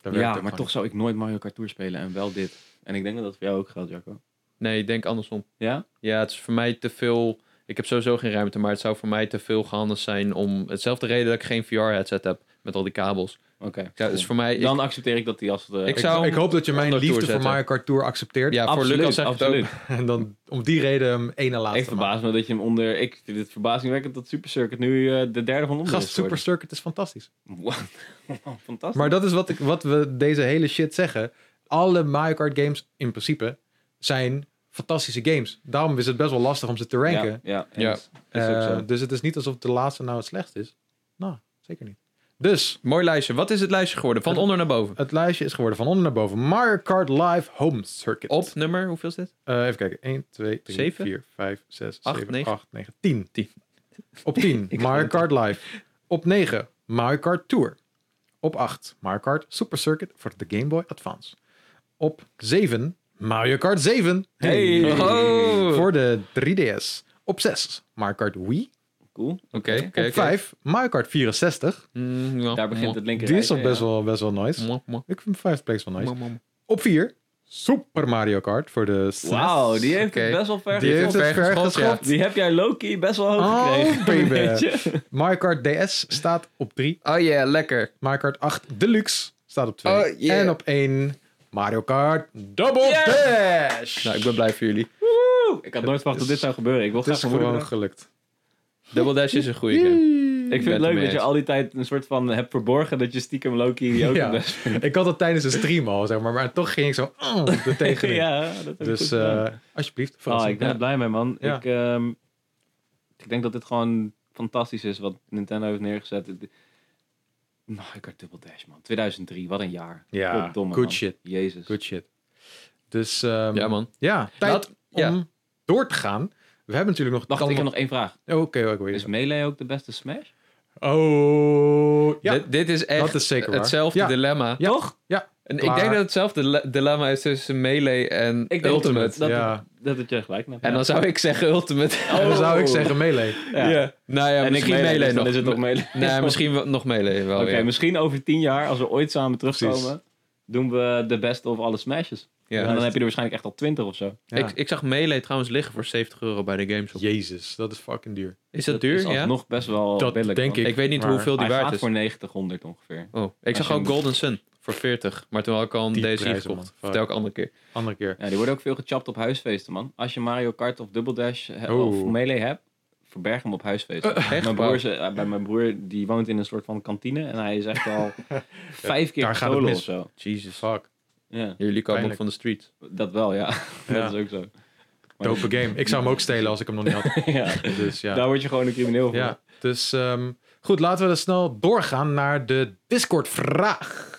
Speaker 1: Daar werkt
Speaker 2: Ja,
Speaker 1: het
Speaker 2: maar
Speaker 1: gewoon
Speaker 2: toch zou ik nooit Mario Kart Tour spelen en wel dit. En ik denk dat dat voor jou ook geldt, Jacco.
Speaker 3: Nee, ik denk andersom.
Speaker 2: Ja?
Speaker 3: Ja, het is voor mij te veel... Ik heb sowieso geen ruimte, maar het zou voor mij te veel gehandeld zijn om... Hetzelfde reden dat ik geen VR-headset heb. Met al die kabels.
Speaker 2: Oké.
Speaker 3: Ja, dus voor mij...
Speaker 2: Dan accepteer ik dat die als eh, de...
Speaker 3: Ik
Speaker 1: Ik,
Speaker 3: zou hem
Speaker 1: ik hoop dat je mijn
Speaker 3: onder
Speaker 1: liefde
Speaker 3: tour
Speaker 1: voor
Speaker 3: zetten.
Speaker 1: Mario Kart Tour accepteert.
Speaker 3: ja, voor
Speaker 2: Absoluut,
Speaker 3: Lucas zeg ik het ook.
Speaker 2: absoluut.
Speaker 1: En dan om die reden hem één na laatste
Speaker 2: Ik verbaas me dat je hem onder... Ik vind het verbazingwekkend dat Super Circuit nu eh, de derde van
Speaker 1: maakt.
Speaker 2: onder
Speaker 1: Gast,
Speaker 2: is
Speaker 1: Super Circuit is fantastisch.
Speaker 2: geworden. Wow. Fantastisch.
Speaker 1: Maar dat is wat, ik, wat we deze hele shit zeggen. Alle Mario Kart games in principe zijn fantastische games. Daarom is het best wel lastig om ze te ranken.
Speaker 2: Ja, ja,
Speaker 3: Ja.
Speaker 2: eens. Is ook
Speaker 1: Eh,
Speaker 2: zo.
Speaker 1: dus het is niet alsof de laatste nou het slechtst is. Nou, zeker niet. Dus,
Speaker 3: Mooi lijstje. Wat is het lijstje geworden? Van
Speaker 1: Het-
Speaker 3: onder naar boven.
Speaker 1: het lijstje is geworden van onder naar boven. Mario Kart Live Home Circuit.
Speaker 3: Op nummer, hoeveel is dit?
Speaker 1: Eh, even kijken. 1, 2, 3,
Speaker 3: Zeven?
Speaker 1: 4, 5, 6,
Speaker 3: Acht,
Speaker 1: 7,
Speaker 3: negen?
Speaker 1: 8, 9, 10.
Speaker 3: Tien.
Speaker 1: Op 10, Mario Kart Live. Op 9, Mario Kart Tour. Op 8, Mario Kart Super Circuit voor de Game Boy Advance. Op 7, Mario Kart 7.
Speaker 2: Hey.
Speaker 3: Oh.
Speaker 1: Voor de 3DS. Op 6, Mario Kart Wii.
Speaker 2: Cool.
Speaker 3: Oké, oké,
Speaker 1: op
Speaker 3: oké.
Speaker 1: 5, Mario Kart 64.
Speaker 3: Mm, ja.
Speaker 2: Daar begint het linker
Speaker 1: Die is toch best, wel, best wel nice.
Speaker 3: Mwah, mwah,
Speaker 1: Ik vind 5 plays wel nice.
Speaker 3: mwah, mwah.
Speaker 1: Op 4, Super Mario Kart voor de SNES.
Speaker 2: Wauw, die heeft het
Speaker 3: Oké.
Speaker 2: best wel ver
Speaker 1: Die heeft het
Speaker 3: Ver
Speaker 1: ver
Speaker 3: geschopt, ja.
Speaker 1: geschopt.
Speaker 2: Die heb jij Loki best wel hoog
Speaker 1: Oh,
Speaker 2: gekregen.
Speaker 1: baby.
Speaker 2: Weet je?
Speaker 1: Mario Kart DS staat op 3.
Speaker 3: Oh ja, lekker.
Speaker 1: Mario Kart 8 Deluxe staat op 2.
Speaker 3: Oh, yeah.
Speaker 1: En op 1 Mario Kart Double
Speaker 2: Yeah.
Speaker 1: Dash.
Speaker 3: Nou, ik ben blij voor jullie.
Speaker 2: Woe! Ik had nooit verwacht dat dit zou gebeuren. Ik wil
Speaker 1: Dus Het is
Speaker 2: graag mijn
Speaker 1: gewoon
Speaker 2: moeder
Speaker 1: gelukt.
Speaker 3: Double Dash is een goede game.
Speaker 2: Ik vind
Speaker 3: ben
Speaker 2: het
Speaker 3: het
Speaker 2: leuk
Speaker 3: mee
Speaker 2: dat je
Speaker 3: eens.
Speaker 2: al die tijd een soort van hebt verborgen dat je stiekem Loki ook
Speaker 1: Ja.
Speaker 2: een best
Speaker 1: Ik had dat tijdens de stream al, zeg maar. Maar toch ging ik zo oh, er tegenin.
Speaker 2: ja, dat heb ik goed
Speaker 1: Dus
Speaker 2: gedaan.
Speaker 1: eh, alsjeblieft,
Speaker 2: Ah,
Speaker 1: verrassing.
Speaker 2: ik ben er
Speaker 1: Ja.
Speaker 2: blij mee, man.
Speaker 1: Ja.
Speaker 2: Ik, ehm, ik denk dat dit gewoon fantastisch is wat Nintendo heeft neergezet. Het- Nou, Mario Kart Double Dash, man. 2003, wat een jaar.
Speaker 1: Ja,
Speaker 2: Goddomme,
Speaker 1: good
Speaker 2: man.
Speaker 1: shit.
Speaker 2: Jezus.
Speaker 1: Good shit. Dus ehm,
Speaker 3: Ja, man.
Speaker 1: ja, tijd
Speaker 3: Laat- ja.
Speaker 1: om door te gaan. We hebben natuurlijk nog...
Speaker 2: Wacht,
Speaker 1: kan
Speaker 2: ik heb nog één vraag.
Speaker 1: Oké, oké, oh, oké.
Speaker 2: Is Melee ook de beste Smash?
Speaker 1: Oh, ja.
Speaker 3: Dit, dit is echt
Speaker 1: Dat is zeker waar.
Speaker 3: hetzelfde
Speaker 1: Ja.
Speaker 3: dilemma.
Speaker 1: Ja.
Speaker 2: Toch?
Speaker 3: En ik
Speaker 1: Klaar.
Speaker 3: denk dat hetzelfde le- dilemma is tussen Melee en
Speaker 2: denk
Speaker 3: Ultimate.
Speaker 2: Dat,
Speaker 1: Ja.
Speaker 2: dat, dat het je gelijk hebt.
Speaker 3: En
Speaker 2: Ja.
Speaker 3: dan zou ik zeggen Ultimate.
Speaker 1: En dan zou ik
Speaker 2: Oh.
Speaker 1: zeggen melee.
Speaker 2: Ja.
Speaker 3: Nou ja,
Speaker 2: En ik
Speaker 3: misschien Melee,
Speaker 2: dus dan
Speaker 3: nog.
Speaker 2: is het nog Melee.
Speaker 3: Nee, misschien wel- nog Melee wel,
Speaker 2: Oké,
Speaker 3: ja.
Speaker 2: misschien over tien jaar, als we ooit samen terugkomen,
Speaker 1: Precies.
Speaker 2: doen we de beste of alle smashes.
Speaker 3: Ja.
Speaker 2: en dan heb je er waarschijnlijk echt al twintig of zo.
Speaker 1: Ja.
Speaker 3: Ik, ik zag Melee trouwens liggen voor 70 euro bij de GameStop.
Speaker 1: Jezus, dat is fucking duur.
Speaker 3: Is dat, duur?
Speaker 2: Is
Speaker 3: ja?
Speaker 2: nog best wel
Speaker 1: Dat
Speaker 2: billig.
Speaker 1: denk
Speaker 2: man.
Speaker 1: ik.
Speaker 3: Ik weet niet
Speaker 1: Maar
Speaker 3: hoeveel die
Speaker 2: Hij
Speaker 3: waard
Speaker 2: gaat
Speaker 3: is.
Speaker 2: voor 900 ongeveer.
Speaker 3: Oh, ik
Speaker 2: Als
Speaker 3: zag
Speaker 2: je
Speaker 3: ook
Speaker 2: hem-
Speaker 3: Golden Sun voor 40. Maar toen had ik al een
Speaker 1: Die
Speaker 3: DSi
Speaker 1: prijzen,
Speaker 3: gekocht.
Speaker 1: man. Fuck.
Speaker 3: Vertel ik een andere keer.
Speaker 1: Andere keer.
Speaker 2: Ja, die worden ook veel gechapt op huisfeesten, man. Als je Mario Kart of Double Dash he- of
Speaker 1: Oh.
Speaker 2: Melee hebt, verberg hem op huisfeesten.
Speaker 3: echt?
Speaker 2: mijn
Speaker 3: Wauw.
Speaker 2: broer, ze- eh, bij mijn broer, die woont in een soort van kantine. En hij is echt al vijf keer
Speaker 1: daar gaat het
Speaker 2: solo
Speaker 1: mis.
Speaker 2: of zo.
Speaker 3: Jesus.
Speaker 1: Fuck.
Speaker 2: Ja,
Speaker 3: Jullie komen ook
Speaker 1: Pijnlijk.
Speaker 3: van de street.
Speaker 2: dat wel, ja.
Speaker 1: Ja.
Speaker 2: dat is ook zo. Maar-
Speaker 1: Dope game. Ik zou hem ook stelen als ik hem nog niet had.
Speaker 2: ja.
Speaker 1: Dus ja.
Speaker 2: Daar word je gewoon een crimineel van.
Speaker 1: ja. Dus ehm, goed, laten we dan snel doorgaan naar de Discord-vraag.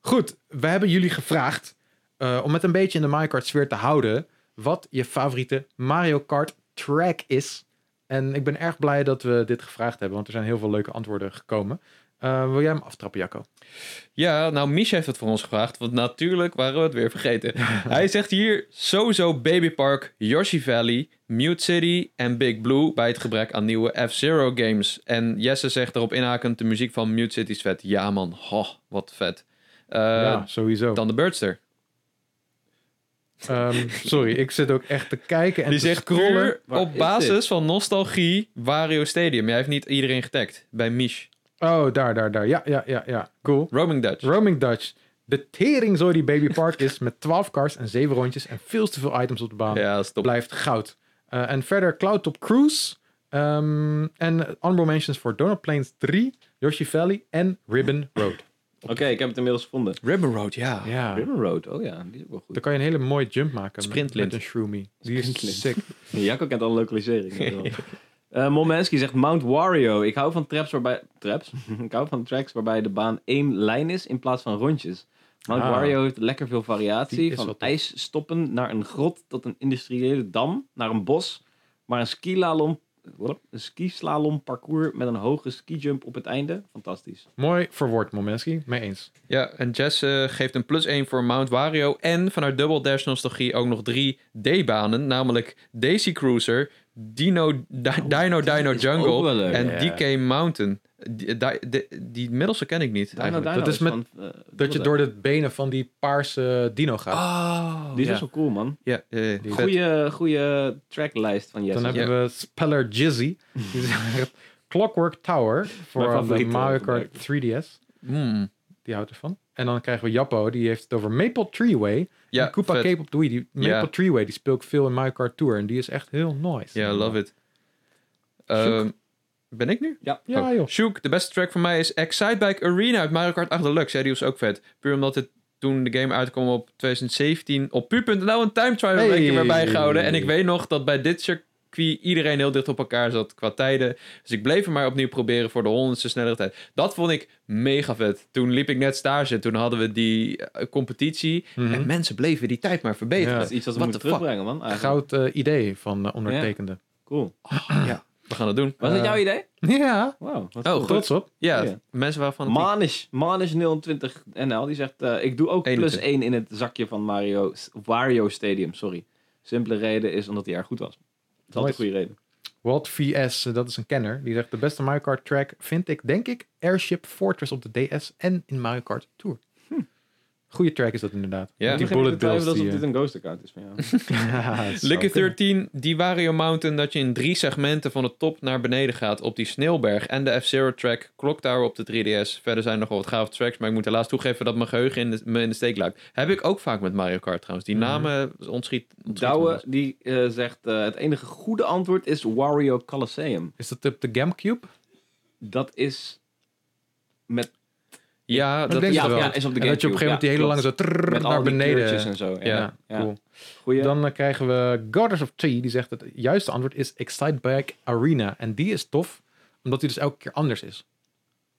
Speaker 1: Goed, we hebben jullie gevraagd eh, om het een beetje in de Mario Kart sfeer te houden. Wat je favoriete Mario Kart track is. En ik ben erg blij dat we dit gevraagd hebben, want er zijn heel veel leuke antwoorden gekomen. Eh, wil jij hem aftrappen, Jacco?
Speaker 3: Ja, nou, Mich heeft het voor ons gevraagd, want natuurlijk waren we het weer vergeten. Hij zegt hier sowieso Baby Park, Yoshi Valley, Mute City en Big Blue bij het gebrek aan nieuwe F-Zero games. En Jesse zegt erop inhakend, de muziek van Mute City is vet. Ja man, ho, wat vet. Eh,
Speaker 1: ja, sowieso.
Speaker 3: Dan de Birdster.
Speaker 1: Ehm, sorry, ik zit ook echt te kijken en
Speaker 3: Die
Speaker 1: te
Speaker 3: zegt
Speaker 1: scrollen.
Speaker 3: puur
Speaker 2: Waar
Speaker 3: op
Speaker 2: is
Speaker 3: basis
Speaker 2: dit?
Speaker 3: van nostalgie Wario Stadium. Jij heeft niet iedereen getagd bij Mich.
Speaker 1: Oh, daar, daar, daar. Ja, ja, ja, ja. Cool.
Speaker 3: Roaming Dutch.
Speaker 1: Roaming Dutch. De tering zo die Baby Park is met 12 cars en 7 rondjes en veel te veel items op de baan.
Speaker 3: ja, stop.
Speaker 1: Blijft goud. Eh, en verder Cloudtop Cruise. ehm, en honorable mentions voor Donut Plains 3, Yoshi Valley en Ribbon Road.
Speaker 2: Oké, ik heb het inmiddels gevonden.
Speaker 3: Ribbon Road, ja.
Speaker 1: Ja,
Speaker 2: Ah, Ribbon Road, oh ja, die is ook wel goed.
Speaker 1: daar kan je een hele mooie jump maken met- met,
Speaker 3: Sprintlint.
Speaker 1: een Shroomy. Die
Speaker 2: Sprintlint.
Speaker 1: is sick.
Speaker 2: Jacco kent alle lokaliseringen. Eh Momenski zegt Mount Wario. Ik hou van traps waarbij... Traps? ik hou van tracks waarbij de baan één lijn is in plaats van rondjes. Mount
Speaker 1: Ah.
Speaker 2: Wario heeft lekker veel
Speaker 1: Die
Speaker 2: variatie.
Speaker 1: is wel
Speaker 2: Van
Speaker 1: tof.
Speaker 2: ijsstoppen naar een grot tot een industriële dam naar een bos. Maar een skilalom... Wat? Een skislalom parcours met een hoge skijump op het einde. Fantastisch.
Speaker 1: Mooi verwoord, Momenski. Mee eens.
Speaker 3: Ja, en Jess eh, geeft een plus 1 voor Mount Wario. En vanuit Double Dash Nostalgie ook nog drie D-banen. Namelijk Daisy Cruiser, Dino, Di- Dino, Dino
Speaker 2: is ook
Speaker 3: Jungle
Speaker 2: wel leuk.
Speaker 3: en
Speaker 4: Ja.
Speaker 3: DK Mountain. Die, eh, die, die- die middelste ken ik niet
Speaker 2: Dino
Speaker 3: eigenlijk.
Speaker 2: Dino
Speaker 1: is met-
Speaker 2: van, eh,
Speaker 1: Dat je
Speaker 2: Zelda.
Speaker 1: door de benen van die paarse dino gaat.
Speaker 2: Ah,
Speaker 3: Oh,
Speaker 2: Die is
Speaker 3: ja.
Speaker 2: best wel cool, man.
Speaker 3: Ja, ja, ja. Vet.
Speaker 2: Goeie, goeie tracklijst van Jesse.
Speaker 1: Dan hebben we Speller Jizzy. Die zegt Clockwork Tower voor de
Speaker 2: favoriete
Speaker 1: Mario Kart
Speaker 2: gebruiker.
Speaker 1: 3DS.
Speaker 3: Mm.
Speaker 1: Die houdt ervan. En dan krijgen we Jappo, die heeft het over Maple Treeway. Ja,
Speaker 3: Ja,
Speaker 1: en Koopa
Speaker 3: vet.
Speaker 1: Cape op de Wii. Die Maple
Speaker 3: Ja.
Speaker 1: Treeway, die speel ik veel in Mario Kart Tour. En die is echt heel nice.
Speaker 3: Ja, love it. Ehm, ben ik nu?
Speaker 1: Ja,
Speaker 3: Oh.
Speaker 1: joh.
Speaker 3: Shook, de beste track voor mij is Excitebike Arena uit Mario Kart 8 Deluxe. Ja, die was ook vet. Puur omdat het toen de game uitkwam op 2017 op pu.nl nou een time trial
Speaker 1: Hey.
Speaker 3: een keer weer bijgehouden. En ik weet nog dat bij dit circuit iedereen heel dicht op elkaar zat qua tijden. Dus ik bleef hem maar opnieuw proberen voor de honderdste snellere tijd. Dat vond ik mega vet. Toen liep ik net stage. Toen hadden we die eh, competitie.
Speaker 1: Mhm.
Speaker 3: En mensen bleven die tijd maar verbeteren.
Speaker 1: Ja.
Speaker 2: Dat is iets dat we
Speaker 3: What
Speaker 2: moeten
Speaker 3: the fuck?
Speaker 2: terugbrengen, man. Eigenlijk.
Speaker 1: Goud eh, idee van eh, ondertekende.
Speaker 2: Cool.
Speaker 3: We gaan dat doen.
Speaker 2: Was dat
Speaker 1: Eh,
Speaker 2: jouw idee?
Speaker 1: Ja,
Speaker 2: Wow. wat
Speaker 3: Oh,
Speaker 2: cool.
Speaker 1: trots op.
Speaker 3: Ja,
Speaker 2: Ja.
Speaker 3: mensen waarvan het
Speaker 2: Manish, Manish 020 NL, die zegt... eh, ik doe ook
Speaker 3: 21.
Speaker 2: plus 1 in het zakje van Mario, Wario Stadium, sorry. Simpele reden is omdat hij erg goed was. Dat is altijd
Speaker 1: Nice.
Speaker 2: een goede reden.
Speaker 1: Walt VS, eh, dat is een kenner. Die zegt de beste Mario Kart track vind ik, denk ik, Airship Fortress op de DS en in Mario Kart Tour. Goeie track is dat inderdaad.
Speaker 3: Hm. Ja.
Speaker 1: Met die
Speaker 2: Ik begin
Speaker 1: bullet
Speaker 2: te twijfelen
Speaker 1: bills.
Speaker 2: alsof
Speaker 1: Die,
Speaker 2: dit een ghost account is van jou.
Speaker 1: eh, zou
Speaker 3: Lucky
Speaker 1: kunnen.
Speaker 3: 13, die Wario Mountain, dat je in drie segmenten van de top naar beneden gaat op die sneeuwberg en de F-Zero track, Clock Tower op de 3DS. Verder zijn er nog wel wat gave tracks, maar ik moet helaas toegeven dat mijn geheugen in de, me in de steek laat. Heb ik ook vaak met Mario Kart trouwens. Die
Speaker 1: Mhm.
Speaker 3: namen ontschiet. ontschiet me
Speaker 2: Douwe,
Speaker 3: best.
Speaker 2: die eh, zegt... eh, het enige goede antwoord is Wario Colosseum.
Speaker 1: Is dat op de Gamecube?
Speaker 2: Dat is... Met,
Speaker 3: Ja, dat
Speaker 1: denk
Speaker 3: is
Speaker 1: het
Speaker 3: wel.
Speaker 1: wel.
Speaker 2: is op
Speaker 1: En dat je op een gegeven moment die hele lange zo trrrr
Speaker 2: Met
Speaker 1: naar
Speaker 2: al die kleurtjes
Speaker 1: beneden.
Speaker 2: en zo.
Speaker 3: Ja.
Speaker 1: Ja, cool.
Speaker 2: Goeie.
Speaker 1: Dan eh, krijgen we Goddess of T, die zegt dat het juiste antwoord is Excitebike Arena. En die is tof, omdat die dus elke keer anders is.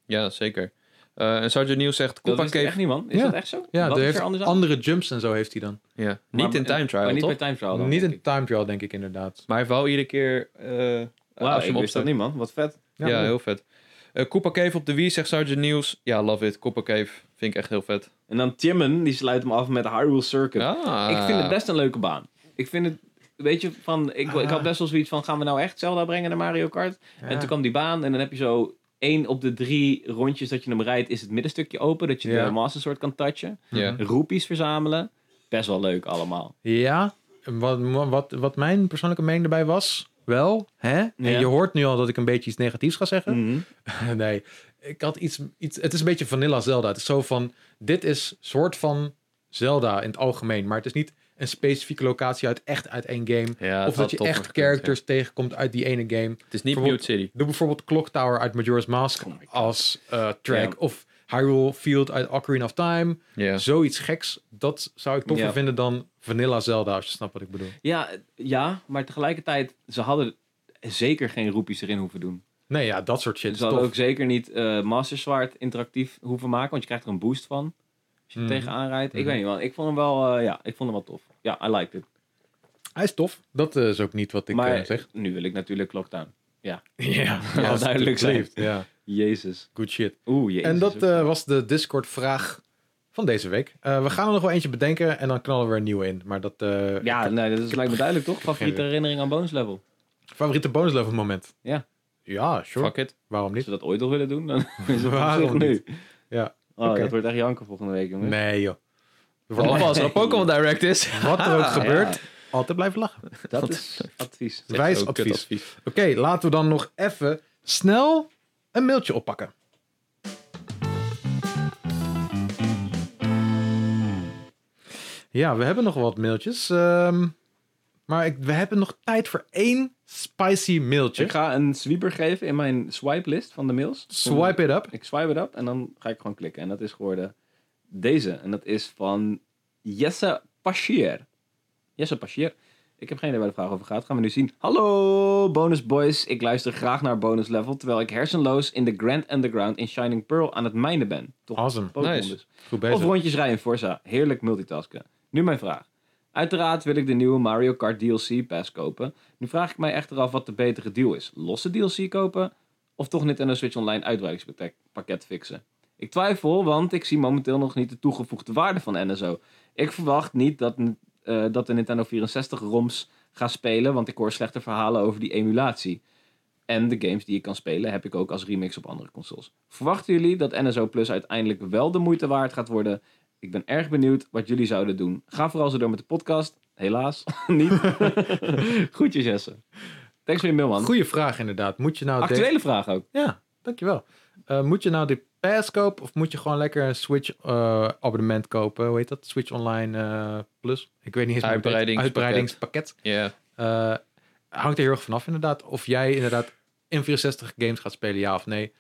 Speaker 3: Ja, zeker. Eh en Sergeant Nieuws zegt,
Speaker 2: dat
Speaker 3: Koopa
Speaker 2: is echt
Speaker 3: Cave.
Speaker 2: niet, man. Is
Speaker 1: Ja.
Speaker 2: dat echt zo?
Speaker 1: Ja,
Speaker 2: Wat
Speaker 1: die
Speaker 2: is
Speaker 1: heeft
Speaker 2: er anders aan?
Speaker 1: andere jumps en zo heeft hij dan.
Speaker 3: Ja.
Speaker 2: Maar-
Speaker 3: Niet in Time
Speaker 2: maar
Speaker 3: Trial,
Speaker 2: niet
Speaker 3: toch?
Speaker 2: bij Time Trial dan.
Speaker 1: Niet
Speaker 2: denk
Speaker 1: een
Speaker 2: ik.
Speaker 1: time trial, denk ik inderdaad.
Speaker 3: Maar hij wou iedere keer... eh
Speaker 2: Wauw,
Speaker 3: als je
Speaker 2: ik
Speaker 3: hem
Speaker 2: wist
Speaker 3: opstaat.
Speaker 2: dat niet, man. Wat vet.
Speaker 3: Ja,
Speaker 1: Ja,
Speaker 3: heel vet. Eh Koopa Cave op de Wii, zegt Sergeant Nieuws. Ja, love it. Koopa Cave vind ik echt heel vet.
Speaker 2: En dan Timmen, die sluit hem af met Hyrule Circuit.
Speaker 3: Ah.
Speaker 2: Ik vind het best een leuke baan. Ik vind het, weet je, van, ik, ik had best wel zoiets van, gaan we nou echt Zelda brengen naar Mario Kart? En toen kwam die baan en dan heb je zo één op de drie rondjes dat je hem rijdt, is het middenstukje open, dat je
Speaker 1: Ja.
Speaker 2: de Master Sword kan touchen.
Speaker 3: Ja.
Speaker 2: Roepies verzamelen. Best wel leuk allemaal.
Speaker 1: Ja, wat, wat, wat mijn persoonlijke mening erbij was, wel, hè? En je hoort nu al dat ik een beetje iets negatiefs ga zeggen.
Speaker 2: Mhm.
Speaker 1: nee, ik had iets, iets... Het is een beetje Vanilla Zelda. Het is zo van, dit is soort van Zelda in het algemeen. Maar het is niet een specifieke locatie uit echt uit één game.
Speaker 3: Ja,
Speaker 1: of dat je echt characters tegenkomt uit die ene game.
Speaker 3: Het is niet
Speaker 1: Bijvoorbeeld-
Speaker 3: Mute City.
Speaker 1: Doe bijvoorbeeld Clock Tower uit Majora's Mask
Speaker 2: Oh my God.
Speaker 1: als eh, track.
Speaker 2: Ja.
Speaker 1: Of Hyrule Field uit Ocarina of Time.
Speaker 3: Ja.
Speaker 1: Zoiets geks, dat zou ik toffer
Speaker 2: Ja.
Speaker 1: vinden dan Vanilla Zelda, als je snapt wat ik bedoel.
Speaker 2: Ja, ja, maar tegelijkertijd, ze hadden zeker geen roepies erin hoeven doen.
Speaker 1: Nee, ja, dat soort shit is
Speaker 2: Ze hadden
Speaker 1: tof.
Speaker 2: ook zeker niet eh Master Sword interactief hoeven maken, want je krijgt er een boost van. Als je er
Speaker 1: Mhm.
Speaker 2: tegenaan rijdt. Ik
Speaker 1: Mhm.
Speaker 2: weet niet, man. Ik vond hem wel, eh, ja, ik vond hem wel tof. Ja, I liked it.
Speaker 1: Hij is tof. Dat eh, is ook niet wat ik
Speaker 2: maar
Speaker 1: eh, zeg.
Speaker 2: nu wil ik natuurlijk Lockdown.
Speaker 1: Ja,
Speaker 2: Ja, duidelijk zijn.
Speaker 1: alsjeblieft. Ja,
Speaker 2: Jezus.
Speaker 1: good shit.
Speaker 2: Oeh, jezus.
Speaker 1: en dat eh, was de Discord-vraag van deze week. Eh, we gaan er nog wel eentje bedenken en dan knallen we er een nieuwe in. Maar dat eh,
Speaker 2: ja, nee, dat is, lijkt me duidelijk, toch? Favoriete
Speaker 1: geen-
Speaker 2: herinnering aan Bones Level.
Speaker 1: favoriete bonuslevel moment.
Speaker 2: Ja.
Speaker 1: Ja, sure.
Speaker 3: Fuck it.
Speaker 1: Waarom
Speaker 2: Als
Speaker 1: niet?
Speaker 2: ze dat ooit nog willen doen, dan is het
Speaker 1: Waarom
Speaker 2: op zich nu.
Speaker 1: Ja.
Speaker 2: Oh,
Speaker 1: Oké.
Speaker 2: dat wordt echt janken volgende week, jongen.
Speaker 1: Nee, joh. Er wordt
Speaker 3: Vooral
Speaker 1: altijd-
Speaker 3: als er een Pokémon Direct is.
Speaker 1: Wat er ook
Speaker 2: Ah, Oh. ja,
Speaker 1: gebeurt, altijd blijven lachen.
Speaker 2: dat is advies.
Speaker 1: Wijs advies. Oké, laten we dan nog even snel een mailtje oppakken. Ja, we hebben nog wat mailtjes. ehm, maar ik, we hebben nog tijd voor één spicy mailtje.
Speaker 2: Ik ga een sweeper geven in mijn swipe list van de mails.
Speaker 1: Swipe it up.
Speaker 2: Ik swipe het op en dan ga ik gewoon klikken. En dat is geworden deze. En dat is van Jesse Paschier. Jesse Paschier. Ik heb geen idee waar de vraag over gaat. Gaan we nu zien. Hallo, bonus boys. Ik luister graag naar bonus level. Terwijl ik hersenloos in de Grand Underground in Shining Pearl aan het mijnen ben. Toch
Speaker 1: Awesome.
Speaker 2: Pokémon
Speaker 3: Nice.
Speaker 2: dus.
Speaker 1: Goed bezig.
Speaker 2: Of rondjes rijden in Forza. Heerlijk multitasken. Nu mijn vraag. Uiteraard wil ik de nieuwe Mario Kart DLC pass kopen. Nu vraag ik mij echter af wat de betere deal is. Losse DLC kopen of toch Nintendo Switch Online uitbreidingspakket fixen? Ik twijfel, want ik zie momenteel nog niet de toegevoegde waarde van NSO. Ik verwacht niet dat, eh, dat de Nintendo 64 ROMs ga spelen, want ik hoor slechte verhalen over die emulatie. En de games die ik kan spelen heb ik ook als remix op andere consoles. Verwachten jullie dat NSO Plus uiteindelijk wel de moeite waard gaat worden? Ik ben erg benieuwd wat jullie zouden doen. Ga vooral zo door met de podcast. Helaas, niet. Groetjes Jesse. Thanks voor je mail man.
Speaker 1: Goeie vraag inderdaad. Moet je nou... de-
Speaker 2: Actuele vraag ook.
Speaker 1: Ja, dankjewel. Eh moet je nou de Pass kopen of moet je gewoon lekker een Switch eh, abonnement kopen? Hoe heet dat? Switch Online eh, Plus? Ik weet niet eens meer hoe het heet.
Speaker 3: Uitbreidingspakket.
Speaker 1: Uitbreidingspakket.
Speaker 3: Ja.
Speaker 1: Eh, hangt er heel erg vanaf inderdaad. Of jij inderdaad N64 games gaat spelen, ja of nee.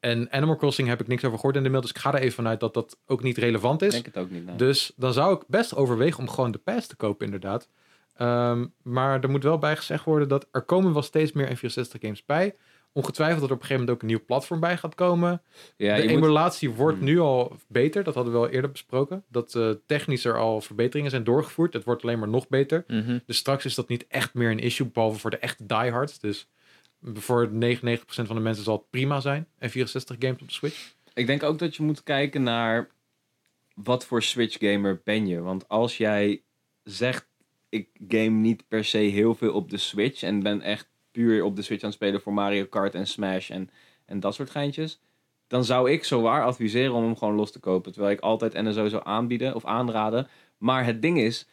Speaker 1: En Animal Crossing heb ik niks over gehoord in de mail. Dus ik ga er even vanuit dat dat ook niet relevant
Speaker 2: Ik
Speaker 1: is.
Speaker 2: denk het ook niet. nee.
Speaker 1: Dus dan zou ik best overwegen om gewoon de pass te kopen, inderdaad. Ehm, maar er moet wel bij gezegd worden dat er komen wel steeds meer N64 games bij. Ongetwijfeld dat er op een gegeven moment ook een nieuw platform bij gaat komen.
Speaker 2: ja,
Speaker 1: de
Speaker 2: je moet-
Speaker 1: emulatie wordt
Speaker 2: Hmm.
Speaker 1: nu al beter. Dat hadden we al eerder besproken. Dat eh, technisch er al verbeteringen zijn doorgevoerd. Het wordt alleen maar nog beter.
Speaker 3: Mhm.
Speaker 1: Dus straks is dat niet echt meer een issue, behalve voor de echte diehards. Dus voor 99% van de mensen zal het prima zijn. En 64 games op de Switch.
Speaker 2: Ik denk ook dat je moet kijken naar wat voor Switch gamer ben je. Want als jij zegt, ik game niet per se heel veel op de Switch en ben echt puur op de Switch aan het spelen voor Mario Kart en Smash en, en dat soort geintjes. Dan zou ik zowaar adviseren om hem gewoon los te kopen. Terwijl ik altijd NSO zou aanbieden of aanraden. Maar het ding is,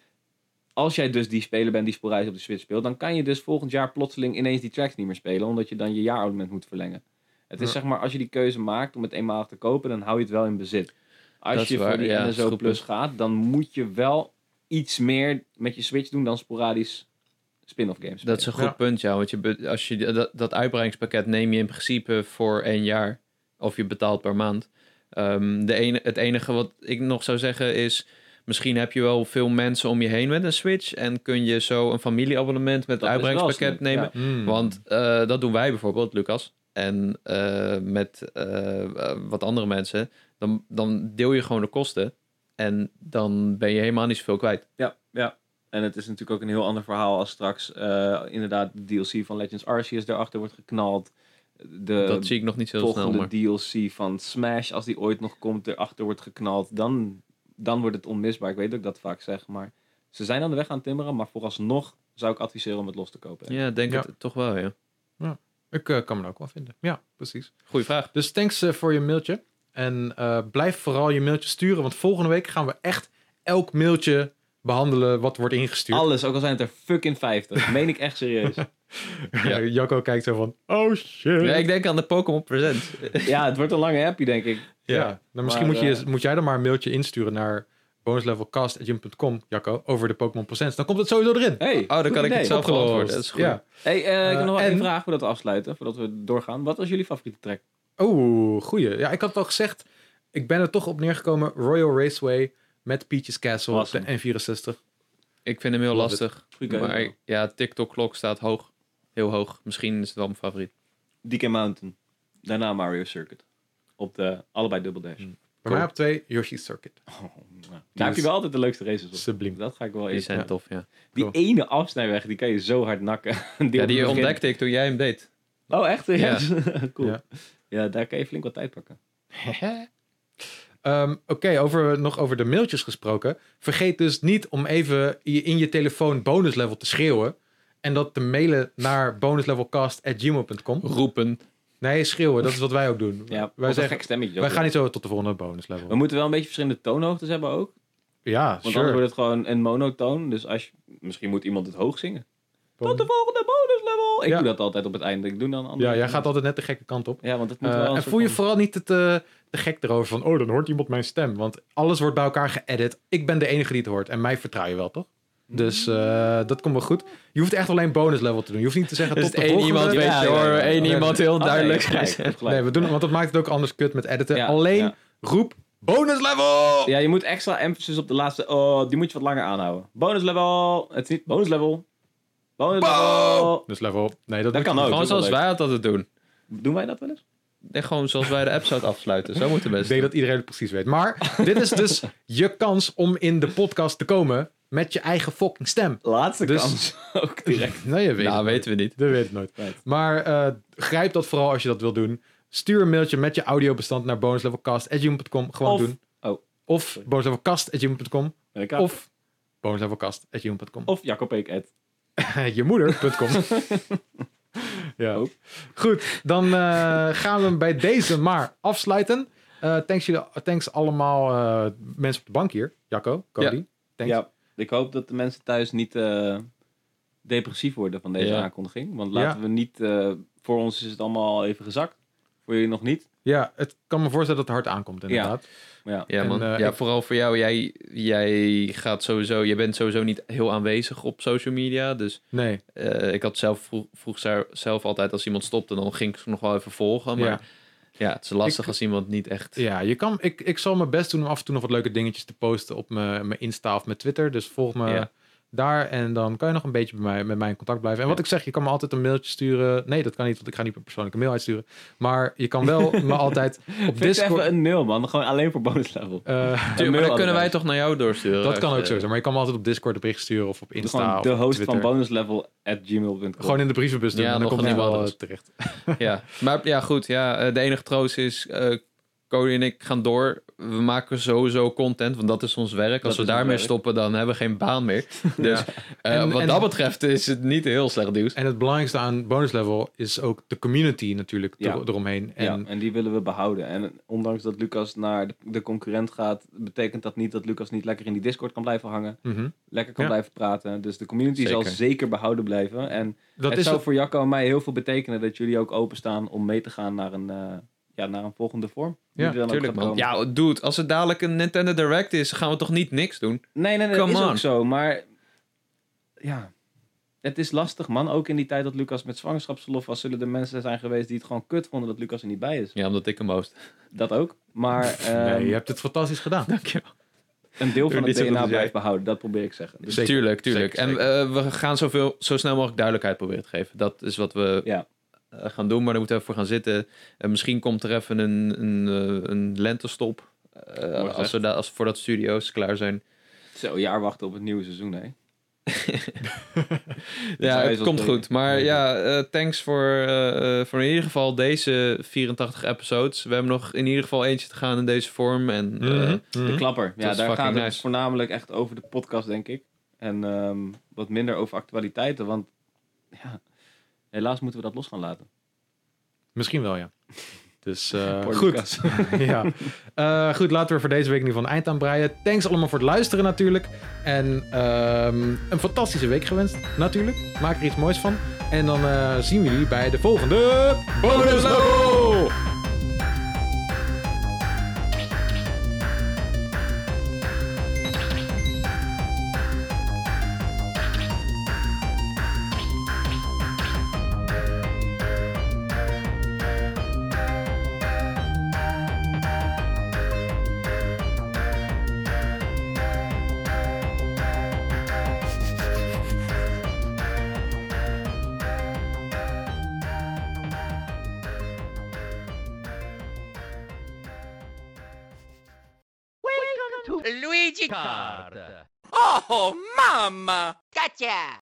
Speaker 2: als jij dus die speler bent die sporadisch op de Switch speelt, dan kan je dus volgend jaar plotseling ineens die tracks niet meer spelen, omdat je dan je jaarabonnement moet verlengen. Het is
Speaker 1: Ja.
Speaker 2: zeg maar, als je die keuze maakt om het eenmalig te kopen, dan hou je het wel in bezit. Als
Speaker 3: Dat is
Speaker 2: je
Speaker 3: waar,
Speaker 2: voor die
Speaker 3: ja,
Speaker 2: NSO
Speaker 3: goed
Speaker 2: Plus
Speaker 3: punt.
Speaker 2: gaat, dan moet je wel iets meer met je Switch doen dan sporadisch spin-off games.
Speaker 3: Dat is een goed
Speaker 1: Ja.
Speaker 3: punt, ja. Want je be- als je dat, dat uitbreidingspakket neem je in principe voor één jaar. Of je betaalt per maand. Ehm, de ene, het enige wat ik nog zou zeggen is... Misschien heb je wel veel mensen om je heen met een Switch... en kun je zo een familieabonnement met
Speaker 2: Dat
Speaker 3: het
Speaker 2: is wel
Speaker 3: uitbreidingspakket
Speaker 2: slim,
Speaker 3: nemen.
Speaker 2: ja.
Speaker 1: Hmm.
Speaker 3: Want eh, dat doen wij bijvoorbeeld, Lucas. En eh, met eh, eh, wat andere mensen. Dan, dan deel je gewoon de kosten. En dan ben je helemaal niet zoveel kwijt.
Speaker 2: Ja, ja. En het is natuurlijk ook een heel ander verhaal als straks eh, inderdaad de DLC van Legends Arceus daarachter wordt geknald. De
Speaker 3: dat zie ik nog niet zo heel snel.
Speaker 2: Eh, volgende
Speaker 3: Maar...
Speaker 2: DLC van Smash, als die ooit nog komt, erachter wordt geknald. Dan, dan wordt het onmisbaar. Ik weet dat ik dat vaak zeg, maar ze zijn aan de weg aan het timmeren. Maar vooralsnog zou ik adviseren om het los te kopen.
Speaker 3: Ja, denk
Speaker 1: Ja.
Speaker 3: het toch wel, ja.
Speaker 1: Ik eh, kan me er ook wel vinden. Ja, precies.
Speaker 3: Goeie vraag.
Speaker 1: Dus thanks eh, voor je mailtje. En eh, blijf vooral je mailtje sturen, want volgende week gaan we echt elk mailtje behandelen wat wordt ingestuurd.
Speaker 2: Alles, ook al zijn het er fucking 50. Meen ik echt serieus.
Speaker 3: Ja.
Speaker 1: Jacco kijkt zo van, oh shit.
Speaker 3: Ja, ik denk aan de Pokémon Oh, Present.
Speaker 2: ja, het wordt een lange happy, denk ik.
Speaker 1: Ja,
Speaker 3: Ja.
Speaker 1: nou, misschien
Speaker 2: Maar,
Speaker 1: moet, je,
Speaker 2: eh,
Speaker 1: moet jij dan maar een mailtje insturen naar bonuslevelcast.jim.com, Jacco, over de Pokémon Presents. Dan komt het sowieso erin.
Speaker 2: Hey,
Speaker 3: Oh, dan
Speaker 2: goed
Speaker 3: kan ik
Speaker 2: idee.
Speaker 3: het zelf
Speaker 1: Opgelost.
Speaker 3: beantwoorden. Dat is goed.
Speaker 1: Ja.
Speaker 2: Hey, eh, ik heb
Speaker 1: Eh,
Speaker 2: nog wel
Speaker 1: en-
Speaker 2: één vraag voordat we afsluiten, voordat we doorgaan. Wat was jullie favoriete track?
Speaker 1: Oh, goeie. Ja, ik had het al gezegd. Ik ben er toch op neergekomen. Royal Raceway met Peach's Castle op de
Speaker 2: Awesome.
Speaker 1: N64.
Speaker 3: Ik vind hem heel
Speaker 1: Love it.
Speaker 3: lastig.
Speaker 2: Goeie keuze.
Speaker 3: Maar ja, TikTok-klok staat hoog. Heel hoog. Misschien is het wel mijn favoriet.
Speaker 2: DK Mountain. Daarna Mario Circuit. Op de allebei Double Dash.
Speaker 1: Bij
Speaker 3: Cool.
Speaker 1: mij op twee, Yoshi's Circuit.
Speaker 2: Oh, nou. Daar
Speaker 1: dus
Speaker 2: heb je wel altijd de leukste races op.
Speaker 1: Subliem.
Speaker 2: Dat ga ik wel
Speaker 3: Die
Speaker 2: eerst
Speaker 3: zijn
Speaker 1: Ja.
Speaker 3: tof, ja.
Speaker 2: Die
Speaker 1: Cool.
Speaker 2: ene afsnijweg, die kan je zo hard nakken. Die
Speaker 3: Ja,
Speaker 2: op het
Speaker 3: die
Speaker 2: begin-
Speaker 3: ontdekte ik toen jij hem deed.
Speaker 2: Oh, echt? Ja.
Speaker 3: Ja.
Speaker 2: cool.
Speaker 1: Ja.
Speaker 2: Ja. daar kan je flink wat tijd pakken.
Speaker 1: Ehm, Oké, over, nog over de mailtjes gesproken. Vergeet dus niet om even je- in je telefoon bonuslevel te schreeuwen. En dat te mailen naar bonuslevelcast.gmail.com.
Speaker 3: Roepen.
Speaker 1: Nee, schreeuwen, dat is wat wij ook doen.
Speaker 2: Ja,
Speaker 1: wij, zeggen,
Speaker 2: gek stemmetje.
Speaker 1: wij gaan niet zo tot de volgende bonuslevel.
Speaker 2: We moeten wel een beetje verschillende toonhoogtes hebben ook. Want
Speaker 1: ja,
Speaker 2: anders
Speaker 1: sure.
Speaker 2: wordt het gewoon een monotoon. Dus als je, misschien moet iemand het hoog zingen. Tot de
Speaker 1: Bonus-
Speaker 2: volgende bonuslevel! Ik
Speaker 1: Ja.
Speaker 2: doe dat altijd op het einde. Ik doe dan een andere.
Speaker 1: Ja, jij gaat altijd net de gekke kant op.
Speaker 2: Ja, want het moet
Speaker 1: Eh,
Speaker 2: wel een
Speaker 1: en
Speaker 2: soort
Speaker 1: voel je
Speaker 2: van-
Speaker 1: vooral niet te, te, te gek erover van... oh, dan hoort iemand mijn stem. Want alles wordt bij elkaar geëdit. Ik ben de enige die het hoort. En mij vertrouw je wel, toch? Dus eh, dat komt wel goed. Je hoeft echt alleen bonuslevel te doen. Je hoeft niet te zeggen
Speaker 3: Dus
Speaker 1: tot de
Speaker 3: één
Speaker 1: volgende.
Speaker 3: iemand weet
Speaker 2: Ja,
Speaker 3: je
Speaker 2: ja,
Speaker 3: hoor.
Speaker 2: ja, ja.
Speaker 3: Eén
Speaker 1: Ja,
Speaker 3: iemand heel
Speaker 2: Oh, nee,
Speaker 3: duidelijk.
Speaker 2: je hebt gelijk, je hebt gelijk.
Speaker 1: Nee, we doen het, want dat maakt het ook anders kut met editen.
Speaker 2: Ja,
Speaker 1: alleen
Speaker 2: ja.
Speaker 1: roep bonuslevel!
Speaker 2: Ja, je moet extra emphasis op de laatste. Oh, die moet je wat langer aanhouden. Bonus level. Het is niet bonus level. Bonus level.
Speaker 1: Bonuslevel. Nee, dat,
Speaker 2: Dat
Speaker 1: moet je
Speaker 2: kan ook.
Speaker 3: Gewoon
Speaker 2: dat is wel
Speaker 3: zoals
Speaker 2: leuk.
Speaker 3: wij dat altijd doen.
Speaker 2: Doen wij dat wel eens?
Speaker 3: En gewoon zoals wij de episode afsluiten. Zo moeten we
Speaker 1: Ik
Speaker 3: best.
Speaker 1: denk dat iedereen het precies weet. Maar dit is dus je kans om in de podcast te komen met je eigen fucking stem.
Speaker 2: Laatste
Speaker 1: Dus-
Speaker 2: kans. Ook direct.
Speaker 1: Nee, je weet
Speaker 3: Nou,
Speaker 1: het
Speaker 3: weten we niet.
Speaker 1: Dat weet het nooit.
Speaker 2: Right.
Speaker 1: Maar eh, grijp dat vooral als je dat wil doen. Stuur een mailtje met je audiobestand naar bonuslevelcast.com. Gewoon
Speaker 2: Of-
Speaker 1: doen.
Speaker 2: oh.
Speaker 1: Of bonuslevelcast.com.
Speaker 2: Ben ik aan.
Speaker 1: Of bonuslevelcast.com.
Speaker 2: Of Jacob Eek at
Speaker 1: je moeder.com. ja.
Speaker 2: Oh.
Speaker 1: Goed, dan eh, gaan we hem bij deze maar afsluiten. Eh, thanks, jullie, thanks allemaal eh, mensen op de bank hier. Jacco, Cody. Thanks.
Speaker 2: Ja, ik hoop dat de mensen thuis niet eh, depressief worden van deze
Speaker 3: Ja.
Speaker 2: aankondiging. Want laten we niet... eh, voor ons is het allemaal even gezakt. Voor jullie nog niet.
Speaker 1: Ja, het kan me voorstellen dat het hard aankomt inderdaad.
Speaker 2: Maar ja,
Speaker 3: Ja,
Speaker 1: En,
Speaker 3: man.
Speaker 1: eh,
Speaker 3: ja,
Speaker 1: ik-
Speaker 3: vooral voor jou. Jij, jij gaat sowieso, jij bent sowieso niet heel aanwezig op social media. Dus
Speaker 1: Nee,
Speaker 3: eh, ik had zelf vroeg, vroeg ze- zelf altijd als iemand stopte, dan ging ik ze nog wel even volgen. Maar
Speaker 1: ja.
Speaker 3: ja, het is lastig als iemand niet echt.
Speaker 1: Ja, je kan, ik, ik zal mijn best doen om af en toe nog wat leuke dingetjes te posten op mijn, mijn Insta of mijn Twitter. Dus volg me
Speaker 3: Ja.
Speaker 1: daar en dan kan je nog een beetje bij mij, met mij in contact blijven. En wat
Speaker 3: Ja.
Speaker 1: ik zeg, je kan me altijd een mailtje sturen. Nee, dat kan niet, want ik ga niet per persoonlijke mail uitsturen. Maar je kan wel me altijd op
Speaker 2: Vind
Speaker 1: Discord...
Speaker 2: even een nul, man. Gewoon alleen voor bonus level.
Speaker 1: eh,
Speaker 3: Tuurlijk, maar
Speaker 2: mail
Speaker 3: dan kunnen wij
Speaker 2: adres.
Speaker 3: toch naar jou doorsturen.
Speaker 1: dat kan
Speaker 3: als
Speaker 1: ook
Speaker 3: je-
Speaker 1: zo zijn, maar je kan me altijd op Discord een bericht sturen of op Insta
Speaker 2: Gewoon
Speaker 1: of
Speaker 2: de
Speaker 1: op
Speaker 2: host
Speaker 1: Twitter.
Speaker 2: van bonuslevel@gmail.com.
Speaker 1: Gewoon in de brievenbus doen,
Speaker 3: Ja,
Speaker 1: ja, dan
Speaker 3: nog
Speaker 1: komt
Speaker 3: een
Speaker 1: het
Speaker 3: nieuw
Speaker 1: wel
Speaker 3: adres.
Speaker 1: eh, terecht.
Speaker 3: Ja, maar ja, goed. Ja, eh, de enige troost is, eh Cody en ik gaan door. We maken sowieso content, want dat is ons werk. Als
Speaker 2: Dat is ons
Speaker 3: we daarmee
Speaker 2: werk.
Speaker 3: stoppen, dan hebben we geen baan meer. Dus
Speaker 1: Ja.
Speaker 3: eh,
Speaker 1: En-
Speaker 3: wat
Speaker 1: en-
Speaker 3: dat betreft is het niet heel slecht nieuws.
Speaker 1: En het belangrijkste aan bonus level is ook de community natuurlijk
Speaker 2: Ja.
Speaker 1: er- eromheen. En
Speaker 2: ja, en die willen we behouden. En ondanks dat Lucas naar de- de concurrent gaat, betekent dat niet dat Lucas niet lekker in die Discord kan blijven hangen.
Speaker 1: mhm.
Speaker 2: Lekker kan
Speaker 1: Ja.
Speaker 2: blijven praten. Dus de community zal
Speaker 3: Zeker.
Speaker 2: zeker behouden blijven. En
Speaker 1: dat
Speaker 2: het
Speaker 1: is
Speaker 2: zou
Speaker 1: het-
Speaker 2: voor Jacco en mij heel veel betekenen dat jullie ook openstaan om mee te gaan naar een, eh, ja, naar een volgende vorm. Die
Speaker 1: Ja,
Speaker 2: er dan ook
Speaker 3: Tuurlijk,
Speaker 2: gaat
Speaker 3: man.
Speaker 2: komen.
Speaker 3: Ja, dude, als het dadelijk een Nintendo Direct is, gaan we toch niet niks doen?
Speaker 2: Nee, nee, nee, dat
Speaker 3: Come
Speaker 2: is
Speaker 3: on.
Speaker 2: ook zo. Maar ja, het is lastig, man. Ook in die tijd dat Lucas met zwangerschapsverlof was, zullen er mensen zijn geweest die het gewoon kut vonden dat Lucas er niet bij is.
Speaker 3: Ja, omdat ik hem host.
Speaker 2: Dat ook. Maar ehm,
Speaker 1: Nee, je hebt het fantastisch gedaan.
Speaker 3: Dankjewel.
Speaker 2: een deel van
Speaker 3: Doe
Speaker 2: het
Speaker 3: niet zo goed
Speaker 2: DNA
Speaker 3: als jij.
Speaker 2: blijft behouden. Dat probeer ik zeggen. Dus
Speaker 1: Zeker,
Speaker 3: tuurlijk, tuurlijk.
Speaker 1: zeker,
Speaker 3: En eh, we gaan zoveel, zo snel mogelijk duidelijkheid proberen te geven. Dat is wat we
Speaker 2: Ja.
Speaker 3: eh, gaan doen, maar daar moeten we voor gaan zitten. En misschien komt er even een, een, eh, een lentestop. eh,
Speaker 2: gezegd.
Speaker 3: als, we da- als voordat studio's klaar zijn.
Speaker 2: zo, een jaar wachten op het nieuwe seizoen, hè. zou
Speaker 3: Ja,
Speaker 2: je
Speaker 3: het
Speaker 2: zo
Speaker 3: komt
Speaker 2: spreken.
Speaker 3: goed. Maar ja, eh, thanks voor, eh, eh, voor in ieder geval deze 84 episodes. We hebben nog in ieder geval eentje te gaan in deze vorm. En eh,
Speaker 1: Mhm,
Speaker 2: De
Speaker 1: mhm.
Speaker 2: klapper. Ja,
Speaker 3: is
Speaker 2: daar
Speaker 3: fucking
Speaker 2: gaat het
Speaker 3: nice.
Speaker 2: voornamelijk echt over de podcast, denk ik. En ehm, wat minder over actualiteiten, want ja, helaas moeten we dat los gaan laten.
Speaker 1: Misschien wel, ja. Dus eh,
Speaker 2: Poor
Speaker 1: goed.
Speaker 2: Lucas.
Speaker 1: ja. Eh, goed, laten we voor deze week in ieder geval een eind aan breien. Thanks allemaal voor het luisteren natuurlijk. En ehm, een fantastische week gewenst, natuurlijk. Maak er iets moois van. En dan eh, zien we jullie bij de volgende Bonus Level!
Speaker 4: Welcome to
Speaker 5: Luigi Card.
Speaker 4: Gotcha!